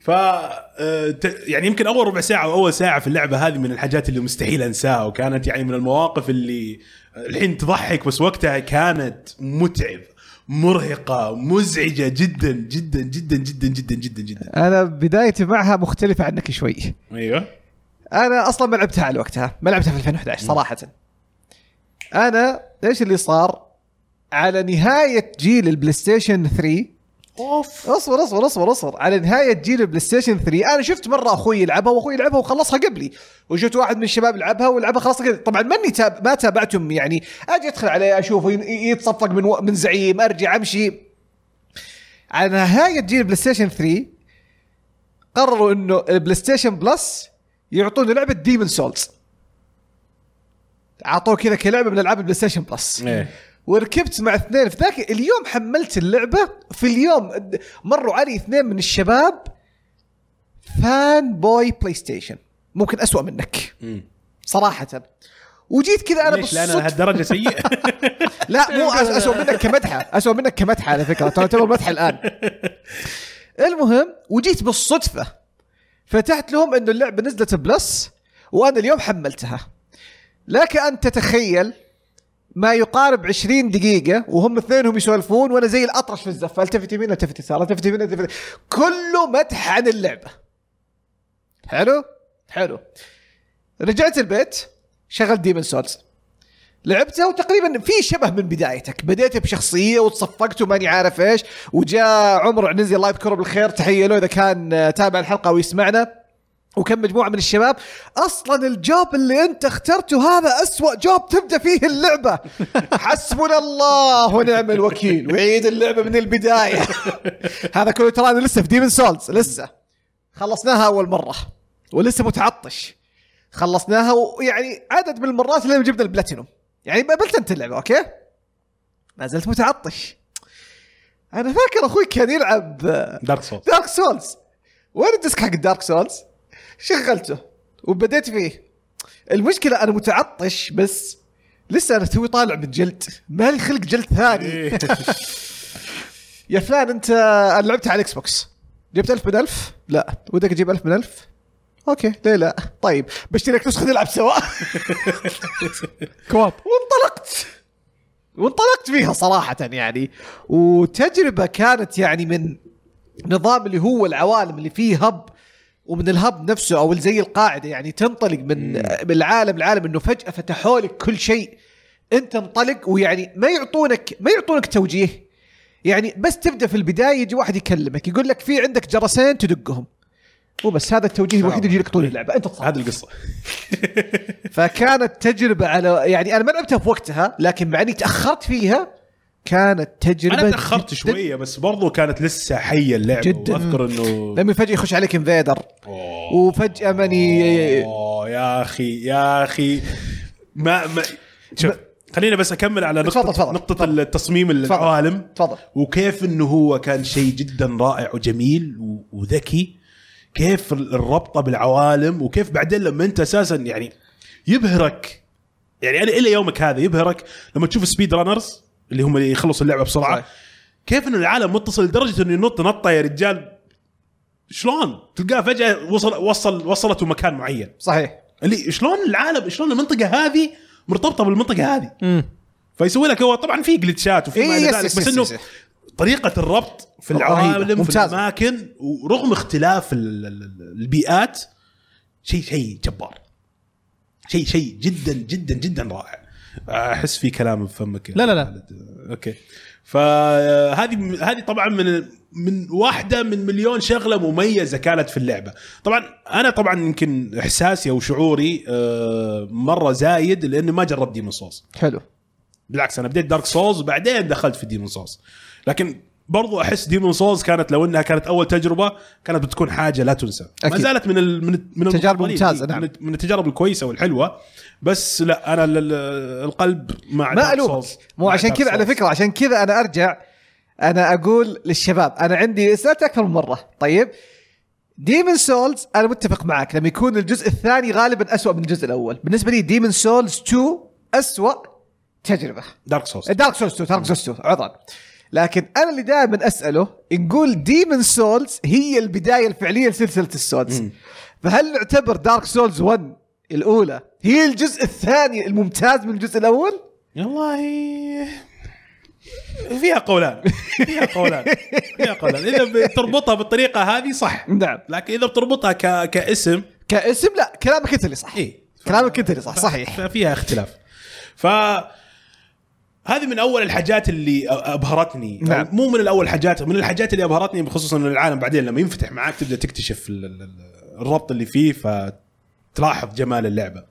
ف آه، ت- يعني يمكن اول ربع ساعه او اول ساعه في اللعبه هذه من الحاجات اللي مستحيل انساها وكانت يعني من المواقف اللي الحين تضحك بس وقتها كانت متعب مرهقه مزعجه جدا جدا جدا جدا جدا جدا جدا انا بدايتي معها مختلفه عنك شوي ايوه انا اصلا ما لعبتها على وقتها ما لعبتها في 2011 صراحه انا ايش اللي صار على نهايه جيل البلاي ستيشن 3 اوف اصبر اصبر اصبر اصبر على نهايه جيل البلاي ستيشن 3 انا شفت مره اخوي يلعبها واخوي يلعبها وخلصها قبلي وشفت واحد من الشباب يلعبها ولعبها خلصها قبلي طبعا ماني تاب ما تابعتهم يعني اجي ادخل عليه اشوفه ين- يتصفق من و... من زعيم ارجع امشي على نهايه جيل البلاي ستيشن 3 قرروا انه البلاي ستيشن بلس يعطونا لعبه ديمن سولز اعطوه كذا كلعبه من العاب البلاي ستيشن بلس إيه. وركبت مع اثنين في ذاك اليوم حملت اللعبه في اليوم د- مروا علي اثنين من الشباب فان بوي بلاي ستيشن ممكن أسوأ منك صراحه وجيت كذا انا ليش لان أنا بالصدفة- لهالدرجه سيء لا مو أس- اسوء منك كمدحه اسوء منك كمدحه على فكره ترى تعتبر مدحه الان المهم وجيت بالصدفه فتحت لهم انه اللعبه نزلت بلس وانا اليوم حملتها لك ان تتخيل ما يقارب 20 دقيقة وهم اثنينهم يسولفون وانا زي الاطرش في الزفة التفت يمين التفت يسار التفت يمين التفت كله مدح عن اللعبة حلو؟ حلو رجعت البيت شغلت ديمن سولز لعبتها وتقريبا في شبه من بدايتك بديت بشخصيه وتصفقت وماني عارف ايش وجاء عمر عنزي الله يذكره بالخير تحيه له اذا كان آه، تابع الحلقه ويسمعنا وكم مجموعه من الشباب اصلا الجوب اللي انت اخترته هذا أسوأ جوب تبدا فيه اللعبه حسبنا الله ونعم الوكيل وعيد اللعبه من البدايه هذا كله ترى انا لسه في ديمن سولز لسه خلصناها اول مره ولسه متعطش خلصناها ويعني عدد من المرات اللي جبنا البلاتينوم يعني ما بلتنت اللعبه اوكي ما زلت متعطش انا فاكر اخوي كان يلعب دارك سولز دارك سولز وين الديسك حق دارك سولز شغلته وبديت فيه المشكله انا متعطش بس لسه انا توي طالع من جلد ما لي خلق جلد إيه. ثاني يا فلان انت أنا لعبتها على الاكس بوكس جبت ألف من ألف؟ لا ودك تجيب ألف من ألف؟ اوكي ليه لا طيب بشتري لك نسخه نلعب سوا كواب وانطلقت وانطلقت فيها صراحة يعني وتجربة كانت يعني من نظام اللي هو العوالم اللي فيه هب ومن الهب نفسه او زي القاعدة يعني تنطلق من من العالم لعالم انه فجأة فتحوا لك كل شيء انت انطلق ويعني ما يعطونك ما يعطونك توجيه يعني بس تبدا في البدايه يجي واحد يكلمك يقول لك في عندك جرسين تدقهم وبس هذا التوجيه الوحيد اللي يجي لك طول اللعبه انت تصحى هذه القصه فكانت تجربة على يعني أنا ما لعبتها في وقتها لكن مع إني تأخرت فيها كانت تجربة انا تاخرت جداً- شويه بس برضو كانت لسه حيه اللعبه جداً. واذكر انه لما فجأة يخش عليك انفيدر أوه. وفجأة ماني اوه يا اخي يا اخي ما, ما شوف خلينا بس اكمل على نقطه تفضل، تفضل، نقطه تفضل. التصميم تفضل. العوالم تفضل وكيف انه هو كان شيء جدا رائع وجميل و- وذكي كيف ال- الربطه بالعوالم وكيف بعدين لما انت اساسا يعني يبهرك يعني انا الى يومك هذا يبهرك لما تشوف سبيد رانرز اللي هم اللي يخلصوا اللعبه بسرعه صحيح. كيف انه العالم متصل لدرجه انه ينط نطه يا رجال شلون تلقاه فجاه وصل وصل وصلته مكان معين صحيح اللي شلون العالم شلون المنطقه هذه مرتبطه بالمنطقه هذه مم. فيسوي لك هو طبعا في جلتشات وفي ما إيه، الى يس، ذلك يس، بس يس، انه يس، يس. طريقه الربط في رهيبة، العوالم في ممتازة. الاماكن ورغم اختلاف ال- ال- ال- البيئات شيء شيء جبار شيء شيء جدا جدا جدا رائع احس في كلام في فمك يا لا، لا، لا. خالد. اوكي فهذه هذه طبعا من من واحده من مليون شغله مميزه كانت في اللعبه طبعا انا طبعا يمكن احساسي او شعوري آه، مره زايد لاني ما جربت ديمون سولز حلو بالعكس انا بديت دارك سولز وبعدين دخلت في ديمون سولز لكن برضو احس ديمون سولز كانت لو انها كانت اول تجربه كانت بتكون حاجه لا تنسى ما أكيد. زالت من ال- من الت- من تجارب القليل، ممتازة، إيه، نعم. من الت- من التجارب الكويسه والحلوه بس لا انا ال- ال- القلب مع ما Dark الومك Souls. مو مع عشان Dark كذا على Souls. فكره عشان كذا انا ارجع انا اقول للشباب انا عندي سالت اكثر من مره طيب ديمن سولز انا متفق معك لما يكون الجزء الثاني غالبا أسوأ من الجزء الاول بالنسبه لي ديمن سولز 2 أسوأ تجربه دارك سولز دارك سولز 2 دارك سولز 2 عذرا لكن انا اللي دائما اساله نقول ديمن سولز هي البدايه الفعليه لسلسله السولز فهل نعتبر دارك سولز 1 الاولى هي الجزء الثاني الممتاز من الجزء الاول؟ والله فيها قولان فيها قولان فيها قولان اذا بتربطها بالطريقه هذه صح نعم لكن اذا بتربطها ك... كاسم إيه. كاسم لا كلامك انت اللي صح اي كلامك انت اللي صح إيه. صحيح ففيها اختلاف ف هذه من اول الحاجات اللي أ- ابهرتني أو نعم. مو من الاول حاجات من الحاجات اللي ابهرتني بخصوص ان العالم بعدين لما ينفتح معاك تبدا تكتشف ال- ال- ال- الربط اللي فيه فتلاحظ جمال اللعبه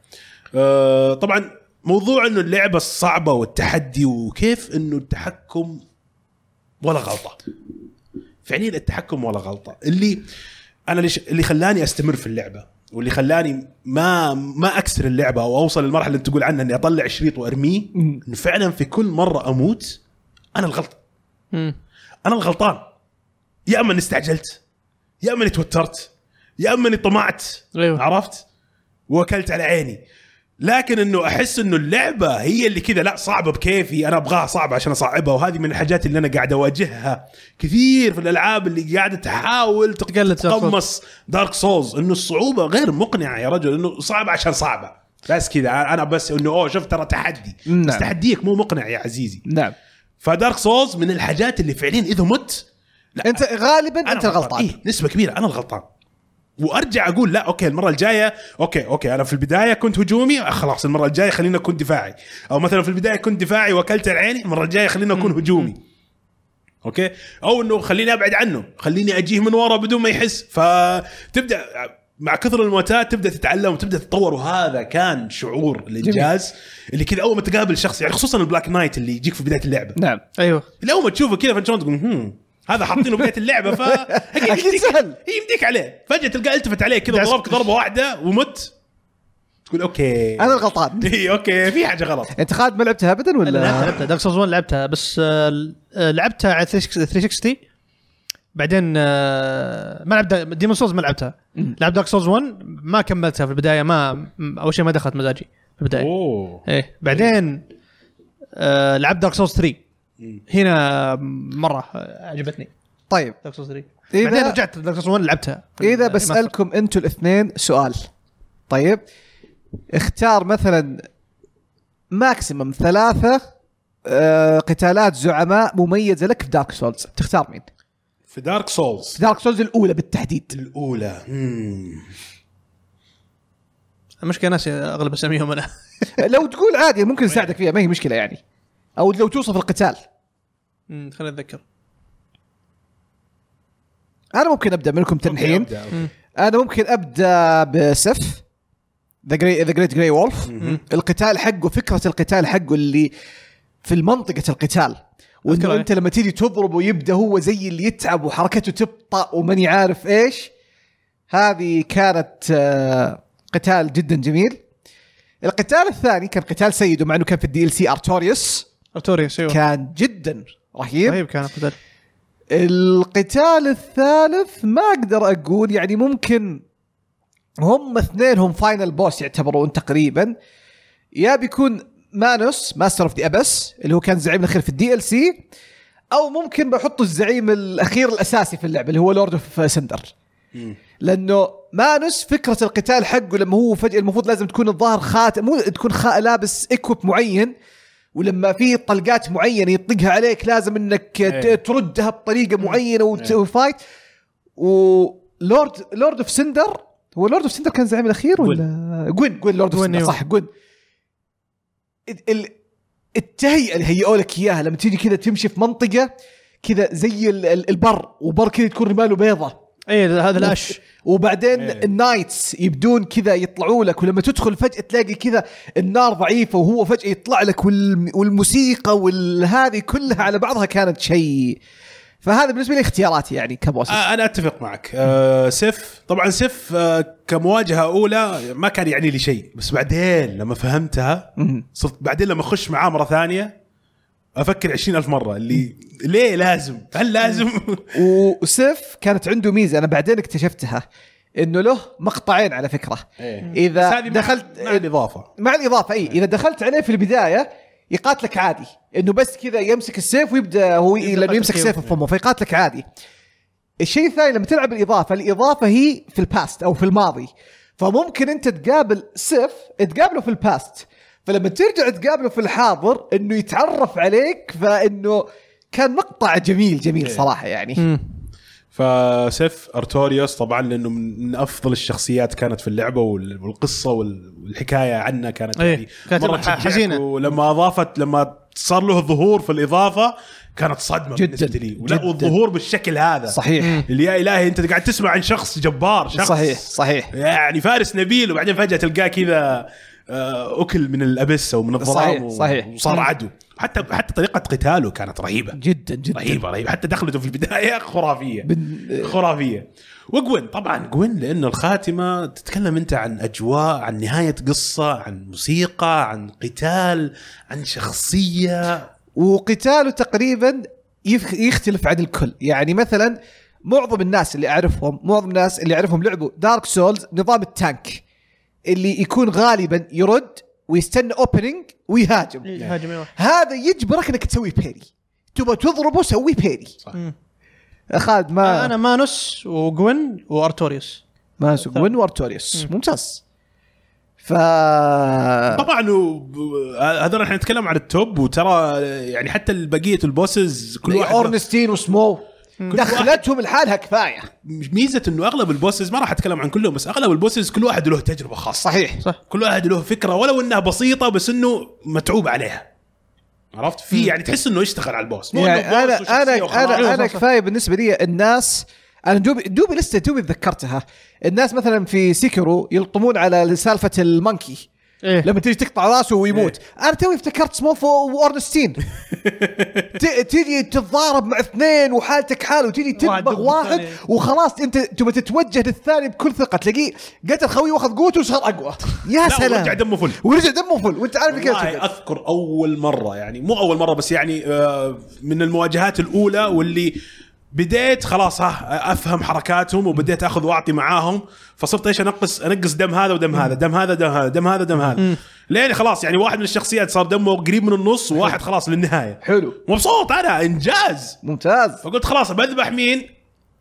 أه، طبعا موضوع انه اللعبه الصعبه والتحدي وكيف انه التحكم ولا غلطه فعليا التحكم ولا غلطه اللي انا ليش اللي خلاني استمر في اللعبه واللي خلاني ما ما اكسر اللعبه او اوصل للمرحله اللي تقول عنها اني اطلع شريط وارميه مم. انه فعلا في كل مره اموت انا الغلط مم. انا الغلطان يا اما اني استعجلت يا اما اني توترت يا اما اني طمعت أيوة. عرفت واكلت على عيني لكن انه احس انه اللعبه هي اللي كذا لا صعبه بكيفي انا ابغاها صعبه عشان اصعبها وهذه من الحاجات اللي انا قاعد اواجهها كثير في الالعاب اللي قاعده تحاول تقلد Dark Souls. تقمص دارك سولز انه الصعوبه غير مقنعه يا رجل انه صعبه عشان صعبه بس كذا انا بس انه اوه شوف ترى تحدي نعم. بس تحديك مو مقنع يا عزيزي نعم فدارك سولز من الحاجات اللي فعليا اذا مت لا انت غالبا انت الغلطان إيه نسبه كبيره انا الغلطان وارجع اقول لا اوكي المره الجايه اوكي اوكي انا في البدايه كنت هجومي آه، خلاص المره الجايه خلينا اكون دفاعي او مثلا في البدايه كنت دفاعي واكلت العين المره الجايه خلينا اكون هجومي اوكي او انه خليني ابعد عنه خليني اجيه من ورا بدون ما يحس فتبدا مع كثر الموتات تبدا تتعلم وتبدا تتطور وهذا كان شعور الانجاز اللي كذا اول ما تقابل شخص يعني خصوصا البلاك نايت اللي يجيك في بدايه اللعبه نعم ايوه اللي اول ما تشوفه كذا فانت شلون تقول هم هذا حاطينه بدايه اللعبه ف أكيد يمديك- سهل. هي يمديك عليه فجاه تلقاه التفت عليك كذا دعس ضربك كلش. ضربه واحده ومت تقول اوكي انا الغلطان اي اوكي في حاجه غلط انت خالد ما لعبتها ابدا انا لعبتها ولا لعبتها دارك سولز 1 لعبتها بس آه، آه، لعبتها على 360 بعدين آه، ما لعبت ديمون سولز ما لعبتها لعبت دارك سولز 1 ما كملتها في البدايه ما م- اول شيء ما دخلت مزاجي في البدايه اوه ايه بعدين آه، لعبت دارك سولز 3 هنا مره آه، عجبتني طيب دارك سولز 3 إذا- بعدين رجعت دارك سولز 1 لعبتها يعني اذا بسالكم انتوا الاثنين سؤال طيب اختار مثلا ماكسيمم ثلاثه آه، قتالات زعماء مميزه لك في دارك سولز تختار مين؟ في دارك سولز في دارك سولز الاولى بالتحديد الاولى مم. المشكله ناسي اغلب اساميهم انا لو تقول عادي ممكن نساعدك فيها ما هي مشكله يعني او لو توصف القتال أمم، خليني اتذكر انا ممكن ابدا منكم تنحين أبدأ. انا ممكن ابدا بسف ذا جري ذا جريت جري وولف القتال حقه فكره القتال حقه اللي في منطقه القتال أذكره. وانه انت لما تيجي تضربه يبدا هو زي اللي يتعب وحركته تبطا وماني عارف ايش هذه كانت آه، قتال جدا جميل القتال الثاني كان قتال سيد ومع انه كان في الدي ال سي ارتوريوس ارتوريوس ايوه كان جدا رهيب رهيب كان القتال القتال الثالث ما اقدر اقول يعني ممكن هم اثنين هم فاينل بوس يعتبرون تقريبا يا بيكون مانوس ماستر اوف ذا ابس اللي هو كان زعيم الاخير في الدي ال سي او ممكن بحط الزعيم الاخير الاساسي في اللعبه اللي هو لورد اوف سندر مم. لانه مانوس فكره القتال حقه لما هو فجاه المفروض لازم تكون الظاهر خاتم مو تكون خا لابس اكوب معين ولما في طلقات معينه يطلقها عليك لازم انك ت- إيه. تردها بطريقه معينه وت- وفايت ولورد لورد اوف سندر هو لورد اوف سندر كان زعيم الاخير ولا جوين جوين لورد اوف جوين، سندر أيوه. صح جوين ال- ال- التهيئه اللي هيئوا لك اياها لما تيجي كذا تمشي في منطقه كذا زي ال- ال- البر وبر كذا تكون رماله بيضه اي إيه، هذا الاش وبعدين إيه. النايتس يبدون كذا يطلعوا لك ولما تدخل فجاه تلاقي كذا النار ضعيفه وهو فجاه يطلع لك والم- والموسيقى والهذه كلها على بعضها كانت شيء فهذا بالنسبه لي اختياراتي يعني كبوس آه، انا اتفق معك آه، سيف طبعا سيف آه، كمواجهه اولى ما كان يعني لي شيء بس بعدين لما فهمتها مم. صرت بعدين لما اخش معاه مره ثانيه افكر عشرين ألف مره اللي ليه لازم هل لازم وسيف كانت عنده ميزه انا بعدين اكتشفتها انه له مقطعين على فكره إيه. بس اذا هذه مع- دخلت مع الاضافه مع الاضافه اي اذا دخلت عليه في البدايه يقاتلك عادي انه بس كذا يمسك السيف ويبدا هو يبدأ لانه يمسك يقاتلك سيفه في فمه فيقاتلك عادي الشيء الثاني لما تلعب الاضافه الاضافه هي في الباست او في الماضي فممكن انت تقابل سيف تقابله في الباست فلما ترجع تقابله في الحاضر انه يتعرف عليك فانه كان مقطع جميل جميل إيه. صراحه يعني فسيف ارتوريوس طبعا لانه من من افضل الشخصيات كانت في اللعبه وال- والقصه وال- والحكايه عنه كانت إيه، يعني كانت مرة ح- تشجعك حزينة. ولما اضافت لما صار له ظهور في الاضافه كانت صدمه جداً، بالنسبه لي ولا- جداً. والظهور بالشكل هذا صحيح اللي يا الهي انت قاعد تسمع عن شخص جبار شخص صحيح صحيح يعني فارس نبيل وبعدين فجاه تلقاه كذا آه، اكل من الابس او من الظلام صحيح، و- صحيح. وصار عدو حتى حتى طريقه قتاله كانت رهيبه جدا جدا رهيبه رهيبه حتى دخلته في البدايه خرافيه بن- خرافيه وجوين طبعا جوين لانه الخاتمه تتكلم انت عن اجواء عن نهايه قصه عن موسيقى عن قتال عن شخصيه وقتاله تقريبا يف- يختلف عن الكل يعني مثلا معظم الناس اللي اعرفهم معظم الناس اللي اعرفهم لعبوا دارك سولز نظام التانك اللي يكون غالبا يرد ويستنى اوبننج ويهاجم هاجم أيوه. ايوه هذا يجبرك انك تسوي بيري تبغى تضربه سوي بيري مم. خالد ما انا مانوس وجوين وارتوريوس ما وين وارتوريوس ممتاز ف طبعا طبعا و- و- هذول احنا نتكلم عن التوب وترى يعني حتى بقيه البوسز كل واحد اورنستين وسمو دخلتهم لحالها كفايه ميزه انه اغلب البوسز ما راح اتكلم عن كلهم بس اغلب البوسز كل واحد له تجربه خاصه صحيح صح كل واحد له فكره ولو انها بسيطه بس انه متعوب عليها عرفت في يعني تحس انه اشتغل على البوس مو يعني إنه بوس انا وشخصية انا وخلاص. انا انا صح. كفايه بالنسبه لي الناس انا دوبي دوبي لسه دوبي تذكرتها الناس مثلا في سيكرو يلطمون على سالفه المونكي إيه. ايه لما تيجي تقطع راسه ويموت انا توي افتكرت سموف وارنستين ت- تيجي تتضارب مع اثنين وحالتك حاله وتيجي واحد تدبغ ضد واحد الثاني. وخلاص انت تبى تتوجه للثاني بكل ثقه تلاقيه قتل خوي واخذ قوته وصار اقوى يا لا ورجع سلام دمه فل ورجع دمه فل وانت عارف كيف والله اذكر اول مره يعني مو اول مره بس يعني آه، من المواجهات الاولى واللي بديت خلاص ها افهم حركاتهم وبديت اخذ واعطي معاهم فصرت ايش انقص انقص دم هذا ودم هذا دم هذا دم هذا دم هذا دم هذا لين خلاص يعني واحد من الشخصيات صار دمه قريب من النص وواحد خلاص للنهايه حلو مبسوط انا انجاز ممتاز فقلت خلاص بذبح مين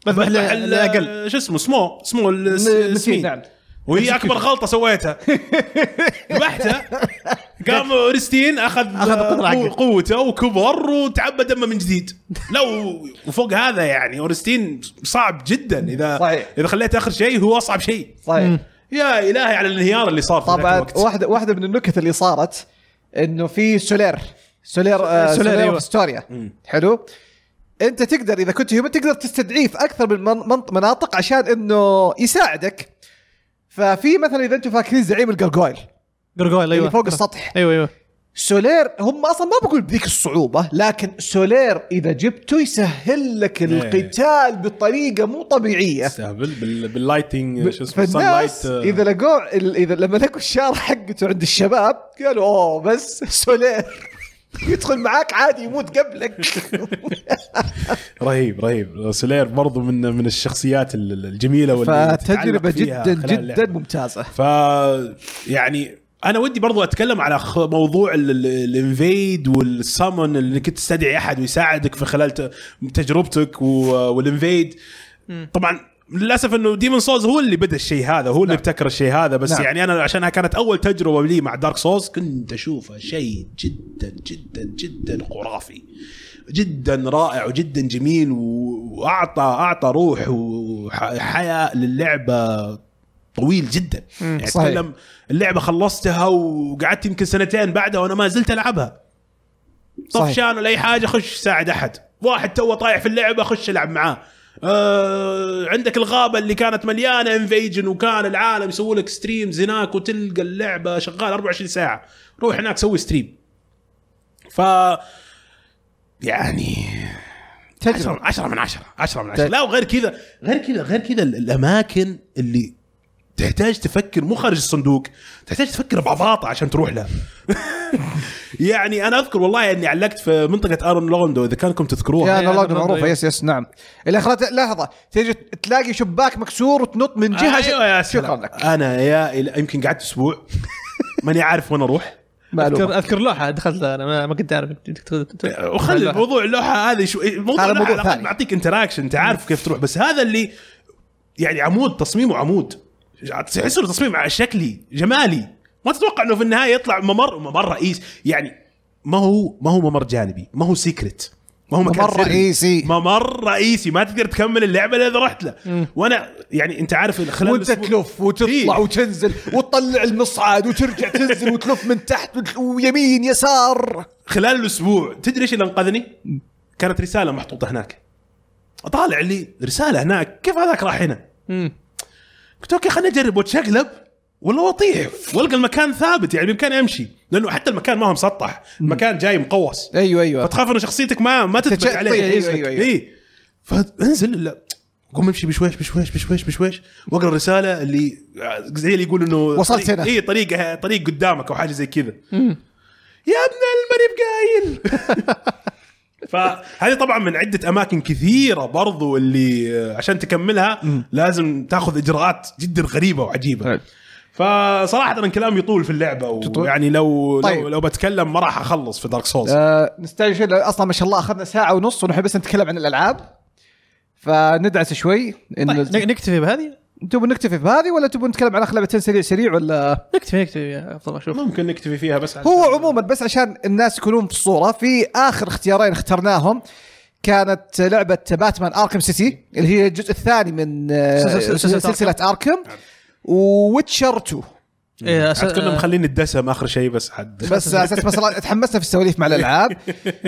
بذبح بذبح ال- الاقل شو اسمه سمو سمو ال- س- نسيت، سمين. نعم. وهي اكبر غلطه سويتها ذبحته قام اورستين اخذ أخذ القدرة حقه. قوته وكبر وتعبى دمه من جديد لا و- وفوق هذا يعني اورستين صعب جدا اذا صحيح. اذا خليته اخر شيء هو اصعب شيء صحيح يا الهي على الانهيار اللي صار في ذاك طبعا الوقت. واحده واحده من النكت اللي صارت انه في سولير سولير آه سولير، سولير أيوة. أوف ستوريا حلو انت تقدر اذا كنت هيومن تقدر تستدعيه في اكثر من من- من- مناطق عشان انه يساعدك ففي مثلا اذا انتم فاكرين زعيم الجرجويل جرجويل ايوه اللي فوق السطح ايوه ايوه سولير هم اصلا ما بقول بذيك الصعوبه لكن سولير اذا جبته يسهل لك القتال بطريقه مو طبيعيه استهبل بال- باللايتنج شو اسمه فالناس sunlight، آه، اذا لقوه ال- اذا لما لقوا الشارة حقته عند الشباب قالوا اوه بس سولير يدخل معاك عادي يموت قبلك رهيب رهيب سولير برضو من من الشخصيات ال- ال- الجميله واللي تتعلق فتجربه فيها جدا خلال جدا اللعبة. ممتازه ف يعني انا ودي برضو اتكلم على خ- موضوع ال- ال- الانفيد والسامون اللي انك تستدعي احد ويساعدك في خلال ت- تجربتك و- والانفيد طبعا للاسف انه ديمون سولز هو اللي بدا الشيء هذا هو اللي ابتكر الشيء هذا بس نعم. نعم. يعني انا عشانها كانت اول تجربه لي مع دارك سولز كنت اشوفها شيء جدا جدا جدا خرافي جدا رائع وجدا جميل و- واعطى اعطى روح وحياه للعبه طويل جدا يعني صحيح. اتكلم اللعبه خلصتها وقعدت يمكن سنتين بعدها وانا ما زلت العبها صحيح. طفشان ولا اي حاجه خش ساعد احد واحد توه طايح في اللعبه خش العب معاه آه عندك الغابه اللي كانت مليانه انفيجن وكان العالم يسوي لك ستريمز هناك وتلقى اللعبه شغاله 24 ساعه روح هناك سوي ستريم ف يعني تجربه 10 10 من 10 10 من 10 لا وغير كذا غير كذا غير كذا ال- الاماكن اللي تحتاج تفكر مو خارج الصندوق تحتاج تفكر بعباطه عشان تروح لها يعني انا اذكر والله اني علقت في منطقه ارون لوندو اذا كانكم يا تذكروها انا أيوة. معروفه يس يس نعم اللي اخرت لحظه تجي تلاقي شباك مكسور وتنط من جهه أيوة يا شكرا سلام. لك انا يا إلى- يمكن قعدت اسبوع ماني عارف وين اروح معلومة. اذكر اذكر لوحه دخلت لها انا ما- ما كنت اعرف وخلي الموضوع اللوحه هذه شو إيه، موضوع هذا اللوحه موضوع على الأقل ثاني. معطيك انتراكشن انت عارف كيف تروح بس هذا اللي يعني عمود تصميمه عمود تحس انه تصميم على شكلي جمالي ما تتوقع انه في النهايه يطلع ممر ممر رئيس يعني ما هو ما هو ممر جانبي ما هو سيكرت ما هو مكان ممر سري. رئيسي. ممر رئيسي ما تقدر تكمل اللعبه الا اذا رحت له وانا يعني انت عارف خلال وانت الأسبوع- تلف وتطلع إيه. وتنزل وتطلع المصعد وترجع تنزل وتلف من تحت وت- ويمين يسار خلال الاسبوع تدري ايش اللي انقذني؟ كانت رساله محطوطه هناك اطالع لي رساله هناك كيف هذاك راح هنا؟ قلت اوكي خليني اجرب واتشقلب ولا واطيح والقى المكان ثابت يعني بامكاني امشي لانه حتى المكان ما هو مسطح المكان جاي مقوس ايوه ايوه فتخاف انه شخصيتك ما ما تثبت تتشقلب. عليه أيوة، أيوة، أيوة، أيوة. اي فانزل لا قوم امشي بشويش بشويش بشويش بشويش واقرا الرساله اللي زي اللي يقول انه وصلت هنا. اي طريق طريق قدامك او حاجه زي كذا يا ابن المريب قايل فهذه طبعا من عده اماكن كثيره برضو اللي آه، عشان تكملها لازم تاخذ اجراءات جدا غريبه وعجيبه فصراحه انا كلامي يطول في اللعبه تطول؟ ويعني لو طيب. لو, لو بتكلم ما راح اخلص في دارك سولز آه، نستعجل لأن اصلا ما شاء الله اخذنا ساعه ونص ونحن بس نتكلم عن الالعاب فندعس شوي انه طيب، نكتفي بهذه تبون نكتفي بهذه ولا تبون نتكلم عن اخر لعبتين سريع سريع ولا نكتفي نكتفي افضل اشوف ممكن نكتفي فيها بس عشان- هو عموما بس عشان الناس يكونون في الصوره في اخر اختيارين اخترناهم كانت لعبة باتمان اركم سيتي اللي هي الجزء الثاني من آه، سلسلة- سلسلة سلسلة نعم. اركم ووتشر 2 إيه، أس- عاد كنا مخلين الدسم اخر شيء بس حد بس على اساس بس را- تحمسنا في السواليف مع الالعاب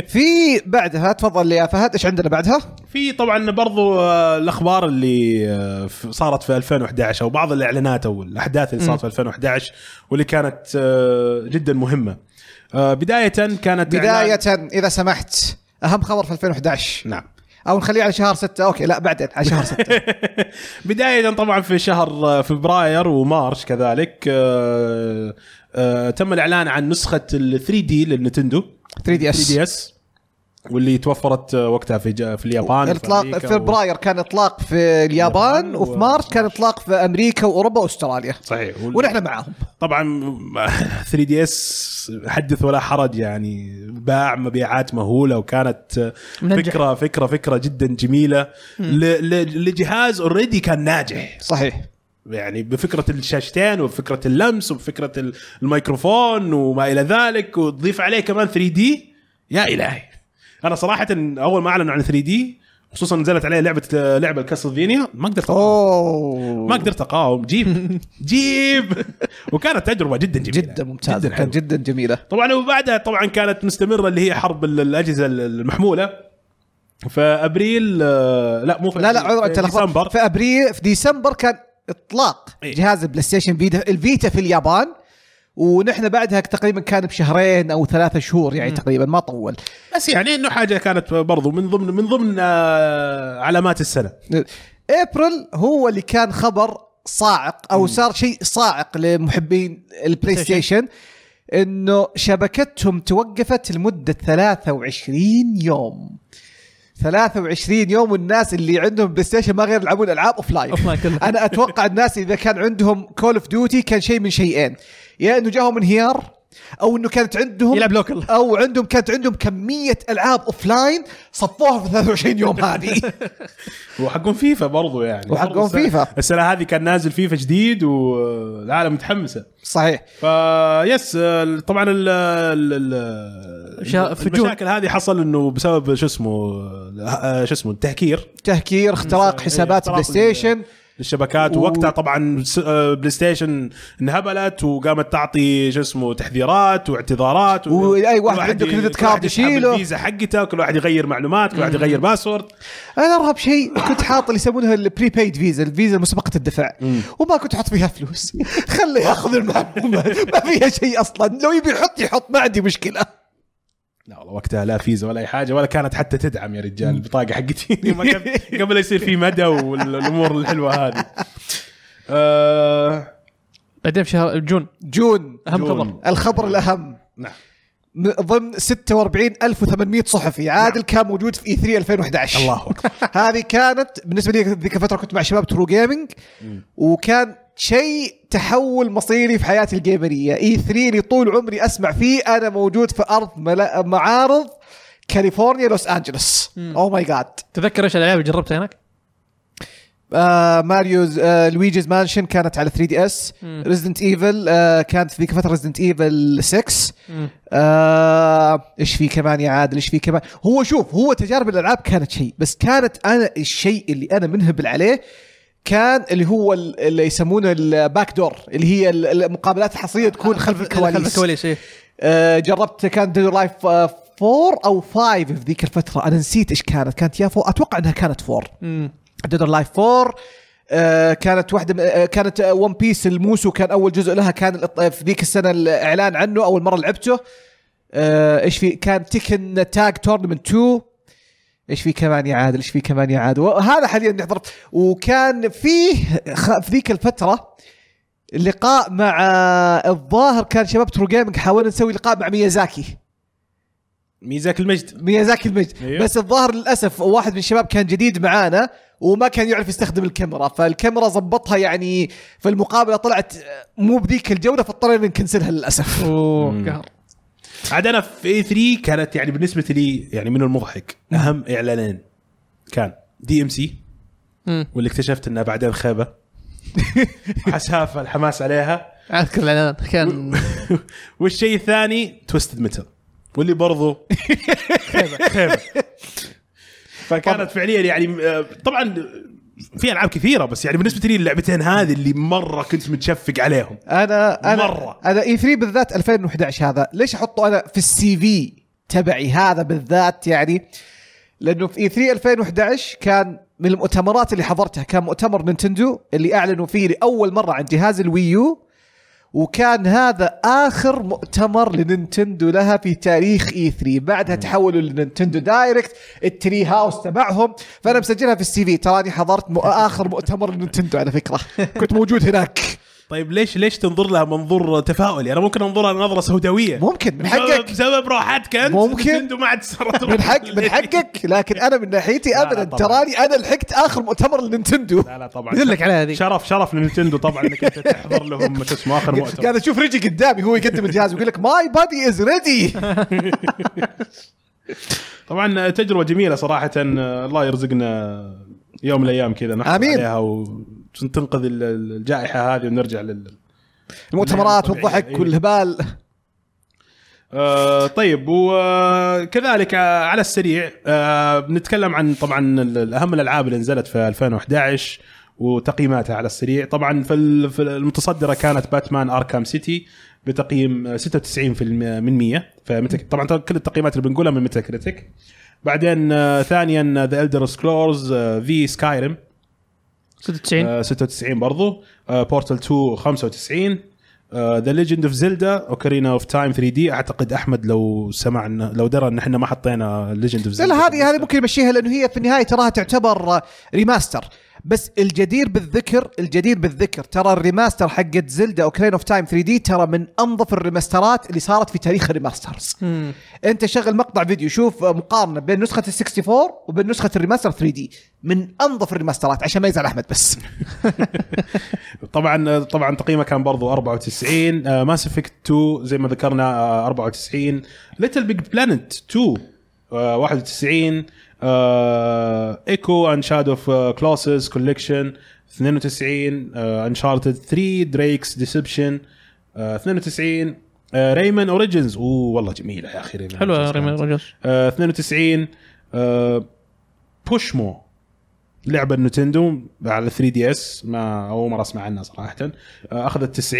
في بعدها تفضل يا فهد ايش عندنا بعدها؟ في طبعا برضو آه، الاخبار اللي آه، ف- صارت في 2011 او بعض الاعلانات او الاحداث اللي صارت في 2011 واللي كانت آه، جدا مهمه آه، بدايه كانت بداية إعلان- اذا سمحت اهم خبر في 2011 نعم او نخليه على شهر 6 اوكي لا بعدين على شهر 6 بداية طبعا في شهر آه، فبراير ومارش كذلك آه، آه، تم الاعلان عن نسخة ال 3 دي للنتندو 3 دي 3 اس دي اس واللي توفرت آه، وقتها في ج- في اليابان وفي الاطلاق أمريكا في فبراير كان اطلاق في اليابان اليابان وفي و- مارس كان اطلاق في امريكا واوروبا واستراليا و- صحيح وال- ونحن معاهم طبعا 3 دي اس حدث ولا حرج يعني باع مبيعات مهوله وكانت منجح. فكره فكره فكره جدا جميله ل- ل- لجهاز اوريدي كان ناجح صحيح يعني بفكره الشاشتين وبفكره اللمس وبفكره ال- الميكروفون وما الى ذلك وتضيف عليه كمان 3 دي يا الهي انا صراحه اول ما اعلنوا عن 3 دي خصوصا نزلت عليه لعبه لعبه الكاسلفينيا ما قدرت أقاوم. اوه ما قدرت اقاوم جيب جيب وكانت تجربه جدا جميله جدا ممتازه حلوة. كانت جدا جميله طبعا وبعدها طبعا كانت مستمره اللي هي حرب ال- الاجهزه ال- المحموله فابريل آه، لا مو في لا لا عذر في انت ديسمبر لخبطت في ابريل في ديسمبر كان اطلاق إيه. جهاز البلاي ستيشن فيتا الفيتا في اليابان ونحن بعدها تقريبا كان بشهرين او ثلاثة شهور يعني تقريبا ما طول بس يعني انه حاجه كانت برضو من ضمن من ضمن آه، علامات السنه ابريل هو اللي كان خبر صاعق او صار شيء صاعق لمحبين البلاي ستيشن انه شبكتهم توقفت لمده 23 يوم 23 يوم والناس اللي عندهم بلاي ستيشن ما غير يلعبون العاب اوف لاين Offline كلهم. انا اتوقع الناس اذا كان عندهم كول اوف ديوتي كان شيء من شيئين يا انه جاهم انهيار او انه كانت عندهم يلعب لوكل او عندهم كانت عندهم كميه العاب اوف لاين صفوها في 23 يوم هذه وحقون فيفا برضو يعني وحقهم برضو السنة- فيفا. السنه هذه كان نازل فيفا جديد آه، والعالم متحمسه صحيح فيس آه، طبعا ال ال ال شا- فجور. المشاكل هذه حصل انه بسبب شو اسمه آه، شو اسمه التهكير تهكير اختراق إيه، حسابات اختراق بلاي ستيشن للشبكات و- ووقتها طبعا س- آه، بلاي ستيشن انهبلت وقامت تعطي شو اسمه تحذيرات واعتذارات وأي كل واحد عنده ي- كريدت كل كارد واحد يسحب يشيله. الفيزا حقته كل واحد يغير معلومات كل واحد يغير باسورد انا ارهب شيء كنت حاط اللي يسمونها البري بيد فيزا الفيزا مسبقه الدفع وما كنت احط فيها فلوس خله ياخذ المعلومات ما فيها شيء اصلا لو يبي يحط يحط ما عندي مشكله لا والله وقتها لا فيزا ولا اي حاجه ولا كانت حتى تدعم يا رجال البطاقه حقتي ما كان- قبل لا يصير في مدى والامور الحلوه هذه آه بعدين بشهر جون جون اهم جون. خبر الخبر الاهم نعم م- ضمن 46800 صحفي عادل كان موجود في E اي 3 2011 نعم. الله اكبر هذه كانت بالنسبه لي ذيك الفتره كنت مع شباب ترو جيمنج وكان شيء تحول مصيري في حياتي الجيمريه اي 3 اللي طول عمري اسمع فيه انا موجود في ارض ملا- معارض كاليفورنيا لوس Oh انجلوس او ماي جاد تذكر ايش الالعاب اللي جربتها هناك؟ آه ماريوز آه لويجيز مانشن كانت على 3 دي اس مم. ريزدنت ايفل آه كانت في ذيك الفتره ريزدنت ايفل 6 مم. آه، ايش في كمان يا عادل ايش في كمان هو شوف هو تجارب الالعاب كانت شيء بس كانت انا الشيء اللي انا منهبل عليه كان اللي هو ال- اللي يسمونه الباك دور اللي هي ال- المقابلات الحصريه تكون خلف خلف الكواليس الكواليس إيه. آه، جربت كان ديد لايف آه، 4 او 5 في ذيك الفتره انا نسيت ايش كانت كانت يا 4 اتوقع انها كانت 4 مم. ديد لايف 4 آه، كانت واحده من- آه، كانت ون بيس الموسو كان اول جزء لها كان الإط- في ذيك السنه الاعلان عنه اول مره لعبته آه، ايش في كان تكن تاج تورنمنت 2 ايش في كمان يا عادل ايش في كمان يا عادل هذا حاليا نحضر وكان فيه خ- في ذيك الفتره لقاء مع آه، الظاهر كان شباب ترو جيمنج حاولنا نسوي لقاء مع ميازاكي ميزاك المجد ميازاكي المجد أيوه. أيوه. بس الظاهر للاسف واحد من الشباب كان جديد معانا وما كان يعرف يستخدم الكاميرا فالكاميرا ظبطها يعني فالمقابله طلعت آه، مو بذيك الجوده فاضطرينا نكنسلها للاسف اوه مم. قهر عاد انا في اي 3 كانت يعني بالنسبه لي يعني من المضحك اهم اعلانين كان دي ام سي مم. واللي اكتشفت انها بعدين خيبه حسافه الحماس عليها اذكر الاعلان كان والشيء الثاني توستد ميتال واللي برضو خيبه خيبه فكانت فعليا يعني آه، طبعا في العاب كثيره بس يعني بالنسبه لي اللعبتين هذه اللي مره كنت متشفق عليهم انا انا مرة. انا اي 3 E بالذات 2011 هذا ليش احطه انا في السي في تبعي هذا بالذات يعني لانه في E اي 3 2011 كان من المؤتمرات اللي حضرتها كان مؤتمر نينتندو اللي اعلنوا فيه لاول مره عن جهاز الويو وكان هذا اخر مؤتمر لنينتندو لها في تاريخ اي 3 بعدها تحولوا لنينتندو دايركت التري هاوس تبعهم فانا مسجلها في السي في تراني حضرت مو- اخر مؤتمر لنينتندو على فكره كنت موجود هناك طيب ليش ليش تنظر لها منظور تفاؤلي؟ انا ممكن انظرها نظره سوداويه ممكن من بسبب- حقك بسبب راحتك انت ممكن. نتندو ما عاد صارت من حق من حقك لكن انا من ناحيتي لا، لا، ابدا طبعاً. تراني انا لحقت اخر مؤتمر للنينتندو لا لا طبعا يدلك عليها هذيك شرف شرف لنتندو طبعا انك انت تحضر لهم شو اسمه اخر مؤتمر قاعد اشوف رجي قدامي هو يقدم الجهاز ويقول لك ماي بادي از ريدي طبعا تجربه جميله صراحه الله يرزقنا يوم من الايام كذا نحصل آمين. عليها وتنقذ ال- ال- الجائحه هذه ونرجع لل المؤتمرات طبيعي، والضحك إيه. والهبال آه طيب وكذلك آه على السريع آه بنتكلم عن طبعا ال- اهم الالعاب اللي نزلت في 2011 وتقييماتها على السريع طبعا في ال- في المتصدره كانت باتمان اركام سيتي بتقييم آه، 96% من 100 فمتى طبعا كل التقييمات اللي بنقولها من ميتا كريتيك بعدين آه ثانيا ذا الدر سكلورز في سكايرم 96 آه، 96 برضو آه، بورتال 2 95 ذا ليجند اوف زيلدا اوكارينا اوف تايم 3 دي اعتقد احمد لو سمعنا لو درى ان احنا ما حطينا ليجند اوف لا زيلدا لا، هذه هذه ممكن يمشيها لانه هي في النهايه تراها تعتبر آه، ريماستر بس الجدير بالذكر الجدير بالذكر ترى الريماستر حقت زلدا اوكرين اوف تايم 3 دي ترى من انظف الريماسترات اللي صارت في تاريخ الريماسترز مم. انت شغل مقطع فيديو شوف آه، مقارنه بين نسخه ال 64 وبين نسخه الريماستر 3 دي من انظف الريماسترات عشان ما يزعل احمد بس طبعا طبعا تقييمه كان برضو آه، 94 ماس افكت 2 زي ما ذكرنا آه، 94 ليتل بيج بلانت 2 آه، 91 ايكو اند شادو اوف كلوسز كوليكشن 92 انشارتد 3 دريكس ديسبشن آه، 92 ريمان اوريجنز اوه والله جميله يا اخي ريمان حلوه ريمي رجل آه، 92 آه، بوشمو لعبه نينتندو على 3 دي اس ما اول مره اسمع عنها صراحه آه، اخذت 90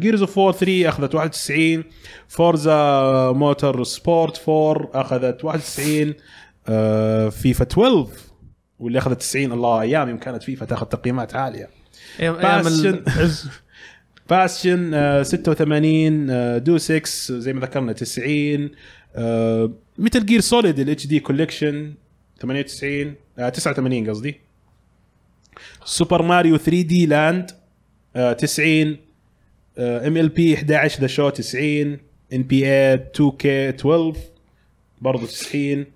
جيرز اوف 4 3 اخذت 91 فورزا موتور سبورت 4 اخذت 91 آه، فيفا 12 واللي اخذت 90 الله ايام يوم كانت فيفا تاخذ تقييمات عاليه أيام- أيام باستشن ال- باستشن آه، 86 آه، دو 6 زي ما ذكرنا uh, 90 متل جير سوليد الاتش دي كوليكشن 98 آه، 89 قصدي سوبر ماريو 3 دي لاند آه، 90 ام ال بي 11 ذا شو 90 ان بي اي 2 كي 12 برضه 90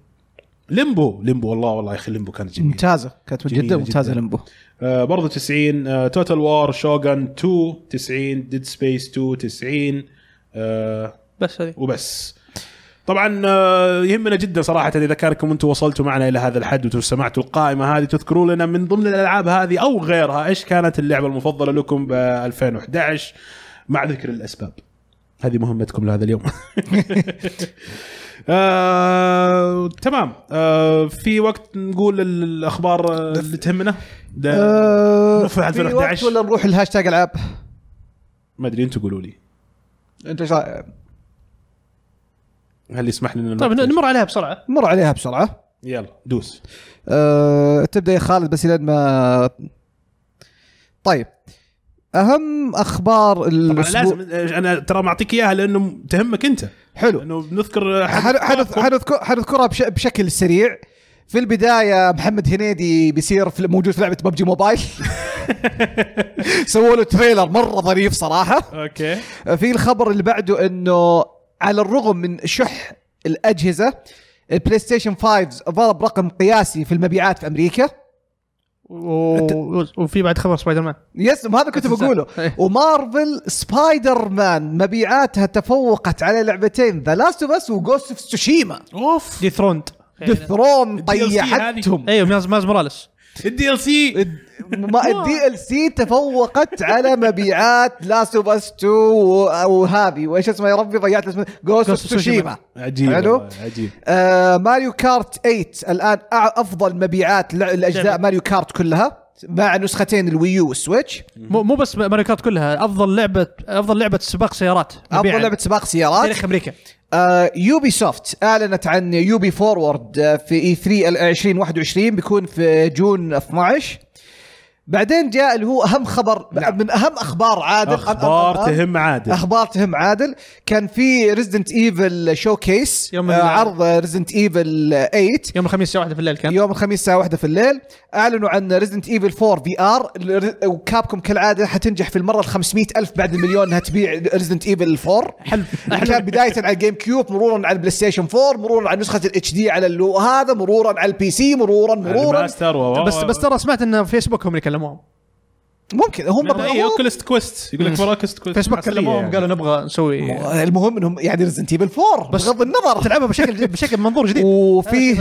ليمبو ليمبو والله والله يا اخي ليمبو كانت جميله ممتازه كانت من جميلة جدا ممتازه جداً. لمبو آه، برضه 90 توتال وار شوغان 2 90 ديد سبيس 2 90 آه، بس هذه وبس طبعا آه، يهمنا جدا صراحه اذا كانكم انتم وصلتوا معنا الى هذا الحد وسمعتوا القائمه هذه تذكروا لنا من ضمن الالعاب هذه او غيرها ايش كانت اللعبه المفضله لكم ب 2011 مع ذكر الاسباب هذه مهمتكم لهذا اليوم آه، تمام آه، في وقت نقول ال- الاخبار آه، اللي تهمنا ده- أه نوفل في وقت 2011. ولا نروح الهاشتاج العاب ما ادري انتم قولوا لي انت ايش رأيك؟ هل يسمح لنا طيب الوقت؟ نمر عليها بسرعه مر عليها بسرعه يلا دوس أه تبدا يا خالد بس لين ما طيب اهم اخبار طبعا الاسبوع لازم انا ترى معطيك اياها لانه تهمك انت حلو لانه بنذكر حن- حنذ- حنذكر- حنذكرها بش... بشكل سريع في البدايه محمد هنيدي بيصير في... موجود في لعبه ببجي موبايل سووا له تريلر مره ظريف صراحه اوكي في الخبر اللي بعده انه على الرغم من شح الاجهزه البلاي ستيشن 5 ضرب رقم قياسي في المبيعات في امريكا و- وفي بعد خبر سبايدر مان يس ما هذا كنت أساساً. بقوله إيه. ومارفل سبايدر مان مبيعاتها تفوقت على لعبتين ذا لاست اوف اس وجوست اوف تسوشيما اوف دي ثروند ثرون DLC طيحتهم ايوه ماز ماز موراليس الدي ال سي الدي ال سي تفوقت على مبيعات لاست اوف اس 2 و- وهذه وايش اسمها يا ربي ضيعت اسمها جوست اوف Ghost of Tsushima. تسوشيما عجيب حلو. والله، عجيب آه، ماريو كارت 8 الان أع- افضل مبيعات لع- الاجزاء لعبة. ماريو كارت كلها مع نسختين الويو والسويتش مو مو بس ماريو كارت كلها افضل لعبه افضل لعبه سباق سيارات مبيعاً. افضل لعبه سباق سيارات تاريخ امريكا يوبي سوفت اعلنت آه، عن يوبي E فورورد آه، في اي 3 ال- 2021 بيكون في جون 12 بعدين جاء اللي هو اهم خبر نعم. من اهم اخبار عادل اخبار أهم- أهم- تهم عادل اخبار تهم عادل كان في ريزدنت ايفل شو كيس يوم ال- آه، عرض ريزدنت ايفل 8 يوم الخميس الساعه 1 في الليل كان يوم الخميس الساعه 1 في الليل اعلنوا عن ريزدنت ايفل 4 في ار وكابكم كالعاده حتنجح في المره ال 500 الف بعد المليون انها تبيع ريزدنت ايفل 4 حلو كان بدايه على الجيم كيوب مرورا على البلاي ستيشن 4 مرورا على نسخه الاتش دي على اللو هذا مرورا على البي سي مرورا مرورا الماستر و بس بس ترى سمعت ان فيسبوك هم اللي كلموهم ممكن هم اي اوكلست كويست إيه، يقول لك ورا اوكلست كويست فيسبوك أصلية كلموهم يعني. قالوا نبغى نسوي المهم انهم يعني ريزدنت ايفل 4 بس- بغض النظر تلعبها بشكل بشكل منظور جديد وفيه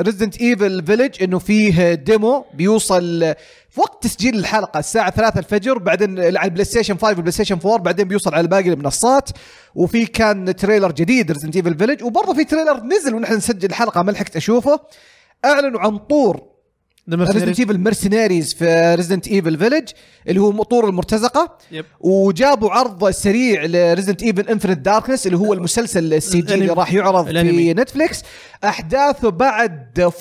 ريزدنت ايفل فيلج انه فيه ديمو بيوصل آه، في وقت تسجيل الحلقه الساعه 3 الفجر بعدين على البلاي ستيشن 5 والبلاي ستيشن 4 بعدين بيوصل على باقي المنصات وفي كان تريلر جديد ريزدنت ايفل فيلج وبرضه في تريلر نزل ونحن نسجل الحلقه ما لحقت اشوفه اعلنوا عن طور ريزدنت ايفل مرسينيريز في ريزدنت ايفل فيلج اللي هو طور المرتزقه يب. وجابوا عرض سريع لريزدنت ايفل انفنت داركنس اللي هو المسلسل السي جي اللي الأنمي. راح يعرض في الأنمي. نتفليكس احداثه بعد 4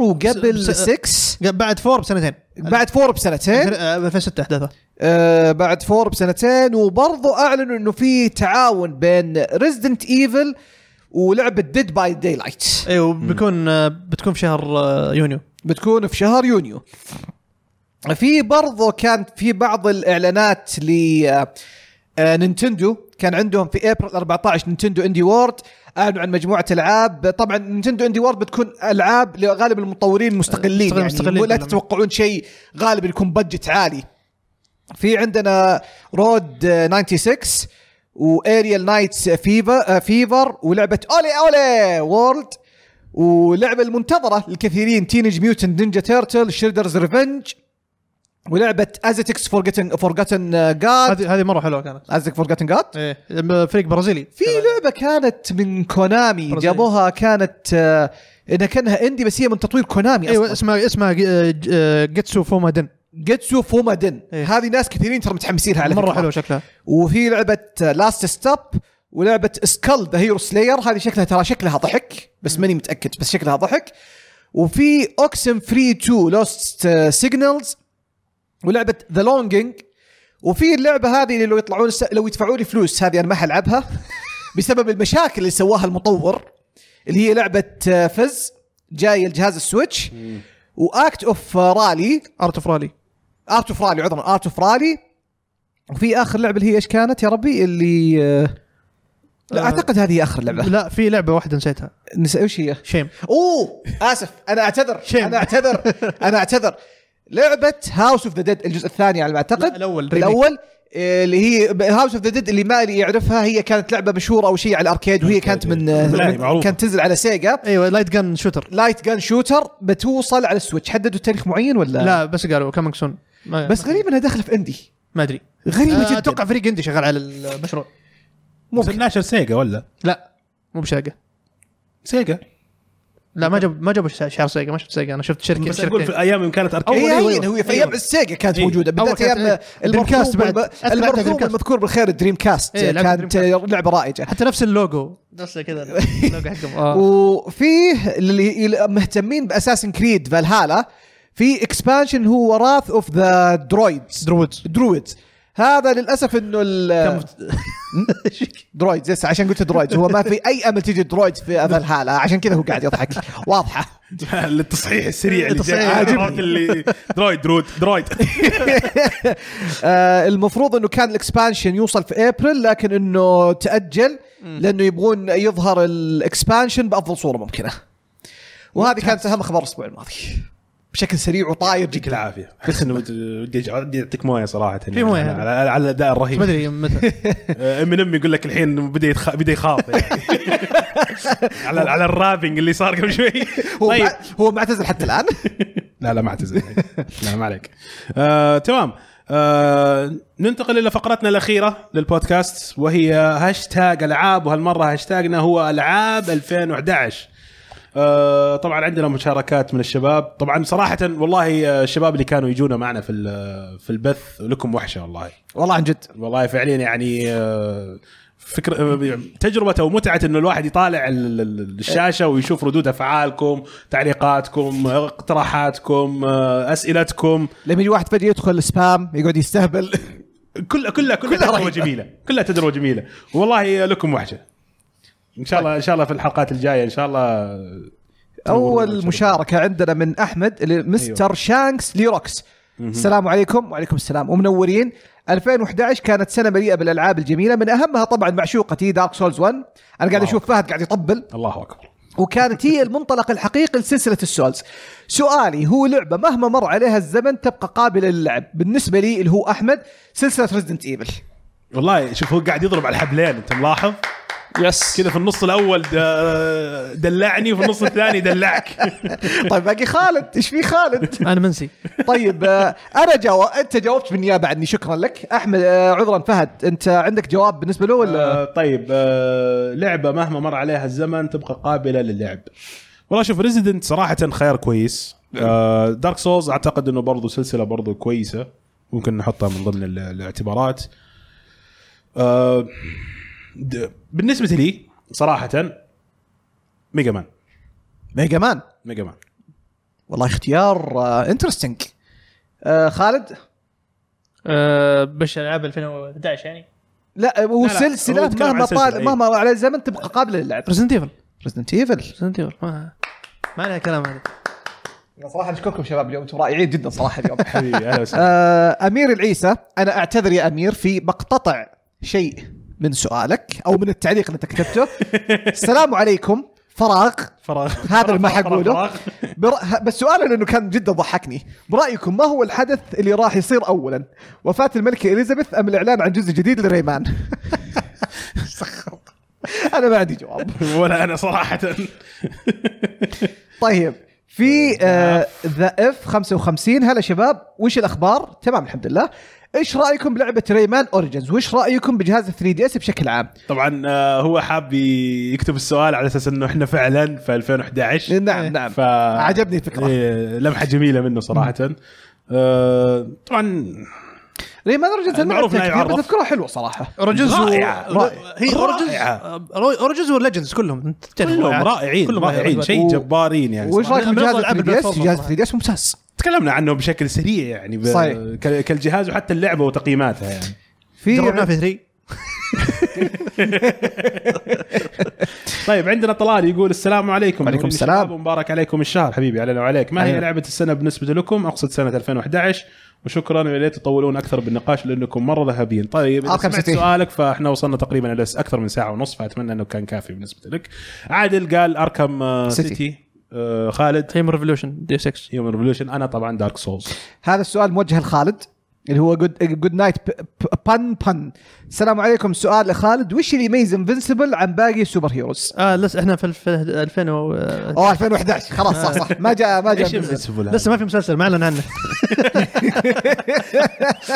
وقبل بس- 6 بعد فور بسنتين بعد 4 بسنتين آه، 2006 احداثه آه بعد 4 بسنتين وبرضه اعلنوا انه في تعاون بين ريزدنت ايفل ولعبه ديد باي داي لايت ايوه بيكون آه، بتكون في شهر آه، يونيو بتكون في شهر يونيو في برضو كان في بعض الاعلانات ل آه، آه، نينتندو كان عندهم في ابريل 14 نينتندو اندي وورد اعلنوا عن مجموعه العاب طبعا نينتندو اندي وورد بتكون العاب لغالب المطورين المستقلين مستقل- يعني مستقلين مستقلين لا كلهم. تتوقعون شيء غالبا يكون بادجت عالي في عندنا رود آه، 96 واريال نايتس فيفر فيفر ولعبه اولي اولي وورلد ولعبه المنتظره للكثيرين تينج ميوتن نينجا تيرتل شيلدرز ريفنج ولعبه ازتكس فورجتن فورجتن جاد هذه هذه مره حلوه كانت ازتك فورجتن جاد ايه لما فريق برازيلي في لعبه كانت من كونامي برازيلي. جابوها كانت آه، انها كانها اندي بس هي من تطوير كونامي اصلا ايوه اسمها اسمها آه، ج- آه، جيتسو فوما دن جيتسو فوما دن إيه. هذه ناس كثيرين ترى متحمسين لها على مره فكرة. حلوه شكلها وفي لعبه لاست ستوب ولعبه سكال ذا هيرو سلاير هذه شكلها ترى شكلها ضحك بس ماني متاكد بس شكلها ضحك وفي اوكسن فري 2 لوست سيجنالز ولعبه ذا لونجينج وفي اللعبه هذه اللي لو يطلعون س... لو يدفعوا لي فلوس هذه انا ما حلعبها بسبب المشاكل اللي سواها المطور اللي هي لعبه آه، فز جايه الجهاز السويتش واكت اوف رالي ارت اوف رالي ارت اوف رالي عذرا ارت اوف رالي وفي اخر لعبه اللي هي ايش كانت يا ربي اللي آه، لا آه. اعتقد هذه اخر لعبه لا في لعبه واحده نسيتها نس... ايش هي؟ شيم اوه اسف انا اعتذر شيم. انا اعتذر انا اعتذر لعبه هاوس اوف ذا ديد الجزء الثاني على ما اعتقد لا، الأول، ريميك. الاول آه، اللي هي هاوس اوف ذا ديد اللي ما اللي يعرفها هي كانت لعبه مشهوره او شيء على الاركيد وهي كانت من آه، لا، هي معروفة. كانت تنزل على سيجا ايوه لايت جن شوتر لايت جان شوتر بتوصل على السويتش حددوا تاريخ معين ولا لا بس قالوا كامينج سون بس غريب انها داخله في اندي ما ادري غريبه آه، جدا اتوقع فريق عندي شغال على المشروع بس الناشر سيجا ولا لا مو بشاقه سيجا لا ما جاب ما جابوا شع- شعار سيجا ما شفت سيجا انا شفت شركه بس اقول شركتين في ايام يوم كانت اركيد هي إيه، أيوة، هي أيوة. هو في أيوة. ايام السيجا كانت أيوة. موجودة أول بدات كانت ايام إيه. دريم كاست المركوب بعد. والم- أتبع دريم المركوب كاست. المذكور بالخير دريم كاست إيه، لعبة دريم كانت لعبة رائجة حتى نفس اللوجو نفسه كذا اللوجو حقهم آه. وفيه اللي اللي مهتمين باساسن كريد فالهالا في اكسبانشن هو وراث اوف ذا درويدز درويدز درويدز هذا للاسف انه ال درويدز يس عشان قلت درويدز هو ما في اي امل تجي درويدز في فالهالا عشان كذا هو قاعد يضحك واضحه التصحيح السريع اللي التصحيح. جاي عاجبني اللي درويد درود درويد آه، المفروض انه كان الاكسبانشن يوصل في ابريل لكن انه تاجل لانه يبغون يظهر الاكسبانشن بافضل صوره ممكنه. وهذه كانت اهم اخبار الاسبوع الماضي. بشكل سريع آه، وطاير يعطيك جدا. العافيه بس انه ودي ودي اعطيك مويه صراحه في موية. على, على الاداء الرهيب ما ادري متى من امي يقول لك الحين بدا يتخ... بدا يخاف يعني. على على الرابنج اللي صار قبل شوي هو طيب مع- هو معتزل حتى الان. لا لا ما اعتذر لا ما عليك آه، تمام آه، ننتقل الى فقرتنا الاخيره للبودكاست وهي هاشتاج العاب وهالمره هاشتاجنا هو العاب 2011 آه، طبعا عندنا مشاركات من الشباب طبعا صراحه والله آه، الشباب اللي كانوا يجونا معنا في ال- في البث لكم وحشه والله والله عن جد. والله فعليا يعني آه، فكرة تجربة او متعة انه الواحد يطالع ال- ال- الشاشة ويشوف ردود افعالكم، تعليقاتكم، اقتراحاتكم، آه، اسئلتكم، لما يجي واحد فجاه يدخل سبام يقعد يستهبل كل كلها كلها تجربة جميلة، كلها تجربة جميلة، والله آه، لكم وحشة. ان شاء الله ان شاء الله في الحلقات الجاية ان شاء الله آه، اول مشاركه عندنا من احمد اللي مستر أيوه. شانكس ليروكس السلام عليكم وعليكم السلام ومنورين 2011 كانت سنه مليئه بالالعاب الجميله من اهمها طبعا معشوقتي دارك سولز 1 انا قاعد اشوف فهد قاعد يطبل الله اكبر وكانت هي المنطلق الحقيقي لسلسله السولز سؤالي هو لعبه مهما مر عليها الزمن تبقى قابله للعب بالنسبه لي اللي هو احمد سلسله ريزدنت ايفل والله شوف هو قاعد يضرب على الحبلين انت ملاحظ؟ يس كذا في النص الاول د- دلعني وفي النص الثاني دلعك طيب باقي خالد ايش في خالد انا منسي طيب آه، انا جاوب انت جاوبت بالنيابه عني شكرا لك احمد آه، عذرا فهد انت عندك جواب بالنسبه له ولا آه، طيب آه، لعبه مهما مر عليها الزمن تبقى قابله للعب والله شوف ريزيدنت صراحه خيار كويس نعم. آه، دارك سولز اعتقد انه برضو سلسله برضو كويسه ممكن نحطها من ضمن ال- الاعتبارات آه، د- بالنسبه لي صراحه ميجا مان ميجا مان ميجا مان والله اختيار انترستنج خالد آه، بش العاب 2011 يعني لا آه، هو لا، لا، هو سلسله يتكلم عن مهما سلسلة، إيه. طال أي. مهما على الزمن تبقى قابله للعب ريزنت ايفل ريزدنت ايفل ريزنت ايفل ما ما عليها كلام هذا صراحه اشكركم شباب اليوم انتم رائعين جدا صراحه اليوم حبيبي اهلا وسهلا آه، امير العيسى انا اعتذر يا امير في بقتطع شيء من سؤالك او من التعليق اللي انت كتبته السلام عليكم فراغ فراغ هذا اللي ما فراغ- حقوله فراغ. بر... ه- بس سؤالا لانه كان جدا ضحكني برايكم ما هو الحدث اللي راح يصير اولا وفاه الملكه اليزابيث ام الاعلان عن جزء جديد لريمان سخر. انا ما عندي جواب ولا انا صراحه طيب في آه، ذا اف 55 هلا شباب وش الاخبار؟ تمام الحمد لله ايش رايكم بلعبه ريمان اوريجنز؟ وايش رايكم بجهاز 3 دي اس بشكل عام؟ طبعا آه، هو حاب ي- يكتب السؤال على اساس انه احنا فعلا في 2011 نعم نعم ف... عجبني الفكرة. إيه لمحه جميله منه صراحه آه طبعا ريمان اوريجنز انا ما معروف لعبتها إنها كثير بس يعرف. اذكرها حلوه صراحه اورجنز و... رائعة، رائعة. هي آه، اورجنز رائعة. اورجنز وليجندز كلهم تعرف كلهم رائعات. رائعين كلهم كلهم رائعين شيء و- جبارين يعني وايش صراحة. رايكم من بجهاز أفضل ألعاب 3 دي اس؟ البلاتفورم جهاز صراحة. 3 دي اس ممتاز تكلمنا عنه بشكل سريع يعني ب... صحيح. ك- كالجهاز وحتى اللعبه وتقييماتها يعني في جربناه في 3 طيب عندنا طلال يقول السلام عليكم وعليكم يقول لي السلام. شباب ومبارك عليكم الشهر حبيبي علينا وعليك ما هي علينا. لعبه السنه بالنسبه لكم اقصد سنه 2011 وشكرا ويا ليت تطولون اكثر بالنقاش لانكم مره ذهبيين طيب اذا أرقام سمعت ستين. سؤالك فاحنا وصلنا تقريبا الى اكثر من ساعه ونص فاتمنى انه كان كافي بالنسبه لك عادل قال اركم آه، سيتي. سيتي آه، خالد تيم ريفولوشن دي 6 هيومن ريفولوشن انا طبعا دارك سولز هذا السؤال موجه لخالد اللي هو جود جود نايت بان بان السلام عليكم سؤال لخالد وش اللي يميز انفنسبل عن باقي السوبر هيروز؟ اه لسه احنا في الف- 2000 و... آه، اوه 2011 خلاص صح صح ما جاء ما جاء ايش Invincible. Invincible هذا؟ لسه ما في مسلسل ما اعلن عنه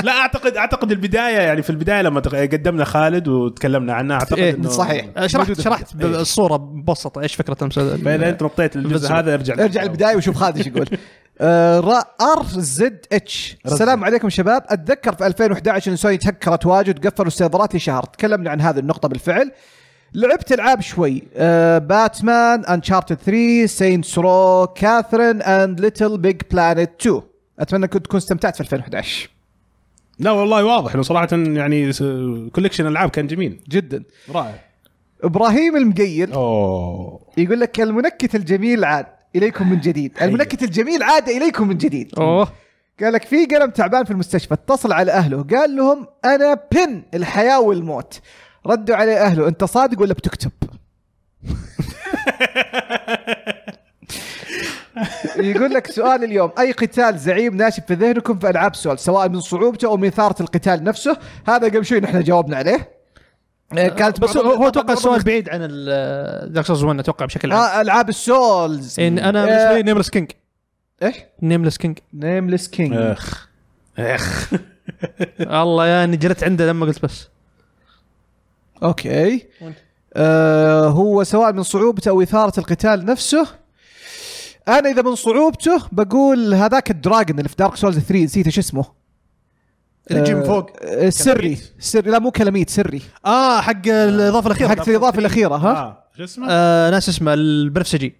لا اعتقد اعتقد البدايه يعني في البدايه لما تق- قدمنا خالد وتكلمنا عنها اعتقد إيه، انه صحيح. آه، شرحت موجودة شرحت في- إيه. الصوره ببساطه ايش فكره المسلسل فاذا انت نطيت الجزء Invincible. هذا ارجع ارجع للبدايه وشوف خالد ايش يقول ار زد اتش السلام عليكم شباب اتذكر في 2011 ان سوني تهكرت واجد وقفلوا السيرفرات لشهر تكلمنا عن هذه النقطه بالفعل لعبت العاب شوي أه باتمان انشارتد 3 سينس رو كاثرين اند ليتل بيج بلانيت 2 اتمنى كنت تكون استمتعت في 2011 لا والله واضح انه صراحه يعني كوليكشن العاب كان جميل جدا رائع ابراهيم المقير اوه يقول لك المنكت الجميل عاد اليكم من جديد المنكت الجميل عاد اليكم من جديد اوه قال لك في قلم تعبان في المستشفى اتصل على اهله قال لهم انا بن الحياه والموت ردوا عليه اهله انت صادق ولا بتكتب؟ يقول لك سؤال اليوم اي قتال زعيم ناشب في ذهنكم في العاب سول سواء من صعوبته او من اثاره القتال نفسه هذا قبل شوي نحن جاوبنا عليه آه، كانت إيه، بس بعض- هو- هو اتوقع بعض- السؤال بعيد عن دارك سولز 1 اتوقع بشكل عام آه العاب السولز إن انا آه، بالنسبه لي نيملس كينج ايش؟ نيملس كينج نيمليس كينج اخ اخ الله يا اني جلت عنده لما قلت بس اوكي آه هو سواء من صعوبته او اثاره القتال نفسه انا اذا من صعوبته بقول هذاك الدراجون اللي في دارك سولز 3 نسيت ايش اسمه اللي يجي من فوق آه، سري سري لا مو كلاميت سري اه حق الاضافه الاخيره حق الاضافه الاخيره ها آه، شو اسمه؟ آه ناس اسمه البنفسجي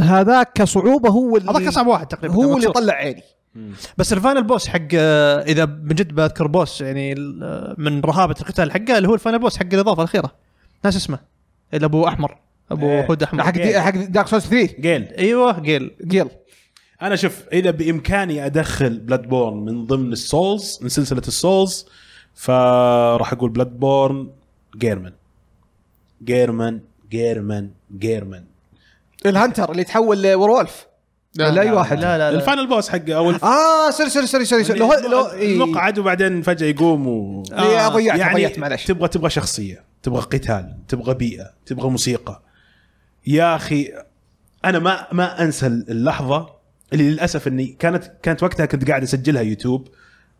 هذاك كصعوبه هو اللي هذاك اصعب واحد تقريبا هو اللي مكسور. طلع عيني بس الفاينل بوس حق آه، اذا من جد بذكر بوس يعني ال- آه، من رهابه القتال حقه اللي هو الفاينل بوس حق الاضافه الاخيره ناس اسمه اللي ابو احمر ابو إيه. هود احمر حق دي- حق دارك سولز 3 جيل ايوه جيل قيل انا شوف اذا بامكاني ادخل بلاد بورن من ضمن السولز من سلسله السولز فراح اقول بلاد بورن جيرمن جيرمن جيرمن جيرمن الهنتر اللي تحول لورولف لا, لا اي واحد لا لا, لا. الفاينل بوس حق اول اه سوري سوري سوري سوري سوري. لو لو آه. إيه، إي. المقعد وبعدين فجاه يقوم و آه. إي، ضيعت يعني ضيعت معلش آه، يعني تبغى تبغى شخصيه تبغى قتال تبغى بيئه تبغى موسيقى يا اخي انا ما ما انسى اللحظه اللي للاسف اني كانت كانت وقتها كنت قاعد اسجلها يوتيوب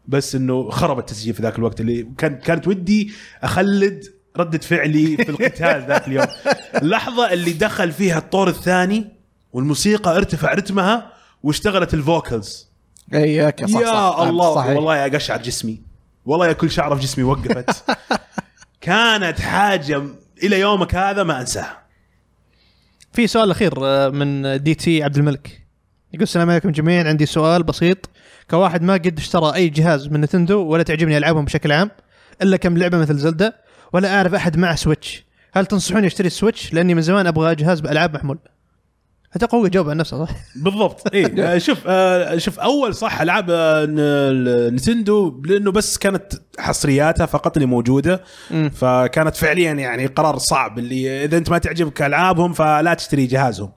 بس انه خرب التسجيل في ذاك الوقت اللي كان كانت ودي اخلد ردة فعلي في القتال ذاك اليوم اللحظة اللي دخل فيها الطور الثاني والموسيقى ارتفع رتمها واشتغلت الفوكلز اي يا صح يا صح. الله صحيح. والله يا قشعر جسمي والله يا كل شعره في جسمي وقفت كانت حاجه م- الى يومك هذا ما انساها في سؤال اخير آه، من دي تي عبد الملك يقول السلام عليكم جميعا عندي سؤال بسيط كواحد ما قد اشترى اي جهاز من نتندو ولا تعجبني العابهم بشكل عام الا كم لعبه مثل زلدة ولا اعرف احد مع سويتش هل تنصحوني اشتري السويتش لاني من زمان ابغى جهاز بالعاب محمول اتوقع هو يجاوب عن نفسه صح؟ بالضبط اي آه، شوف آه، شوف اول صح العاب آه، ن- ال- نتندو لانه بس كانت حصرياتها فقط اللي موجوده مم. فكانت فعليا يعني قرار صعب اللي اذا انت ما تعجبك العابهم فلا تشتري جهازهم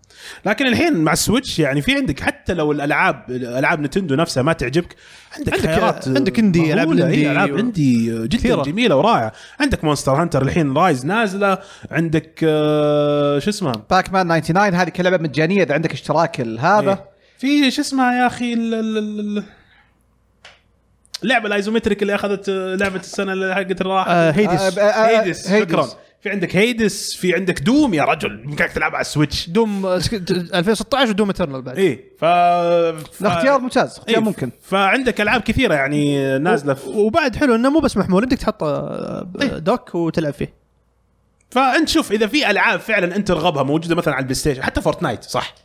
لكن الحين مع السويتش يعني في عندك حتى لو الالعاب العاب نتندو نفسها ما تعجبك عندك عندك- آه، خيارات إيه، عندك اندي، ألعاب العاب اندي الاندي العاب و- اندي جدا كثيرة. جميله ورائعه عندك مونستر هانتر الحين رايز نازله عندك آه، شو اسمه باك مان 99 هذه كلعبه مجانيه اذا عندك اشتراك ال- هذا في شو اسمها يا اخي ال- ال- ال- ال- اللعبه الايزومتريك اللي اخذت آه، لعبه السنه اللي حقت الراحه آه آه، هيدس آه، آه، هيدس شكرا في عندك هيدس في عندك دوم يا رجل يمكنك تلعبها على السويتش دوم آه، سك- 2016 ودوم اترنال بعد ايه ف ف- الاختيار ممتاز اختيار إيه، ممكن فعندك العاب كثيره يعني نازله في- وبعد حلو انه مو بس محمول انك تحط آه، دوك وتلعب فيه فانت شوف اذا في العاب فعلا انت ترغبها موجوده مثلا على البلاي ستيشن حتى فورتنايت صح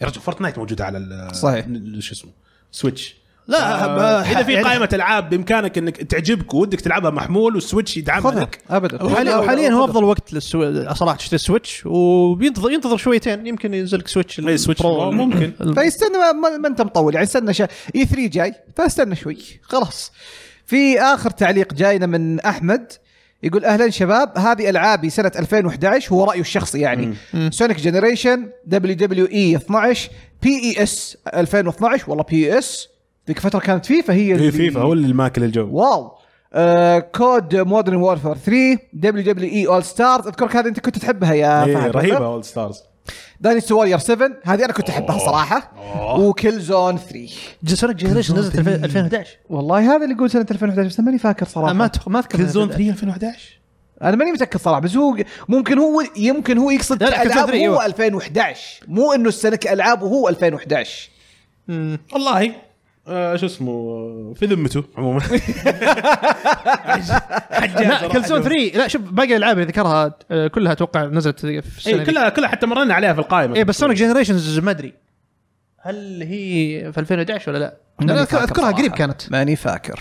يا رجل فورتنايت موجوده على ال- صحيح. ال- شو اسمه سويتش لا آه، آه، اذا في يعني- قائمه العاب بامكانك انك تعجبك ودك تلعبها محمول والسويتش يدعمها خذها لك ابدا وحاليا خذها. وحاليا هو افضل وقت للسو... صراحه تشتري السويتش وبينتظر ينتظر شويتين يمكن ينزل لك سويتش ال- اي إيه، سويتش برو. برو، ممكن. ال- فيستنى ما- ما, ما انت مطول يعني استنى شا... اي 3 جاي فاستنى شوي خلاص في اخر تعليق جاينا من احمد يقول اهلا شباب هذه العابي سنه 2011 هو رايه الشخصي يعني سونيك جنريشن دبليو دبليو اي 12 بي اي اس 2012 والله بي اس ذيك فتره كانت فيفا هي هي إيه، اللي- إيه، فيفا هو اللي ماكل الجو واو آه، كود مودرن وورفير 3 دبليو دبليو اي اول ستارز اذكرك هذه انت كنت تحبها يا إيه، فهد رهيبه اول ستارز داينستي وورير 7 هذه انا كنت احبها صراحه وكل زون 3 سونيك جنريشن نزلت الف- 2011 والله هذا اللي يقول سنه 2011 بس أنا ماني فاكر صراحه أنا ما أتخ- ما اذكر كل زون 2011. 3 2011 انا ماني متاكد صراحه بس هو ممكن هو يمكن هو يقصد لا، لا، كنت العاب أدري، هو أيوة. 2011 مو انه السنه كالعاب وهو 2011 أمم. والله آه، شو اسمه آه، في ذمته عموما لا كل زون 3 لا شوف باقي الالعاب اللي ذكرها آه، كلها اتوقع نزلت في السنه اي ذي. إيه، كلها كلها حتى مرينا عليها في القائمه اي إيه، بس سونيك جنريشنز ما ادري هل هي في 2011 ولا لا؟ ماني انا أذكر- فاكر اذكرها صراحة. قريب كانت ماني فاكر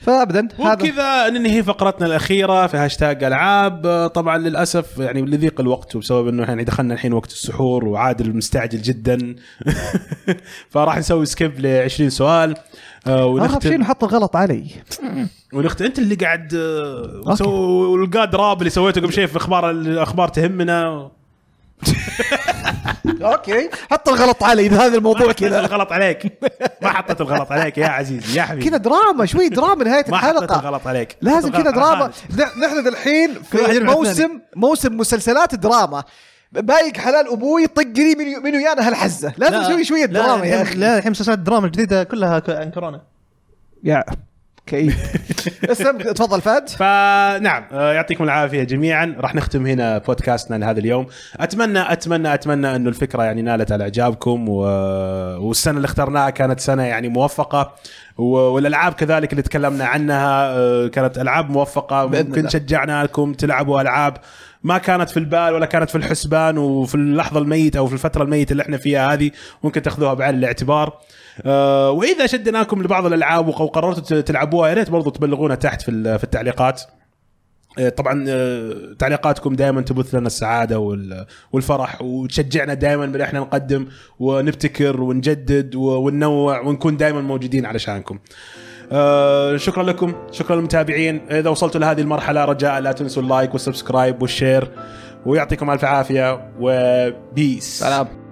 فابدا هذا وبكذا ننهي فقرتنا الاخيره في هاشتاج العاب آه، طبعا للاسف يعني لضيق الوقت وبسبب انه يعني دخلنا الحين وقت السحور وعادل مستعجل جدا فراح نسوي سكيب ل 20 سؤال آه، اخر شيء ونختم نحط الغلط علي ونخت انت اللي قاعد آه، أوكي. وسو- والقاد راب اللي سويته قبل شيء في اخبار الاخبار تهمنا اوكي حط الغلط علي اذا هذا كذا الموضوع كذا الغلط عليك ما حطيت الغلط عليك يا عزيزي يا حبيبي كذا دراما شوي دراما نهايه ما حطيت الحلقه الغلط عليك لازم حطيت كذا الغلط على دراما خالد. نح- نحن الحين واحد في يروح موسم موسم مسلسلات دراما بايق حلال ابوي طق لي من من ويانا هالحزه لازم لا، نسوي شويه لا، دراما يا الحين- اخي لا الحين مسلسلات الدراما الجديده كلها ك- عن كورونا يا كئيب اسلم تفضل فهد فنعم آه، يعطيكم العافيه جميعا راح نختم هنا بودكاستنا لهذا اليوم اتمنى اتمنى اتمنى انه الفكره يعني نالت على اعجابكم و... والسنه اللي اخترناها كانت سنه يعني موفقه و- والالعاب كذلك اللي تكلمنا عنها آه، كانت العاب موفقه بإذن ممكن الله. شجعنا لكم تلعبوا العاب ما كانت في البال ولا كانت في الحسبان وفي اللحظه الميت او في الفتره الميته اللي احنا فيها هذه ممكن تاخذوها بعين الاعتبار آه، واذا شدناكم لبعض الالعاب وق- وقررتوا ت- تلعبوها يا ريت برضو تبلغونا تحت في ال- في التعليقات آه، طبعا آه، تعليقاتكم دائما تبث لنا السعاده وال- والفرح وتشجعنا دائما من احنا نقدم ونبتكر ونجدد و- وننوع ونكون دائما موجودين علشانكم. آه، شكرا لكم شكرا للمتابعين اذا وصلتوا لهذه المرحله رجاء لا تنسوا اللايك والسبسكرايب والشير ويعطيكم الف عافيه وبيس سلام